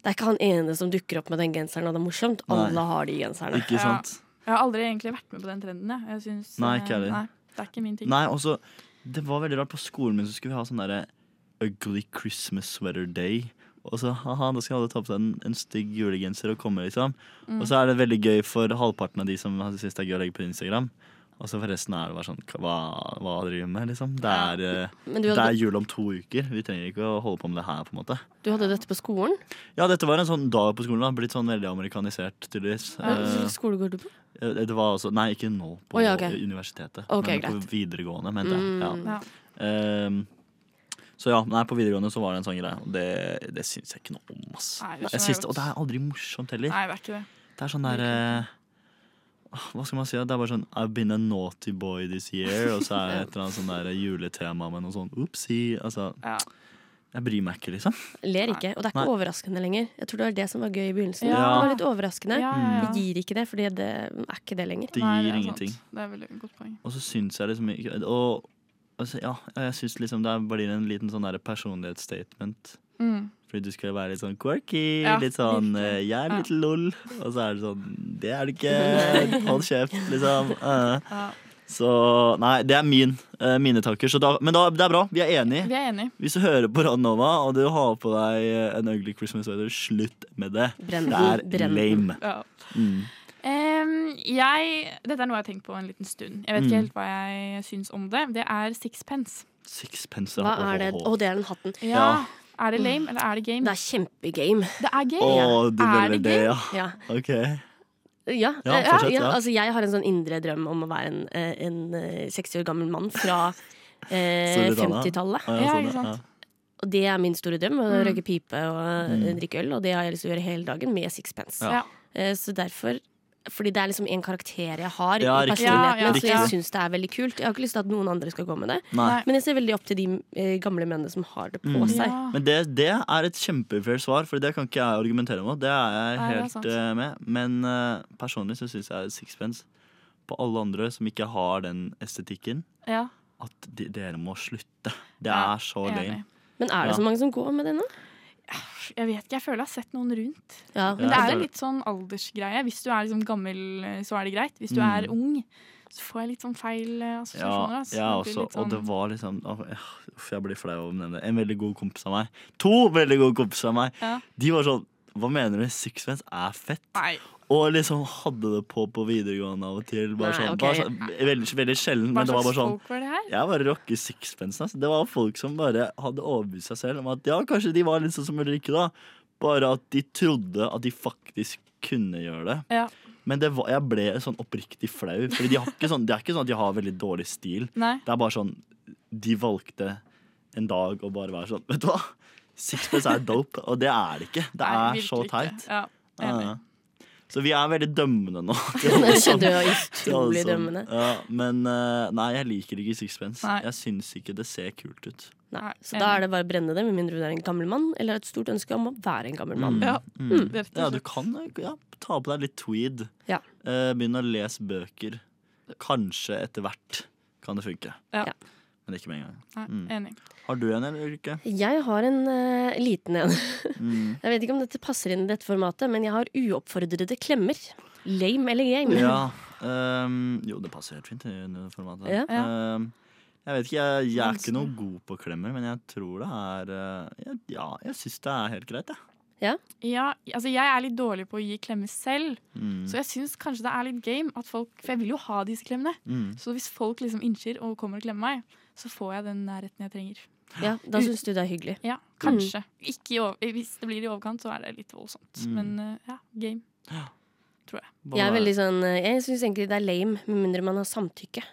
Speaker 8: Det er ikke han ene som dukker opp med den genseren, og det er morsomt.
Speaker 2: Nei.
Speaker 8: Alle har de genserne.
Speaker 2: Ikke
Speaker 1: Ja.
Speaker 2: sant?
Speaker 1: Jeg har aldri egentlig vært med på den trenden. Jeg, jeg synes,
Speaker 2: Nei,
Speaker 1: eh,
Speaker 2: ikke heller.
Speaker 1: Nei, det er ikke min ting.
Speaker 2: Nei, også, det var veldig rart. På skolen min så skulle vi ha sånn derre Ugly Christmas Sweater Day. Og så haha, da skal alle ta på seg en, en stygg julegenser og komme, liksom.
Speaker 8: Mm.
Speaker 2: Og så er det veldig gøy for halvparten av de som syns det er gøy å legge på Instagram. Og så for resten er det bare sånn Hva, hva driver vi med, liksom? Det er, eh,
Speaker 8: Men du
Speaker 2: det
Speaker 8: hadde,
Speaker 2: er jul om to uker. Vi trenger ikke å holde på med det her, på en måte.
Speaker 8: du hadde dette på skolen?
Speaker 2: Ja, dette var en sånn dag på skolen. da Blitt sånn veldig amerikanisert, tydeligvis. Eh,
Speaker 8: Hvilken skole går du på?
Speaker 2: Eh, Det var altså, Nei, ikke nå på
Speaker 8: Å, ja, ok.
Speaker 2: universitetet,
Speaker 8: Ok,
Speaker 2: men på videregående, mente jeg.
Speaker 8: Mm.
Speaker 2: Ja.
Speaker 1: Ja.
Speaker 2: Ehm, så ja, nei, på videregående så var det en sånn greie, og det, det syns jeg ikke noe om. ass.
Speaker 1: Nei, det
Speaker 2: Jeg
Speaker 1: skjønner
Speaker 2: syns
Speaker 1: jeg
Speaker 2: det-
Speaker 1: godt.
Speaker 2: og det er aldri morsomt heller.
Speaker 1: Nei, det er ikke det.
Speaker 2: Det er sånn der eh, ah, Hva skal man si? da? Det er bare sånn I've been a naughty boy this year, og så er det et eller annet sånn der juletema med noe sånn oopsie. Altså,
Speaker 1: Ja.
Speaker 2: jeg bryr meg ikke, liksom.
Speaker 8: Ler ikke. Og det er ikke
Speaker 2: Nei.
Speaker 8: overraskende lenger. Jeg tror det var det som var gøy i begynnelsen.
Speaker 1: Ja.
Speaker 8: Det var litt overraskende.
Speaker 1: Ja, ja, ja.
Speaker 8: Det gir ikke det, for det er ikke det lenger.
Speaker 2: Det Mm. gir
Speaker 1: Nei, er sant.
Speaker 2: ingenting.
Speaker 1: Det er veldig godt poeng.
Speaker 2: Og så syns jeg liksom ikke Og altså, ja, jeg syns liksom det er- blir en liten sånn der personlighetsstatement.
Speaker 1: Mm.
Speaker 2: Fordi du skal være litt sånn quirky,
Speaker 1: Ja,
Speaker 2: litt sånn
Speaker 1: virkelig.
Speaker 2: eh, 'jeg er
Speaker 1: Ja.
Speaker 2: litt lol', og så er det sånn 'det er du ikke', hold kjeft, liksom. Eh,
Speaker 1: Ja.
Speaker 2: Så nei, det er min, eh, mine tanker. Så da, men da, det er bra, vi er enige.
Speaker 1: Vi er enige.
Speaker 2: Hvis du hører på Radnova og du har på deg eh, en ugly Christmas sweater, slutt med det.
Speaker 8: Brenn
Speaker 2: Det
Speaker 8: den.
Speaker 2: er
Speaker 8: Brenn den.
Speaker 2: lame.
Speaker 1: Ja.
Speaker 2: Mm.
Speaker 1: Em, jeg, dette er noe jeg har tenkt på en liten stund. Jeg vet
Speaker 2: Mm.
Speaker 1: ikke helt hva jeg syns om det. Det er sixpence.
Speaker 2: Sixpence.
Speaker 8: Hva er det? Å, det er den hatten.
Speaker 2: Ja.
Speaker 1: Er det lame, eller er det game?
Speaker 8: Det er kjempegame.
Speaker 1: Det er game.
Speaker 2: Å, du
Speaker 1: Er
Speaker 2: velger
Speaker 1: det
Speaker 2: det,
Speaker 1: gøy?
Speaker 2: ja.
Speaker 8: Ja.
Speaker 2: Ok.
Speaker 8: Ja,
Speaker 2: Ja,
Speaker 8: eh,
Speaker 2: fortsett,
Speaker 8: ja.
Speaker 2: ja.
Speaker 8: Altså, jeg har en sånn indre drøm om å være en, eh, en eh, 60 år gammel mann fra eh,
Speaker 2: Solidana.
Speaker 8: 50-tallet.
Speaker 2: Å,
Speaker 1: Ja,
Speaker 2: sånn,
Speaker 1: ikke sant?
Speaker 8: Og det er min store drøm. Å
Speaker 1: Mm.
Speaker 8: røyke pipe og eh, drikke øl. Og det har jeg lyst til å gjøre hele dagen med sixpence.
Speaker 1: Ja.
Speaker 8: Eh, så derfor fordi det er liksom en karakter jeg har
Speaker 2: Ja,
Speaker 8: i
Speaker 2: riktig.
Speaker 8: personligheten,
Speaker 1: Ja, ja,
Speaker 8: så jeg
Speaker 1: riktig.
Speaker 8: syns det er veldig kult. Jeg har ikke lyst til at noen andre skal gå med det.
Speaker 2: Nei.
Speaker 1: Nei.
Speaker 8: Men jeg ser veldig opp til de eh, gamle mennene som har det på
Speaker 2: Mm.
Speaker 8: seg.
Speaker 1: Ja.
Speaker 2: Men det, det er et kjempefair svar, for det kan ikke jeg argumentere mot. Det er jeg
Speaker 1: Nei, det er
Speaker 2: helt
Speaker 1: sant.
Speaker 2: eh, med. Men eh, personlig så syns jeg sixpence på alle andre som ikke har den estetikken,
Speaker 1: Ja,
Speaker 2: at de, dere må slutte. Det
Speaker 1: Ja,
Speaker 2: er så lame.
Speaker 1: enig.
Speaker 8: Men er det
Speaker 2: Ja.
Speaker 8: så mange som går med det nå?
Speaker 1: Jeg vet ikke, jeg føler jeg har sett noen rundt.
Speaker 8: Ja,
Speaker 1: Men
Speaker 2: Ja, det
Speaker 1: det er
Speaker 2: er
Speaker 1: en
Speaker 2: det.
Speaker 1: litt sånn aldersgreie. Hvis du er liksom gammel, eh, så er det greit. Hvis du
Speaker 2: Mm.
Speaker 1: er ung, så får jeg litt sånn feil eh,
Speaker 2: Ja,
Speaker 1: assosiasjoner. ass.
Speaker 2: jeg
Speaker 1: Det blir
Speaker 2: også.
Speaker 1: litt sånn-
Speaker 2: Og det var liksom åh, eh, Uff, jeg blir flau over å nevne det. En veldig god kompis av meg. To veldig gode kompiser av meg.
Speaker 1: Ja.
Speaker 2: De var sånn Hva mener du? Sixpence er fett.
Speaker 1: Nei.
Speaker 2: Og liksom hadde det på på videregående av og til. Bare
Speaker 8: Nei,
Speaker 2: sånn,
Speaker 8: ok.
Speaker 2: bare sånn veldig, veldig sjelden,
Speaker 1: Hva
Speaker 2: men det var
Speaker 1: slags
Speaker 2: bare sånn
Speaker 1: folk var det her?
Speaker 2: Jeg bare rocker sixpensen. ass. Det var folk som bare hadde overbevist seg selv om at ja, kanskje de var litt sånn som Ulrikke, da. Bare at de trodde at de faktisk kunne gjøre det.
Speaker 1: Ja.
Speaker 2: Men det var, jeg ble sånn oppriktig flau. Fordi de har ikke sånn, det er ikke sånn at de har veldig dårlig stil.
Speaker 1: Nei.
Speaker 2: Det er bare sånn De valgte en dag å bare være sånn Vet du hva? Sixpence er dope, og det er det ikke. Det
Speaker 1: Nei,
Speaker 2: er
Speaker 1: virkelig
Speaker 2: så
Speaker 1: ikke.
Speaker 2: teit.
Speaker 1: Ja, enig.
Speaker 2: Ja. Så vi er veldig dømmende nå.
Speaker 8: Det skjedde jo
Speaker 2: Til alle
Speaker 8: utrolig
Speaker 2: som-
Speaker 8: dømmende.
Speaker 2: Ja, men eh, nei, jeg liker ikke sixpence.
Speaker 1: Nei.
Speaker 2: Jeg syns ikke det ser kult ut.
Speaker 8: Nei.
Speaker 1: Nei,
Speaker 8: Så da er det bare å brenne det, med mindre du er en gammel mann eller har et stort ønske om å være en gammel mann.
Speaker 1: Ja,
Speaker 2: Mm.
Speaker 1: rett og
Speaker 2: Ja, du
Speaker 1: slett.
Speaker 2: kan eh, ja, ta på deg litt tweed.
Speaker 8: Ja.
Speaker 2: Eh, begynne å lese bøker. Kanskje etter hvert kan det funke.
Speaker 1: Ja.
Speaker 8: Ja.
Speaker 2: Men ikke med en gang.
Speaker 1: Nei,
Speaker 2: Mm.
Speaker 1: Enig.
Speaker 2: Har du en, eller ikke?
Speaker 8: Jeg har en eh, liten en.
Speaker 2: Mm.
Speaker 8: Jeg vet ikke om dette passer inn i dette formatet, men jeg har uoppfordrede klemmer. Lame eller game.
Speaker 2: Ja. ehm, jo, det passer helt fint i det formatet. her.
Speaker 8: Ja.
Speaker 2: Ehm, jeg vet ikke, jeg, jeg er ikke noe god på klemmer, men jeg tror det er eh, jeg- Ja, jeg syns det er helt greit, jeg.
Speaker 1: Ja, altså jeg er litt dårlig på å gi klemmer selv,
Speaker 2: Mm.
Speaker 1: så jeg syns kanskje det er litt game at folk For jeg vil jo ha disse klemmene.
Speaker 2: Mm.
Speaker 1: Så hvis folk liksom innser og kommer og klemmer meg, så får jeg den nærheten jeg trenger.
Speaker 8: Ja, da syns du det er hyggelig.
Speaker 1: Ja,
Speaker 2: Mm.
Speaker 1: kanskje. Ikke i over, hvis det blir i overkant, så er det litt voldsomt.
Speaker 2: Mm.
Speaker 1: Men eh, ja, game.
Speaker 8: Jeg er veldig sånn eh, Jeg syns egentlig det er lame, med mindre man har samtykke.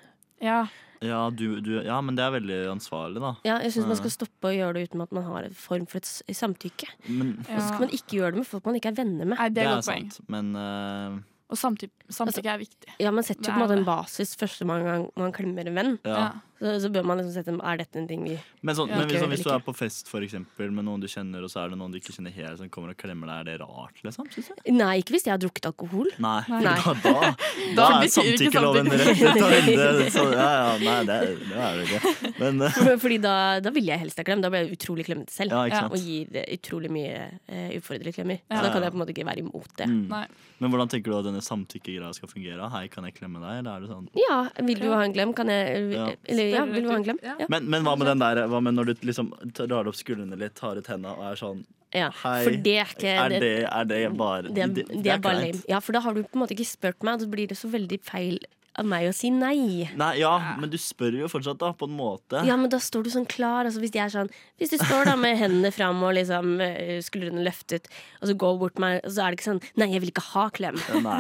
Speaker 1: Ja,
Speaker 2: ja, du, du, ja, men det er veldig ansvarlig, da.
Speaker 8: Ja, jeg syns man
Speaker 2: Ja.
Speaker 8: skal stoppe å gjøre det uten at man har en form for et s- samtykke.
Speaker 2: Men
Speaker 1: ja.
Speaker 8: Så skal man ikke gjøre det med folk man ikke er venner med.
Speaker 1: Nei, det
Speaker 2: det er
Speaker 1: er godt poeng.
Speaker 2: sant. Men eh,
Speaker 1: Og samtykke, samtykke er viktig.
Speaker 8: Ja, Man setter jo på
Speaker 1: Det
Speaker 8: en
Speaker 1: er
Speaker 8: måte en
Speaker 1: det.
Speaker 8: basis første gang man klemmer en venn.
Speaker 2: Ja.
Speaker 8: Så, så bør man liksom sette Er dette en ting vi
Speaker 2: Men, sånn,
Speaker 1: Ja,
Speaker 2: men
Speaker 8: ok,
Speaker 2: hvis, sånn, hvis du
Speaker 8: liker.
Speaker 2: er på fest for eksempel, med noen du kjenner, og så er det noen du ikke kjenner helt, som kommer og klemmer deg, er det rart? liksom? Synes jeg?
Speaker 8: Nei, ikke hvis jeg har drukket alkohol.
Speaker 2: Nei.
Speaker 1: Nei.
Speaker 2: Da, da, da
Speaker 1: Da
Speaker 2: er
Speaker 1: betyr ikke
Speaker 2: samtykkeloven
Speaker 1: samtykke.
Speaker 2: rett ut av vinduet. Så, ja, ja, nei, det, er- det er det ikke. Men eh,
Speaker 8: Fordi da, da ville jeg helst ha klem. Da ble jeg utrolig klemmete selv.
Speaker 2: ja, ikke
Speaker 1: Ja,
Speaker 2: sant.
Speaker 8: Og gir eh, utrolig mye eh, uforberedte klemmer.
Speaker 1: Ja.
Speaker 8: Så da kan jeg på en måte ikke være imot det.
Speaker 2: Mm.
Speaker 1: Nei.
Speaker 2: Men hvordan tenker du at denne samtykkegreia skal fungere? Hei, kan jeg klemme deg? Eller er det sånn?
Speaker 8: Ja, vil du ha en klem? Kan jeg eh,
Speaker 2: Ja.
Speaker 8: Eller ja,
Speaker 1: Spørre
Speaker 8: vil du ha en klem?
Speaker 1: litt, ja.
Speaker 8: Ja.
Speaker 2: Men, men hva med den der, hva med når du liksom drar opp skuldrene litt, tar ut hendene og er sånn
Speaker 8: ja.
Speaker 2: Hei,
Speaker 8: For det er ikke
Speaker 2: Er det, er det bare
Speaker 8: det,
Speaker 2: det-
Speaker 8: er-
Speaker 2: det
Speaker 8: det
Speaker 2: er
Speaker 8: er bare
Speaker 2: kleint.
Speaker 8: lame. Ja, for da har du på en måte ikke spurt meg, og da blir det så veldig feil av meg å si nei.
Speaker 2: Nei, ja, men du spør jo fortsatt, da, på en måte.
Speaker 8: Ja, men da står du sånn klar. Altså, hvis, jeg er sånn, hvis du står da med hendene fram og liksom, eh, skuldrene løftet, og så går bort meg, og så er det ikke sånn Nei, jeg vil ikke ha klem.
Speaker 2: Eh, Nei.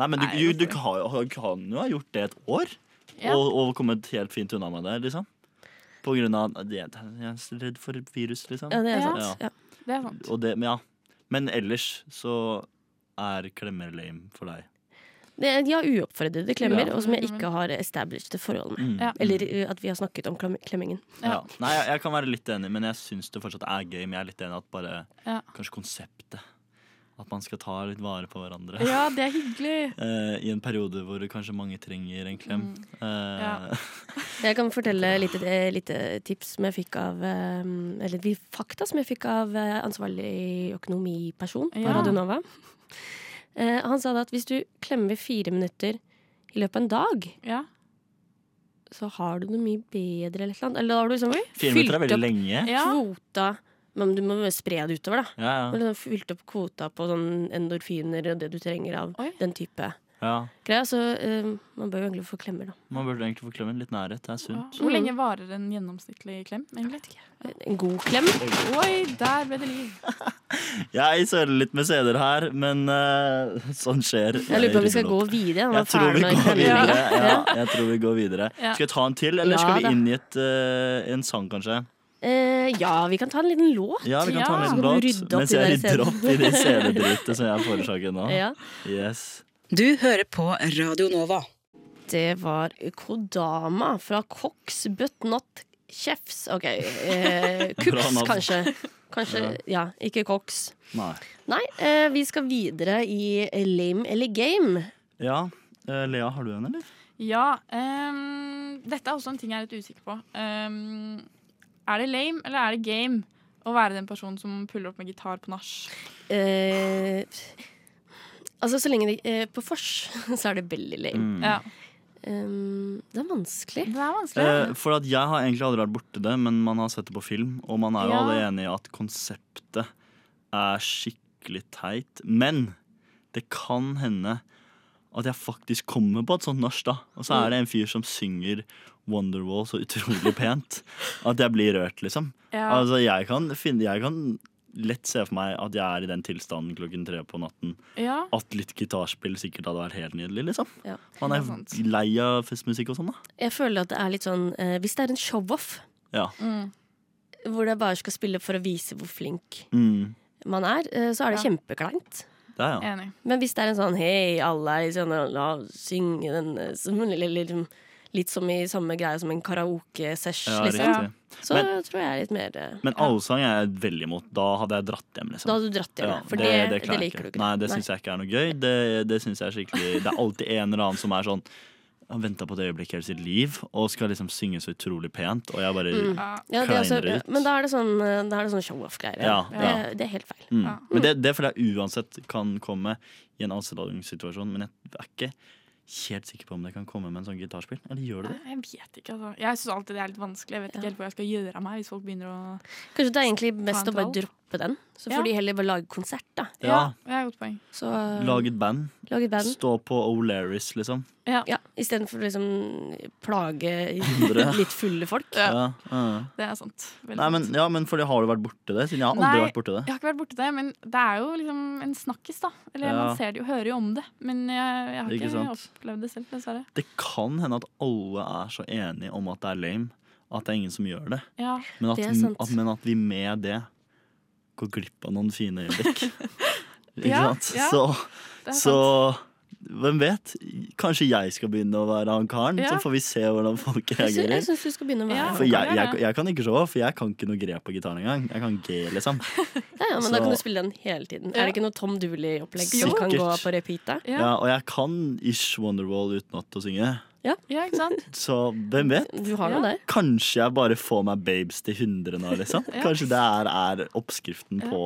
Speaker 2: Nei, men du, jo, du kan, jo- kan jo ha gjort det et år
Speaker 1: Ja.
Speaker 2: og, og kommet helt fint unna med det, liksom. På grunn av at jeg er så redd for virus, liksom.
Speaker 8: Ja, det er
Speaker 1: Ja.
Speaker 8: sant. Ja.
Speaker 1: Det er sant.
Speaker 2: Og det, men, ja. men ellers så er klemmer lame for deg.
Speaker 8: Det er, ja, uoppfordrede klemmer,
Speaker 2: Ja.
Speaker 8: og som jeg ikke har established et forhold med.
Speaker 2: Mm.
Speaker 1: Ja.
Speaker 8: Eller eh, at vi har snakket om klem- klemmingen.
Speaker 2: Ja.
Speaker 1: Ja.
Speaker 2: Nei, jeg, jeg kan være litt enig, men jeg syns det fortsatt er gøy. Men jeg er litt enig at bare
Speaker 1: Ja.
Speaker 2: kanskje konseptet. At man skal ta litt vare på hverandre.
Speaker 1: Ja, det er hyggelig.
Speaker 2: Eh, I en periode hvor kanskje mange trenger en klem. Eh,
Speaker 1: Mm. Ja.
Speaker 8: Jeg kan fortelle litt, eh, lite tips som jeg fikk av eh, Eller de fakta som jeg fikk av eh, ansvarlig økonomiperson på
Speaker 1: Ja.
Speaker 8: Radio Nova. Eh, Han sa da at hvis du klemmer fire minutter i løpet av en dag,
Speaker 1: Ja.
Speaker 8: så har du det mye bedre eller noe. Eller da har du liksom
Speaker 2: Fire minutter er
Speaker 8: fylt
Speaker 2: veldig
Speaker 8: opp
Speaker 2: lenge.
Speaker 1: ja.
Speaker 8: kvota Men du må jo spre det utover, da.
Speaker 2: Ja,
Speaker 8: Du
Speaker 2: ja.
Speaker 8: har liksom fylt opp kvota på sånn endorfiner og det du trenger av
Speaker 1: Oi.
Speaker 8: den type
Speaker 2: ja.
Speaker 8: greier. Så eh, man bør jo egentlig få klemmer, da.
Speaker 2: Man burde egentlig få klemmen litt nærhet. Det er sunt.
Speaker 1: Hvor lenge varer en gjennomsnittlig klem? egentlig?
Speaker 8: En god klem.
Speaker 1: Oi, der ble det liv.
Speaker 2: Jeg søler litt med CD-er her, men eh, sånn skjer.
Speaker 8: Jeg lurer på om vi skal
Speaker 2: ruller
Speaker 8: gå
Speaker 2: opp.
Speaker 8: videre. da.
Speaker 2: Jeg
Speaker 8: Hva
Speaker 2: tror, vi
Speaker 8: er det med
Speaker 2: går
Speaker 8: klemming?
Speaker 2: videre. Ja, jeg tror vi går videre.
Speaker 1: Ja.
Speaker 2: Skal vi ta en til, eller
Speaker 8: Ja,
Speaker 2: skal
Speaker 8: da.
Speaker 2: vi inn i et, eh, en sang, kanskje?
Speaker 8: Eh, ja, vi kan ta en liten låt.
Speaker 2: Ja, vi kan ta en
Speaker 1: Ja.
Speaker 2: liten
Speaker 8: Skal du
Speaker 2: låt
Speaker 8: rydde opp
Speaker 2: mens
Speaker 8: i
Speaker 2: jeg
Speaker 8: den
Speaker 2: rydder
Speaker 8: CD-en?
Speaker 2: opp i det CD-dritet som jeg forårsaker nå.
Speaker 8: Ja.
Speaker 2: Yes.
Speaker 9: Du hører på Radio Nova.
Speaker 8: Det var Kodama fra Cox But Not Chefs. OK. Eh,
Speaker 2: Bra
Speaker 8: Kups,
Speaker 2: navn.
Speaker 8: kanskje. Kanskje, ja, ikke Cox.
Speaker 2: Nei.
Speaker 8: Nei, eh, vi skal videre i Lame eller Game.
Speaker 2: Ja, eh, Lea, har du en, eller?
Speaker 1: Ja, ehm, dette er også en ting jeg er litt usikker på. Ehm, er det lame, eller er det game å være den personen som puller opp med gitar på nach?
Speaker 8: Eh, altså, så lenge det eh, På vors så er det veldig
Speaker 2: Mm.
Speaker 8: lame.
Speaker 1: Ja,
Speaker 8: Eh, det er vanskelig.
Speaker 1: det er vanskelig.
Speaker 2: Eh, for at jeg har egentlig aldri vært borti det, men man har sett det på film. Og man er jo
Speaker 1: Ja.
Speaker 2: alle enig i at konseptet er skikkelig teit. Men det kan hende at jeg faktisk kommer på et sånt nach, da. Og så er det en fyr som synger Wonderwall så utrolig pent at jeg blir rørt, liksom.
Speaker 1: ja.
Speaker 2: Altså, jeg kan, finne, jeg kan lett se for meg at jeg er i den tilstanden klokken tre på natten.
Speaker 1: ja.
Speaker 2: At litt gitarspill sikkert hadde vært helt nydelig, liksom.
Speaker 8: Ja.
Speaker 2: Man
Speaker 1: Det er
Speaker 2: er
Speaker 1: sant.
Speaker 2: lei av festmusikk og sånn, da.
Speaker 8: Jeg føler at det er litt sånn eh, Hvis det er en show-off
Speaker 2: Ja.
Speaker 8: hvor jeg bare skal spille for å vise hvor flink
Speaker 2: Mm.
Speaker 8: man er, eh, så er det
Speaker 1: Ja.
Speaker 8: kjempekleint.
Speaker 2: Det er, ja.
Speaker 1: Enig.
Speaker 8: Men hvis det er en sånn hei, alle er sånn, la oss synge den eh, som- eller, liksom, Litt som i samme greie som en karaoke-sesh,
Speaker 2: Ja,
Speaker 8: liksom.
Speaker 2: riktig.
Speaker 8: Så
Speaker 2: Men-
Speaker 8: tror jeg er litt mer eh,
Speaker 2: Men allsang er jeg veldig imot. Da hadde jeg dratt hjem. liksom
Speaker 8: Da hadde du dratt hjem,
Speaker 2: Ja,
Speaker 8: for det, det,
Speaker 2: klarer jeg
Speaker 8: liker du ikke.
Speaker 2: Nei, det syns jeg ikke er noe gøy. Det, det synes jeg er skikkelig Det er alltid en eller annen som er sånn har venta på det øyeblikket hele sitt liv og skal liksom synge så utrolig pent, og jeg bare
Speaker 8: Mm.
Speaker 1: Ja.
Speaker 8: Ja, det er også,
Speaker 2: kleinere ut.
Speaker 8: men da er det sånn, eh, da er det sånn show-off-greier.
Speaker 2: Ja, ja.
Speaker 8: Det, det er helt feil.
Speaker 2: mm.
Speaker 1: Ja.
Speaker 2: Men det, det føler jeg uansett kan komme i en ansettelsessituasjon, men jeg er ikke helt sikker på om det kan komme med en sånn gitarspill. Eller gjør det det?
Speaker 1: Jeg vet ikke, altså. Jeg syns alltid det er litt vanskelig. Jeg vet ikke helt hvor jeg skal gjøre av meg hvis folk begynner å
Speaker 8: Kanskje det er egentlig best
Speaker 1: Ta en
Speaker 8: å bare
Speaker 1: tall.
Speaker 8: droppe den. Så
Speaker 1: Ja.
Speaker 8: får de heller bare lage konsert, da.
Speaker 1: Ja,
Speaker 2: Ja.
Speaker 1: det er et godt poeng.
Speaker 8: Så eh,
Speaker 2: Lag et band.
Speaker 8: lag et band.
Speaker 2: Stå på O'Learys, liksom.
Speaker 1: Ja,
Speaker 8: Ja, Istedenfor å liksom plage
Speaker 2: Andre.
Speaker 8: litt fulle folk.
Speaker 1: Ja.
Speaker 2: Ja. ja.
Speaker 1: det er sant. Veldig
Speaker 2: Nei, men,
Speaker 1: sant.
Speaker 2: ja, men fordi har du vært borti det? Siden jeg har aldri
Speaker 1: Nei.
Speaker 2: vært borti det.
Speaker 1: Jeg har ikke vært borti det, men det er jo liksom en snakkis, da. Eller
Speaker 2: Ja.
Speaker 1: man ser det jo, hører jo om det. Men jeg, jeg har
Speaker 2: Ikke
Speaker 1: ikke,
Speaker 2: sant?
Speaker 1: opplevd det selv, dessverre.
Speaker 2: Det kan hende at alle er så enige om at det er lame, at det er ingen som gjør det.
Speaker 1: Ja,
Speaker 2: Men at,
Speaker 8: Det er sant.
Speaker 2: at, men at vi med det går glipp av noen fine øyeblikk. Ikke
Speaker 1: Ja,
Speaker 2: sant?
Speaker 1: ja,
Speaker 2: så,
Speaker 1: det er
Speaker 2: så hvem vet? Kanskje jeg skal begynne å være han karen?
Speaker 1: Ja.
Speaker 2: Så får vi se hvordan folk
Speaker 8: Jeg sy-
Speaker 2: reagerer.
Speaker 8: Jeg syns du skal begynne å være
Speaker 1: Ja.
Speaker 2: For
Speaker 1: kan
Speaker 2: jeg,
Speaker 1: gjøre
Speaker 2: jeg,
Speaker 1: det.
Speaker 2: jeg kan ikke se, for jeg kan ikke noe grep på gitaren engang. Jeg kan G, liksom.
Speaker 8: ja, ja, Men da
Speaker 2: Så-
Speaker 8: kan du spille den hele tiden. Er det ikke noe Tom Dooley-opplegg som
Speaker 2: Sikkert.
Speaker 8: kan gå på repeat? da?
Speaker 1: Ja.
Speaker 2: Ja, og jeg kan ish Wonderwall utenat å synge.
Speaker 1: Ja, ikke sant?
Speaker 2: Så hvem vet?
Speaker 8: Du har
Speaker 1: Ja.
Speaker 8: noe der.
Speaker 2: Kanskje jeg bare får meg babes til 100 nå, liksom.
Speaker 1: Ja.
Speaker 2: Kanskje det er, er oppskriften på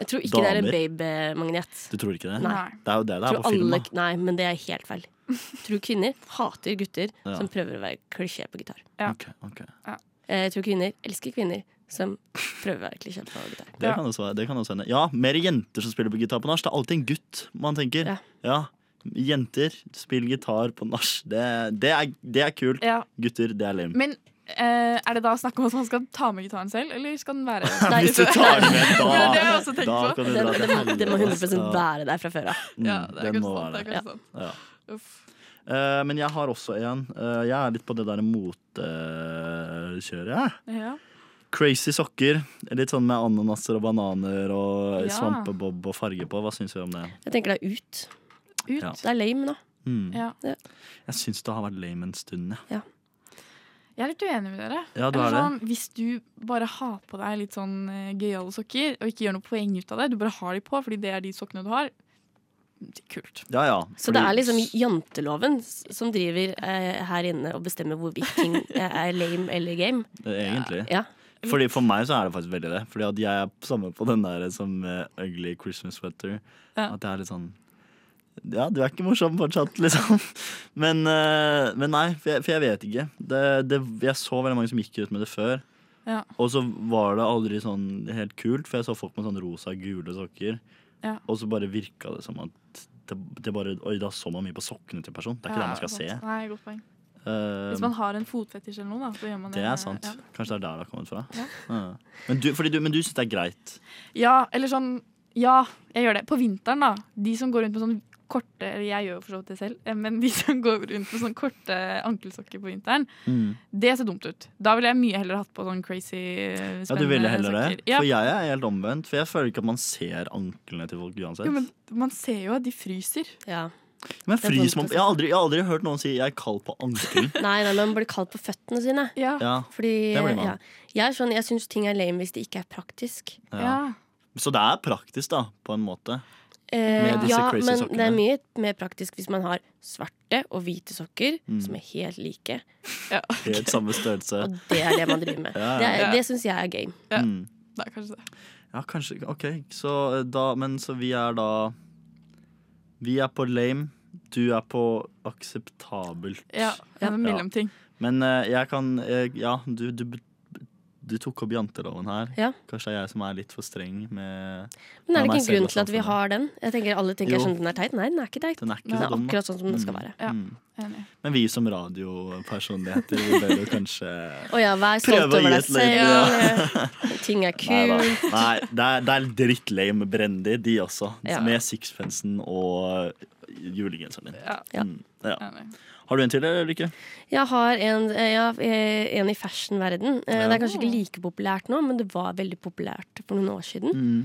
Speaker 8: Jeg tror ikke det er en
Speaker 2: Damer.
Speaker 8: babe-magnet.
Speaker 2: Du tror ikke det?
Speaker 1: Nei.
Speaker 2: Det er jo det det er
Speaker 8: Tror
Speaker 2: på film.
Speaker 8: alle,
Speaker 2: da.
Speaker 8: nei, men det er helt feil. Tror kvinner hater gutter
Speaker 2: Ja.
Speaker 8: som prøver å være klisjé på gitar.
Speaker 1: Ja.
Speaker 2: Ok, ok.
Speaker 8: Eh, Jeg tror kvinner elsker kvinner som prøver å være klisjé på gitar.
Speaker 2: Det,
Speaker 1: Ja.
Speaker 2: kan også, være- det kan også hende. Ja, mer jenter som spiller på gitar på nach. Det er alltid en gutt man tenker.
Speaker 8: Ja.
Speaker 2: Ja. Jenter, spill gitar på nach. Det, det, er, det er kult.
Speaker 1: Ja.
Speaker 2: Gutter, det er lame.
Speaker 1: Men eh, er det da snakk om at man skal ta med gitaren selv, eller skal den være
Speaker 8: Nei,
Speaker 2: Hvis du tar den med, da,
Speaker 1: Ja, det har jeg også tenkt
Speaker 2: da
Speaker 1: på.
Speaker 2: kan du
Speaker 8: Det,
Speaker 2: dra til
Speaker 8: det, må- det må
Speaker 2: helvete, ass.
Speaker 8: 100 være der fra før av.
Speaker 2: Mm,
Speaker 1: Ja, det er
Speaker 2: den
Speaker 1: kanskje
Speaker 2: må
Speaker 1: sant.
Speaker 2: være
Speaker 1: Det er
Speaker 2: det.
Speaker 1: kanskje sant.
Speaker 2: Ja.
Speaker 1: Uff.
Speaker 2: Eh, men jeg har også en. Eh, jeg er litt på det der motekjøret, jeg.
Speaker 1: Ja.
Speaker 2: Crazy sokker. Litt sånn med ananaser og bananer og
Speaker 1: Ja.
Speaker 2: svampebob og farge på. Hva syns vi om det?
Speaker 8: Jeg tenker det er ut.
Speaker 1: Ut.
Speaker 2: Ja.
Speaker 8: Det er lame nå.
Speaker 2: Mm.
Speaker 1: Ja.
Speaker 2: Jeg syns det har vært lame en stund, jeg.
Speaker 1: Jeg er litt uenig med dere.
Speaker 2: Ja, du
Speaker 1: Eller
Speaker 2: er det?
Speaker 1: sånn, Hvis du bare har på deg litt sånn eh, gøyale sokker, og ikke gjør noe poeng ut av det, du bare har de på fordi det er de sokkene du har, kult.
Speaker 2: Ja, ja.
Speaker 8: Så det er liksom janteloven s- som driver eh, her inne og bestemmer hvorvidt ting eh, er lame eller game.
Speaker 2: Eh, Egentlig.
Speaker 8: Ja.
Speaker 2: Fordi For meg så er det faktisk veldig det. Fordi at jeg er samme på den der som eh, Ugly Christmas Sweater.
Speaker 1: Ja.
Speaker 2: At jeg er litt sånn Ja, du er ikke morsom fortsatt, liksom. Men, eh, men nei, for jeg, for jeg vet ikke. Det, det, jeg så veldig mange som gikk ut med det før.
Speaker 1: Ja.
Speaker 2: Og så var det aldri sånn helt kult, for jeg så folk med sånn rosa og gule sokker.
Speaker 1: Ja.
Speaker 2: Og så bare virka det som at det, det bare, Oi, da så man mye på sokkene til en person. Det er ikke det man skal se.
Speaker 1: Nei, godt poeng.
Speaker 2: Eh,
Speaker 1: Hvis man har en fotfetisj eller noe, da, så gjør man det.
Speaker 2: det er sant.
Speaker 1: Ja.
Speaker 2: Kanskje det er der det har kommet fra.
Speaker 1: Ja.
Speaker 2: Ja. Men du, fordi du, men du syns det er greit?
Speaker 1: Ja, eller sånn Ja, jeg gjør det. På vinteren, da. De som går rundt med sånn korte Eller jeg gjør jo for så vidt det selv, eh, men de som går rundt med sånn korte ankelsokker på vinteren, det ser dumt ut. Da ville jeg mye heller hatt på sånn crazy eh, spennende
Speaker 2: Ja, du ville heller
Speaker 1: sokker.
Speaker 2: det?
Speaker 1: Ja.
Speaker 2: For jeg er helt omvendt. For jeg føler ikke at man ser anklene til folk uansett.
Speaker 1: Jo, men sånn
Speaker 2: men
Speaker 1: man ser jo at de fryser.
Speaker 8: Ja. er
Speaker 2: frys
Speaker 8: vondt å
Speaker 2: man, jeg, har aldri, jeg har aldri hørt noen si 'jeg er kald på ankelen'.
Speaker 8: Nei, nei, man blir kalt på føttene sine.
Speaker 1: Ja.
Speaker 2: ja,
Speaker 8: Fordi,
Speaker 2: Det blir man.
Speaker 8: ja. Jeg, er sånn, jeg syns ting er lame hvis det ikke er praktisk.
Speaker 2: ja.
Speaker 1: ja.
Speaker 2: Så det er praktisk, da, på en måte.
Speaker 8: Eh,
Speaker 2: Med disse
Speaker 8: ja,
Speaker 2: crazy
Speaker 8: men
Speaker 2: sokkene.
Speaker 8: det er mye mer praktisk hvis man har svarte og hvite sokker
Speaker 2: Mm.
Speaker 8: som er helt like.
Speaker 2: Helt samme størrelse.
Speaker 8: Og det er det man driver med.
Speaker 2: Ja, ja.
Speaker 8: Det, er-
Speaker 1: Ja.
Speaker 8: det syns jeg er game.
Speaker 1: Ja.
Speaker 2: Mm.
Speaker 1: Det er kanskje det.
Speaker 2: ja, kanskje. OK, så eh, da Men så vi er da Vi er på lame. Du er på akseptabelt.
Speaker 1: Ja, det er en
Speaker 2: Ja.
Speaker 1: mellomting.
Speaker 2: Men eh, jeg kan eh, Ja, du, du, du tok opp janteloven her.
Speaker 8: Ja.
Speaker 2: Kanskje det er jeg som er litt for streng med
Speaker 8: Men
Speaker 2: Ja,
Speaker 8: er det
Speaker 2: meg
Speaker 8: ikke en
Speaker 2: selv
Speaker 8: grunn
Speaker 2: og
Speaker 8: til at vi
Speaker 2: samfunnet.
Speaker 8: har den? Jeg tenker Alle tenker
Speaker 2: Jo.
Speaker 8: sånn den er teit. Nei, den er ikke teit.
Speaker 2: Den er ikke
Speaker 8: Den
Speaker 2: så
Speaker 8: er
Speaker 2: dum. da.
Speaker 8: akkurat sånn som den skal være.
Speaker 1: Ja.
Speaker 2: Mm.
Speaker 1: Enig.
Speaker 2: Men vi som radiopersonligheter vi bør jo kanskje
Speaker 8: Å ja, vær
Speaker 2: Prøve å
Speaker 8: stolt over
Speaker 2: gi
Speaker 8: deg
Speaker 2: et lite-
Speaker 8: selv. Ting er
Speaker 2: Neida.
Speaker 8: kult.
Speaker 2: Nei, det er, det er drittlame Brendy, de også.
Speaker 8: Ja.
Speaker 2: Med sixpensen og julegenseren din.
Speaker 1: Ja.
Speaker 8: Ja.
Speaker 2: Mm, ja.
Speaker 1: Enig.
Speaker 2: Har du en til, eller ikke?
Speaker 8: Jeg har en, eh, ja, eh, en i fashionverden. Eh,
Speaker 2: Ja.
Speaker 8: Det er kanskje ikke like populært nå, men det var veldig populært for noen år siden.
Speaker 2: Mm.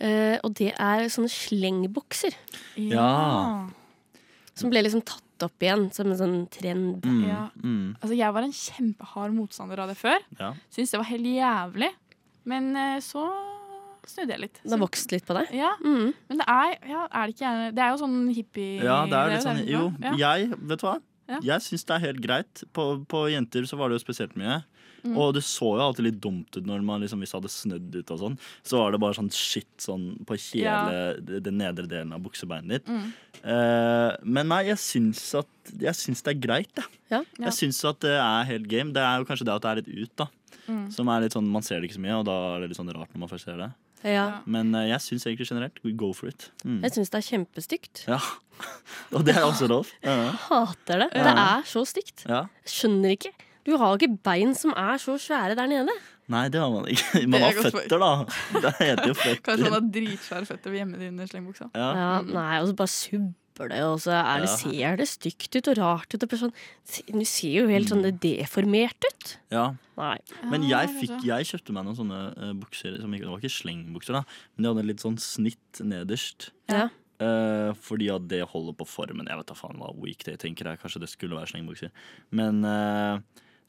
Speaker 8: Eh, og det er sånne slengbukser
Speaker 2: Ja.
Speaker 8: som ble liksom tatt opp igjen som en sånn trend.
Speaker 2: Mm.
Speaker 1: Ja.
Speaker 2: Mm.
Speaker 1: Altså, jeg var en kjempehard motstander av det før.
Speaker 2: Ja.
Speaker 1: Syntes det var helt jævlig. Men eh, så snudde jeg litt.
Speaker 8: Det har vokst litt på deg.
Speaker 1: Ja,
Speaker 8: Mm.
Speaker 1: men det er, ja, er det ikke gjerne Det er jo sånn hippie
Speaker 2: ja, det er jo litt
Speaker 1: det
Speaker 2: sånn
Speaker 1: det
Speaker 2: Jo,
Speaker 1: er bra. Ja.
Speaker 2: jeg Vet du hva?
Speaker 1: Ja.
Speaker 2: Jeg syns det er helt greit. På, på jenter så var det jo spesielt mye.
Speaker 1: Mm.
Speaker 2: Og det så jo alltid litt dumt ut når man liksom, hvis det hadde snødd ut og sånn. Så var det bare sånn shit sånn på hele den nedre delen av buksebeinet ditt.
Speaker 1: Mm.
Speaker 2: Eh, men nei, jeg syns at Jeg syns det er greit, jeg.
Speaker 8: Ja.
Speaker 1: Ja.
Speaker 2: Jeg syns at det er helt game. Det er jo kanskje det at det er litt ut, da.
Speaker 1: Mm.
Speaker 2: Som er litt sånn, Man ser det ikke så mye, og da er det litt sånn rart når man først ser det.
Speaker 8: Ja.
Speaker 1: Ja.
Speaker 2: Men eh, jeg syns egentlig generelt go for it. Mm.
Speaker 8: Jeg syns det er kjempestygt.
Speaker 2: Ja. Og det er også lov. Ja.
Speaker 8: Hater det. Det er så stygt.
Speaker 2: ja.
Speaker 8: Jeg Skjønner ikke. Du har jo ikke bein som er så svære der nede.
Speaker 2: Nei, det har man ikke.
Speaker 1: Det
Speaker 2: Man
Speaker 1: er
Speaker 2: har
Speaker 1: godt
Speaker 2: føtter, da. Det heter jo
Speaker 1: Kanskje han
Speaker 2: føtter.
Speaker 1: har dritsvære føtter ved hjemme under slengbuksa.
Speaker 2: Ja.
Speaker 8: Ja, nei, og så bare subber det, og så er det,
Speaker 2: Ja.
Speaker 8: ser det stygt ut og rart ut. Og bare sånn, se- du ser jo helt sånn
Speaker 2: Mm.
Speaker 8: deformert ut.
Speaker 2: Ja.
Speaker 8: Nei.
Speaker 2: Men
Speaker 1: Ja,
Speaker 2: jeg,
Speaker 1: kanskje.
Speaker 2: fikk, jeg kjøpte meg noen sånne eh, bukser som ikke, Det var ikke slengbukser, da, men de hadde litt sånn snitt nederst.
Speaker 8: Ja.
Speaker 2: Eh, fordi at det holder på formen. Jeg vet da faen hva weekday tenker jeg. Kanskje det skulle være slengbukser. Men eh,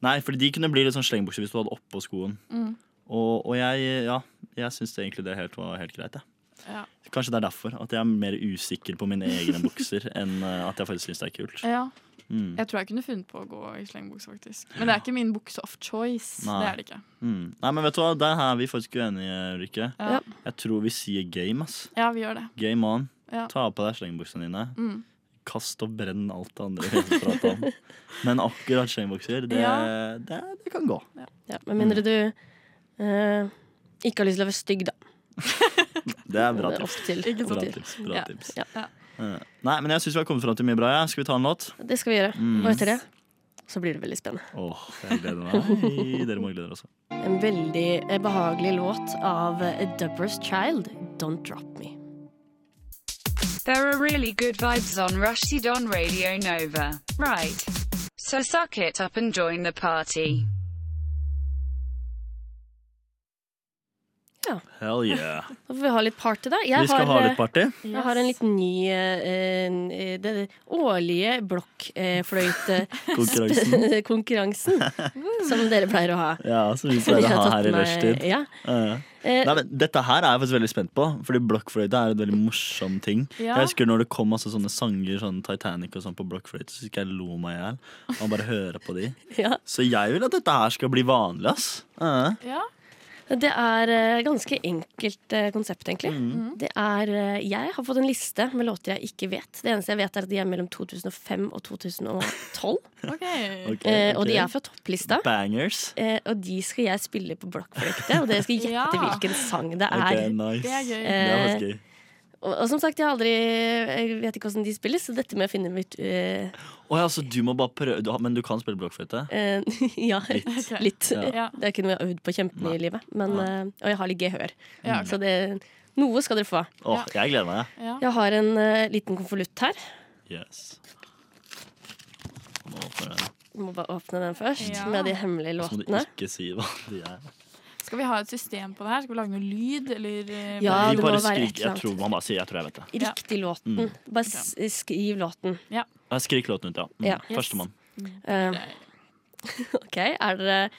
Speaker 2: Nei, fordi de kunne bli litt sånn slengbukser hvis du hadde oppå skoen.
Speaker 1: Mm.
Speaker 2: Og, og jeg, ja, jeg syns egentlig det helt var helt greit. jeg.
Speaker 1: Ja.
Speaker 2: Kanskje det er derfor at jeg er mer usikker på mine egne bukser enn eh, at jeg faktisk syns det er kult.
Speaker 1: Ja.
Speaker 2: Mm.
Speaker 1: Jeg tror jeg kunne funnet på å gå i slengbukse, faktisk. Men det er ikke min bukse of choice.
Speaker 2: Nei.
Speaker 1: Det er det ikke.
Speaker 2: Mm. Nei, men vet du hva, der er vi faktisk uenige, Rikke.
Speaker 1: Ja.
Speaker 2: Jeg tror vi sier game, ass.
Speaker 1: Ja, vi gjør det.
Speaker 2: Game on.
Speaker 1: Ja.
Speaker 2: Ta på deg slengbuksene dine.
Speaker 1: Mm.
Speaker 2: Kast og brenn alt det andre vi har pratet om. Men akkurat slengbukser, det,
Speaker 1: Ja.
Speaker 2: det, det kan gå.
Speaker 8: Ja, Med
Speaker 2: Mm.
Speaker 8: mindre du eh, ikke har lyst til å være stygg, da.
Speaker 2: Det er bra
Speaker 8: Det er
Speaker 2: tips.
Speaker 8: opp til.
Speaker 1: Ikke
Speaker 2: Bra
Speaker 1: sant?
Speaker 2: tips, bra
Speaker 8: Ja,
Speaker 2: tips.
Speaker 8: ja.
Speaker 2: Eh, Nei, men jeg syns vi har kommet fram til mye bra. Ja. Skal vi ta en låt?
Speaker 8: Det skal vi gjøre.
Speaker 2: Mm.
Speaker 8: Og etter det så blir det veldig spennende.
Speaker 2: Åh, jeg gleder meg. Nei, dere må glede dere også.
Speaker 8: En veldig eh, behagelig låt av eh, A Dubber's Child, 'Don't Drop Me'.
Speaker 10: There are really good vibes on Rushdie on Radio Nova. Right. So suck it up and join the party.
Speaker 2: Hell yeah.
Speaker 8: Da får vi ha litt party, da. Jeg
Speaker 2: Vi skal ha
Speaker 8: har, eh,
Speaker 2: litt party.
Speaker 8: Jeg har en liten ny eh, en, eh, Det det årlige blokkfløytekonkurransen.
Speaker 2: Konkurransen.
Speaker 8: konkurransen som dere pleier å ha.
Speaker 2: Ja, som vi
Speaker 8: Som
Speaker 2: pleier å
Speaker 8: jeg
Speaker 2: ha
Speaker 8: har tatt
Speaker 2: her i
Speaker 8: med-
Speaker 2: rushtid.
Speaker 8: Ja.
Speaker 2: Eh,
Speaker 8: Eh,
Speaker 2: Nei, men Dette her er jeg faktisk veldig spent på, Fordi blokkfløyte er en veldig morsom ting.
Speaker 1: Ja.
Speaker 2: Jeg husker når det kom masse sånne sanger Sånn Titanic og sånn på blokkfløyte, så husker jeg lo meg i hjel. av å bare høre på de.
Speaker 8: ja.
Speaker 2: Så jeg vil at dette her skal bli vanlig, ass. Eh,
Speaker 1: Ja.
Speaker 8: Det er eh, ganske enkelt eh, konsept, egentlig.
Speaker 2: Mm.
Speaker 8: Det er, eh, jeg har fått en liste med låter jeg ikke vet. Det eneste jeg vet, er at de er mellom 2005 og 2012.
Speaker 1: OK.
Speaker 2: ok,
Speaker 8: eh, Og de
Speaker 2: ok.
Speaker 8: er fra topplista.
Speaker 2: Bangers.
Speaker 8: Eh, Og de skal jeg spille på blokkfløyte, og dere skal gjette
Speaker 1: Ja.
Speaker 8: hvilken sang det er. Eh,
Speaker 2: Ok, nice.
Speaker 1: Det er gøy.
Speaker 2: Det er faktisk gøy.
Speaker 8: Og, og som sagt, jeg, har aldri, jeg vet ikke hvordan de spilles, så dette med å finne ut eh,
Speaker 2: Å ja, så du må bare prøve du, har- Men du kan spille blokkfløyte?
Speaker 8: eh, Ja, litt.
Speaker 1: Ok. Ja.
Speaker 8: Det er ikke noe jeg har øvd på kjempemye i livet. Men, eh, og jeg har litt gehør.
Speaker 1: Ja, ok.
Speaker 8: Så det, noe skal dere få.
Speaker 2: Åh, jeg gleder meg,
Speaker 1: Ja.
Speaker 8: Jeg har en eh, liten konvolutt her.
Speaker 2: jeg. Yes. Nå åpner jeg den.
Speaker 8: Du må bare åpne den først,
Speaker 1: Ja.
Speaker 8: med de hemmelige
Speaker 2: Så må du
Speaker 8: låtene.
Speaker 2: ikke si hva de er.
Speaker 1: Skal vi ha et system på det her? Skal vi lage noe lyd, eller eh,
Speaker 8: Ja,
Speaker 2: Vi
Speaker 8: det må
Speaker 2: bare
Speaker 8: være et
Speaker 2: skrik, jeg
Speaker 8: eller
Speaker 2: tror
Speaker 8: annet.
Speaker 2: man bare sier 'jeg tror jeg vet det'.
Speaker 1: Ja.
Speaker 8: Riktig låten. Bare s- skriv låten.
Speaker 2: Ja, Skrik låten ut, ja. Mm.
Speaker 8: Ja.
Speaker 2: Førstemann.
Speaker 8: Eh, OK, er dere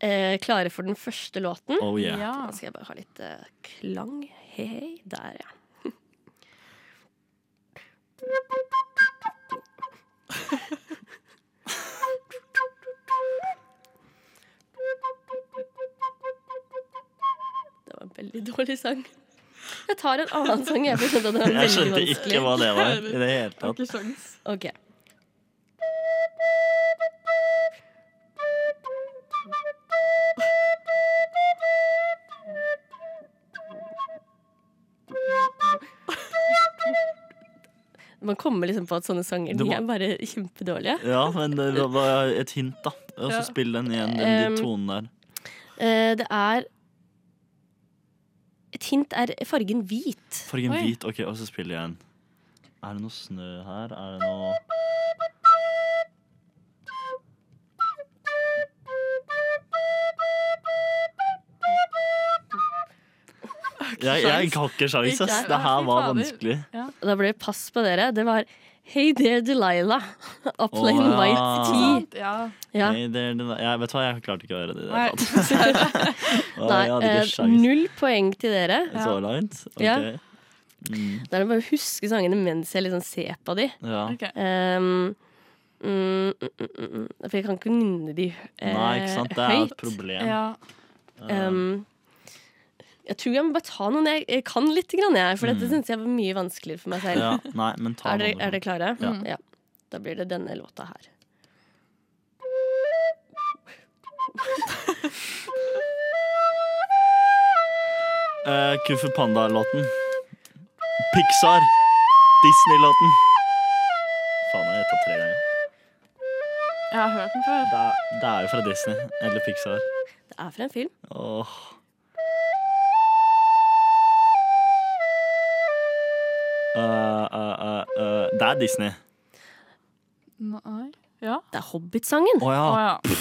Speaker 8: eh, klare for den første låten?
Speaker 2: Oh yeah.
Speaker 1: Ja.
Speaker 8: Da skal jeg bare ha litt eh, klang. Hei, hei. Der, ja. Det var en veldig dårlig sang. Jeg tar en annen sang. Jeg for jeg skjønte at den var
Speaker 2: Jeg
Speaker 8: veldig
Speaker 2: skjønte ikke
Speaker 8: vanskelig.
Speaker 2: hva det var i det hele tatt.
Speaker 1: Ikke sjans.
Speaker 8: Ok. Man kommer liksom på at sånne sanger
Speaker 2: Du
Speaker 8: de
Speaker 2: må-
Speaker 8: er bare kjempedårlige.
Speaker 2: Ja, men det var et hint, da. Og så
Speaker 1: Ja.
Speaker 2: spill den igjen, den, de
Speaker 8: Um,
Speaker 2: tonene der.
Speaker 8: Eh, Det er Et hint er fargen hvit.
Speaker 2: Fargen
Speaker 1: Oi.
Speaker 2: hvit, ok, og så spiller jeg en. Er det noe snø her? Er det noe Jeg, jeg har ikke sjans, ass.
Speaker 1: Ikke-
Speaker 2: Det her var
Speaker 1: Fy fader.
Speaker 2: vanskelig.
Speaker 8: Da ble det pass på dere. Det var Hey there, Delilah. A plain
Speaker 2: Å, ja. Sånn.
Speaker 8: white tea.
Speaker 1: Sant, Ja.
Speaker 8: Ja.
Speaker 2: Nei, det, det, jeg vet du hva, jeg klarte ikke å gjøre det. i det
Speaker 1: Nei.
Speaker 2: hele tatt. Å,
Speaker 8: Nei,
Speaker 2: jeg hadde
Speaker 8: eh,
Speaker 2: ikke sjans
Speaker 8: null poeng til dere.
Speaker 2: så langt. Ok.
Speaker 8: Ja.
Speaker 2: Mm,
Speaker 8: Da er det bare å huske sangene mens jeg liksom ser på de.
Speaker 2: ja.
Speaker 1: Ok.
Speaker 8: Ehm, mm, mm, mm, mm, for jeg kan ikke nynne de eh,
Speaker 2: Nei, ikke sant. Det er et
Speaker 8: høyt.
Speaker 2: problem. Eh,
Speaker 1: Ja.
Speaker 8: Ehm, jeg tror jeg må bare ta noen jeg, jeg kan litt, grann, jeg, for dette
Speaker 2: Mm.
Speaker 8: syns jeg var mye vanskeligere for meg selv.
Speaker 2: Ja, nei, men ta
Speaker 8: Er, dere,
Speaker 2: noe.
Speaker 8: er dere klare?
Speaker 2: Ja.
Speaker 8: Da blir det denne låta her.
Speaker 2: Eh, Kufu Panda-låten. Pixar. Disney-låten. Faen, jeg har tatt tre ganger.
Speaker 1: Jeg har hørt den før.
Speaker 2: Det er, det er jo fra Disney. Eller Pixar.
Speaker 8: Det er fra en film.
Speaker 2: Åh. Eh, eh, eh, eh, det er Disney.
Speaker 1: Nei. Ja.
Speaker 2: Ah.
Speaker 8: Det er Hobbit-sangen.
Speaker 2: Å ja.
Speaker 1: Å ja.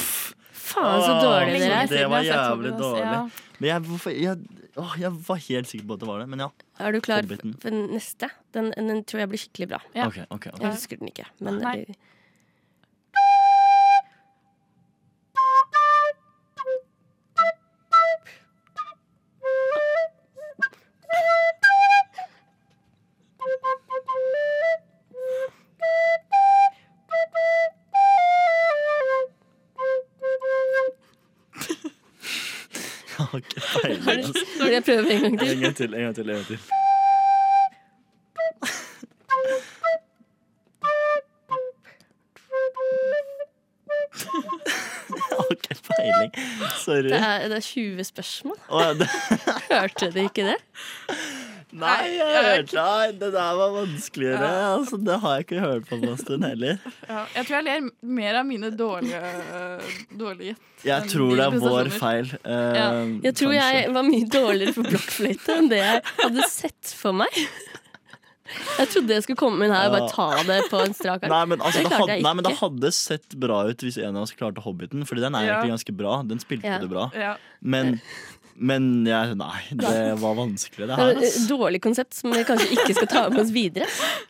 Speaker 8: faen, så dårlig dere er.
Speaker 2: Det var jævlig dårlig. Men jeg, hvorfor, jeg, åh, jeg var helt sikker på at det var det, men ja.
Speaker 8: Er du klar for,
Speaker 2: Hobbiten.
Speaker 8: for neste? Den, den tror jeg blir skikkelig bra.
Speaker 2: Ja. Ok, ok, ok.
Speaker 8: Jeg husker den ikke. Men
Speaker 1: Nei.
Speaker 8: det-
Speaker 2: Jeg har ikke peiling. altså.
Speaker 8: Vil jeg prøve en gang til?
Speaker 2: En gang til, en gang til. En gang til. Jeg har ikke peiling. Sorry.
Speaker 8: det, er, det er 20 spørsmål.
Speaker 2: Å, ja, det,
Speaker 8: Hørte du ikke det?
Speaker 2: nei, jeg hørte Nei, det der var vanskeligere. Altså, det har jeg ikke hørt på på en stund heller.
Speaker 1: Ja, jeg tror jeg ler mer av mine dårlige, eh, dårlige gjett.
Speaker 2: Jeg tror det er vår feil. eh,
Speaker 8: Jeg tror
Speaker 2: kanskje.
Speaker 8: jeg var mye dårligere på blokkfløyte enn det jeg hadde sett for meg. Jeg trodde jeg skulle komme inn her og bare ta det på en strak
Speaker 2: Nei, men, altså, det,
Speaker 8: klarte
Speaker 2: hadde,
Speaker 8: jeg
Speaker 2: nei, men det
Speaker 8: ikke.
Speaker 2: hadde sett bra ut hvis en av oss klarte Hobbiten, Fordi den er
Speaker 8: Ja.
Speaker 2: egentlig ganske bra. Den spilte
Speaker 8: Ja.
Speaker 2: det bra.
Speaker 8: Ja.
Speaker 2: Men, men jeg, nei, det var vanskelig, det
Speaker 8: Det
Speaker 2: her.
Speaker 8: var
Speaker 2: ass.
Speaker 8: et dårlig konsept som vi kanskje ikke skal ta med oss videre.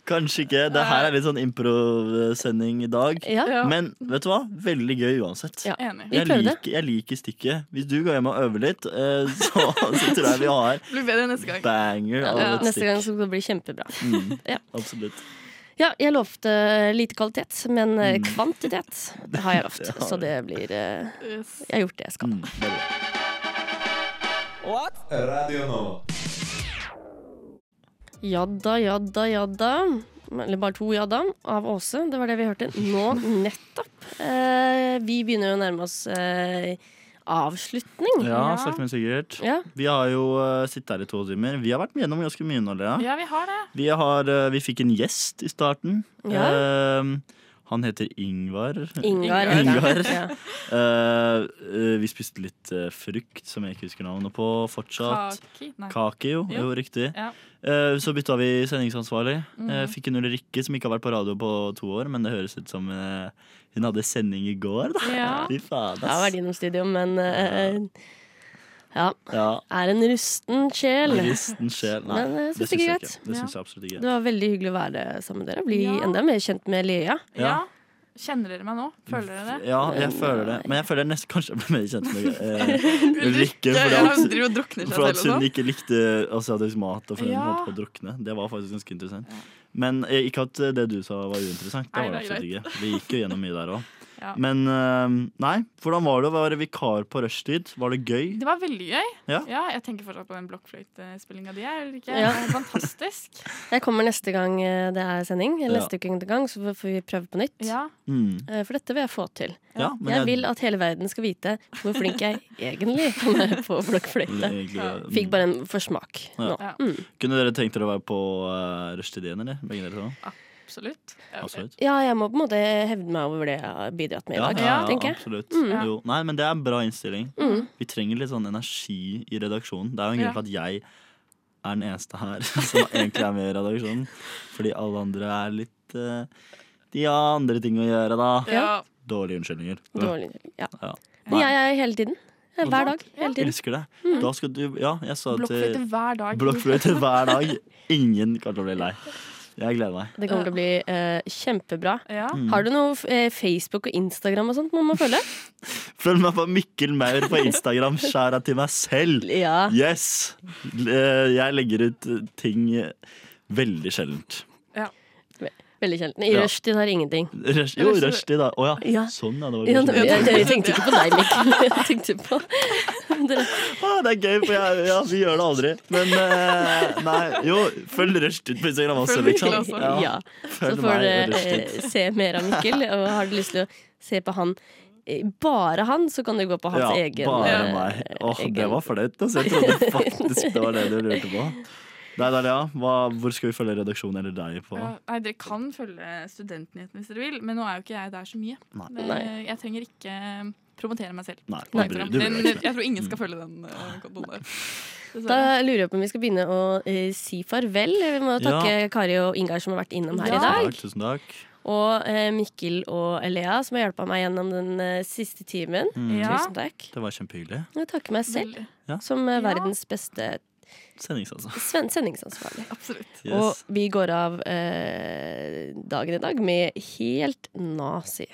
Speaker 2: Kanskje ikke. Det her er litt sånn improvsending i dag.
Speaker 8: Ja.
Speaker 2: Men vet du hva? Veldig gøy uansett.
Speaker 8: Ja. Enig. Vi
Speaker 2: Jeg,
Speaker 8: prøvde.
Speaker 2: liker, jeg liker stikket. Hvis du går hjem og øver litt, eh, så, så tror jeg vi har
Speaker 1: Blir bedre neste gang.
Speaker 2: banger av et
Speaker 8: Neste gang
Speaker 2: stikk.
Speaker 8: skal det bli kjempebra.
Speaker 2: Mm,
Speaker 8: Ja.
Speaker 2: absolutt.
Speaker 8: Ja, jeg lovte lite kvalitet, men eh, kvantitet det har jeg lovt.
Speaker 2: Mm. Det har
Speaker 8: Så
Speaker 2: du.
Speaker 8: det blir eh,
Speaker 1: Yes.
Speaker 8: Jeg har gjort det jeg
Speaker 2: Mm,
Speaker 8: skal.
Speaker 3: Radio Nova.
Speaker 8: Jadda, jadda, jadda. Eller bare to jadda av Åse. Det var det vi hørte nå nettopp. Eh, vi begynner jo å nærme oss eh, avslutning.
Speaker 2: Ja, sakte, men sikkert.
Speaker 8: Ja.
Speaker 2: Vi har jo eh, sittet her i to timer. Vi har vært gjennom ganske mye nå, Lea.
Speaker 1: Ja, vi har det.
Speaker 2: Vi, har, eh, vi fikk en gjest i starten.
Speaker 1: Ja.
Speaker 2: Eh, han heter Ingvar.
Speaker 8: Ingvar, ja.
Speaker 2: Ingvar.
Speaker 8: Ja.
Speaker 2: Eh, eh, vi spiste litt eh, frukt, som jeg ikke husker navnet på fortsatt.
Speaker 1: Kaki? Nei.
Speaker 2: Kake, jo.
Speaker 1: Jo.
Speaker 2: jo riktig.
Speaker 1: Ja.
Speaker 2: Eh, så bytta vi sendingsansvarlig.
Speaker 1: Mhm.
Speaker 2: Eh, fikk en Ulrikke som ikke har vært på radio på to år, men det høres ut som eh, hun hadde sending i går, da.
Speaker 8: Ja.
Speaker 2: Fy faen,
Speaker 8: Jeg har
Speaker 2: ass.
Speaker 8: vært innom studio, men eh, ja.
Speaker 2: Ja.
Speaker 8: Er en rusten sjel.
Speaker 2: Risten sjel. Nei,
Speaker 8: Men
Speaker 1: eh,
Speaker 8: jeg
Speaker 2: det
Speaker 8: syns det
Speaker 2: syns
Speaker 8: er
Speaker 2: jeg
Speaker 8: greit.
Speaker 2: ikke. Det syns jeg absolutt ikke.
Speaker 8: Det var veldig hyggelig å være sammen med dere. Bli
Speaker 1: Ja.
Speaker 8: enda mer kjent med Lea.
Speaker 1: Ja. Kjenner dere meg nå? Føler dere det?
Speaker 2: Ja, jeg føler det. Men jeg føler jeg nesten kanskje jeg ble mer kjent med eh, Ulrikke. fordi
Speaker 1: ja,
Speaker 2: at-
Speaker 1: hun driver og drukner seg
Speaker 2: For at
Speaker 1: selv og
Speaker 2: hun
Speaker 1: sånn.
Speaker 2: ikke likte asiatisk mat, og for hun
Speaker 1: Ja.
Speaker 2: holdt på å drukne. Det var faktisk ganske interessant. Men eh, ikke at eh, det du sa var uinteressant. Det
Speaker 1: Nei,
Speaker 2: var det
Speaker 1: det er
Speaker 2: absolutt ikke. Vi gikk jo gjennom mye der òg.
Speaker 1: Ja.
Speaker 2: Men eh, nei, hvordan var det å være vikar på rushtid? Var det gøy?
Speaker 1: Det var veldig gøy.
Speaker 2: Ja.
Speaker 1: jeg tenker fortsatt på den blokkfløytespillinga di. er det ikke?
Speaker 8: Ja.
Speaker 1: Det er Fantastisk.
Speaker 8: Jeg kommer neste gang eh, det er sending. Eller
Speaker 2: Ja.
Speaker 8: neste uke gang, så får vi prøve på nytt.
Speaker 1: Ja.
Speaker 2: Mm.
Speaker 8: Eh, For dette vil jeg få til.
Speaker 2: Ja, men
Speaker 8: jeg,
Speaker 2: jeg-
Speaker 8: vil at hele verden skal vite hvor flink jeg egentlig kan være på blokkfløyte.
Speaker 2: Egentlig, ja. Mm.
Speaker 8: Fikk bare en forsmak nå.
Speaker 2: Ja.
Speaker 8: Mm.
Speaker 2: Kunne dere tenkt dere å være på uh, rushtid igjen, eller? Begge dere to?
Speaker 1: Absolutt.
Speaker 2: Absolutt.
Speaker 8: Ja, jeg må på en måte hevde meg over det jeg har bidratt med i
Speaker 2: Ja,
Speaker 8: dag,
Speaker 2: ja, ja,
Speaker 8: tenker jeg.
Speaker 2: absolutt.
Speaker 8: Mm.
Speaker 2: Jo. Nei, men det er en bra innstilling.
Speaker 8: Mm.
Speaker 2: Vi trenger litt sånn energi i redaksjonen. Det er jo en
Speaker 8: Ja.
Speaker 2: grunn til at jeg er den eneste her som egentlig er med i redaksjonen. Fordi alle andre er litt eh, De har andre ting å gjøre, da.
Speaker 8: Ja.
Speaker 2: Dårlige unnskyldninger.
Speaker 8: Dårlig, ja.
Speaker 2: Ja.
Speaker 8: Men jeg er hele tiden. Jeg er Hver dag. Hele
Speaker 2: Jeg
Speaker 8: tiden.
Speaker 2: elsker det.
Speaker 8: Mm.
Speaker 2: Da skal du Ja, jeg sa til-
Speaker 1: Blokkfløyte hver dag.
Speaker 2: Blokkfløyte hver dag. Ingen kommer til å bli lei. Jeg gleder meg.
Speaker 8: Det kommer til å bli eh, kjempebra.
Speaker 2: Mm.
Speaker 8: Har du noe eh, Facebook og Instagram og sånt man må følge?
Speaker 2: Følg meg på Mikkel Maur på Instagram. Skjæra til meg selv.
Speaker 8: Ja.
Speaker 2: Yes! L- eh, Jeg legger ut eh, ting eh, veldig sjeldent.
Speaker 8: Ve- Veldig sjelden. I
Speaker 2: Ja.
Speaker 8: rushtid har jeg ingenting.
Speaker 2: Rush, jo, rushtid, da. Å ja.
Speaker 8: Ja.
Speaker 2: Sånn, ja. Det var
Speaker 8: Ja,
Speaker 2: kanskje
Speaker 8: jeg,
Speaker 2: det.
Speaker 8: jeg tenkte ikke på deg, Mikkel. Jeg tenkte på dere.
Speaker 2: Ah, det er gøy, for jeg, ja, vi gjør det aldri. Men eh, nei, jo, følg rushtid på Instagram også,
Speaker 8: Følg
Speaker 2: liksom.
Speaker 8: Mikkel også. Ja. Så
Speaker 2: Følg
Speaker 8: får
Speaker 2: meg og
Speaker 8: dere eh,
Speaker 2: rushtid.
Speaker 8: se mer av Mikkel. Og har du lyst til å se på han, eh, bare han, så kan du gå på hans
Speaker 2: Ja,
Speaker 8: egen
Speaker 2: bare
Speaker 8: eh,
Speaker 2: meg. Åh, det
Speaker 8: egen-
Speaker 2: var flaut. Altså. Jeg trodde faktisk det var det du lurte på. Nei, da, Lea, hva, hvor skal vi følge redaksjonen eller deg på?
Speaker 1: Ja, nei, dere kan følge Studentnyhetene hvis dere vil, men nå er jo ikke jeg der så mye.
Speaker 2: Nei.
Speaker 1: Men,
Speaker 2: Nei.
Speaker 1: eh, Jeg trenger ikke promotere meg selv.
Speaker 2: Nei, du
Speaker 1: på
Speaker 2: bryr-
Speaker 1: Instagram.
Speaker 2: du Mm. bryr deg
Speaker 1: Den-
Speaker 2: ikke.
Speaker 1: jeg tror ingen skal følge den eh, kontoen der.
Speaker 8: Da
Speaker 1: Dessverre.
Speaker 8: lurer jeg på om vi skal begynne å eh, si farvel. Vi må
Speaker 2: Ja.
Speaker 8: takke Kari og Ingar som har vært innom eh, her
Speaker 2: Tusen
Speaker 8: i dag.
Speaker 2: takk, Tusen takk.
Speaker 8: Og eh, Mikkel og Elea, som har hjulpet meg gjennom den eh, siste timen.
Speaker 2: Mm. Ja.
Speaker 8: Tusen takk.
Speaker 2: Det var kjempehyggelig.
Speaker 8: Jeg takker meg selv
Speaker 2: Ja.
Speaker 8: som eh, verdens beste
Speaker 2: Sendingsansvar.
Speaker 8: sven sendingsansvarlig.
Speaker 1: Absolutt.
Speaker 2: Yes.
Speaker 8: Og vi går av eh, dagen i dag med helt nazi.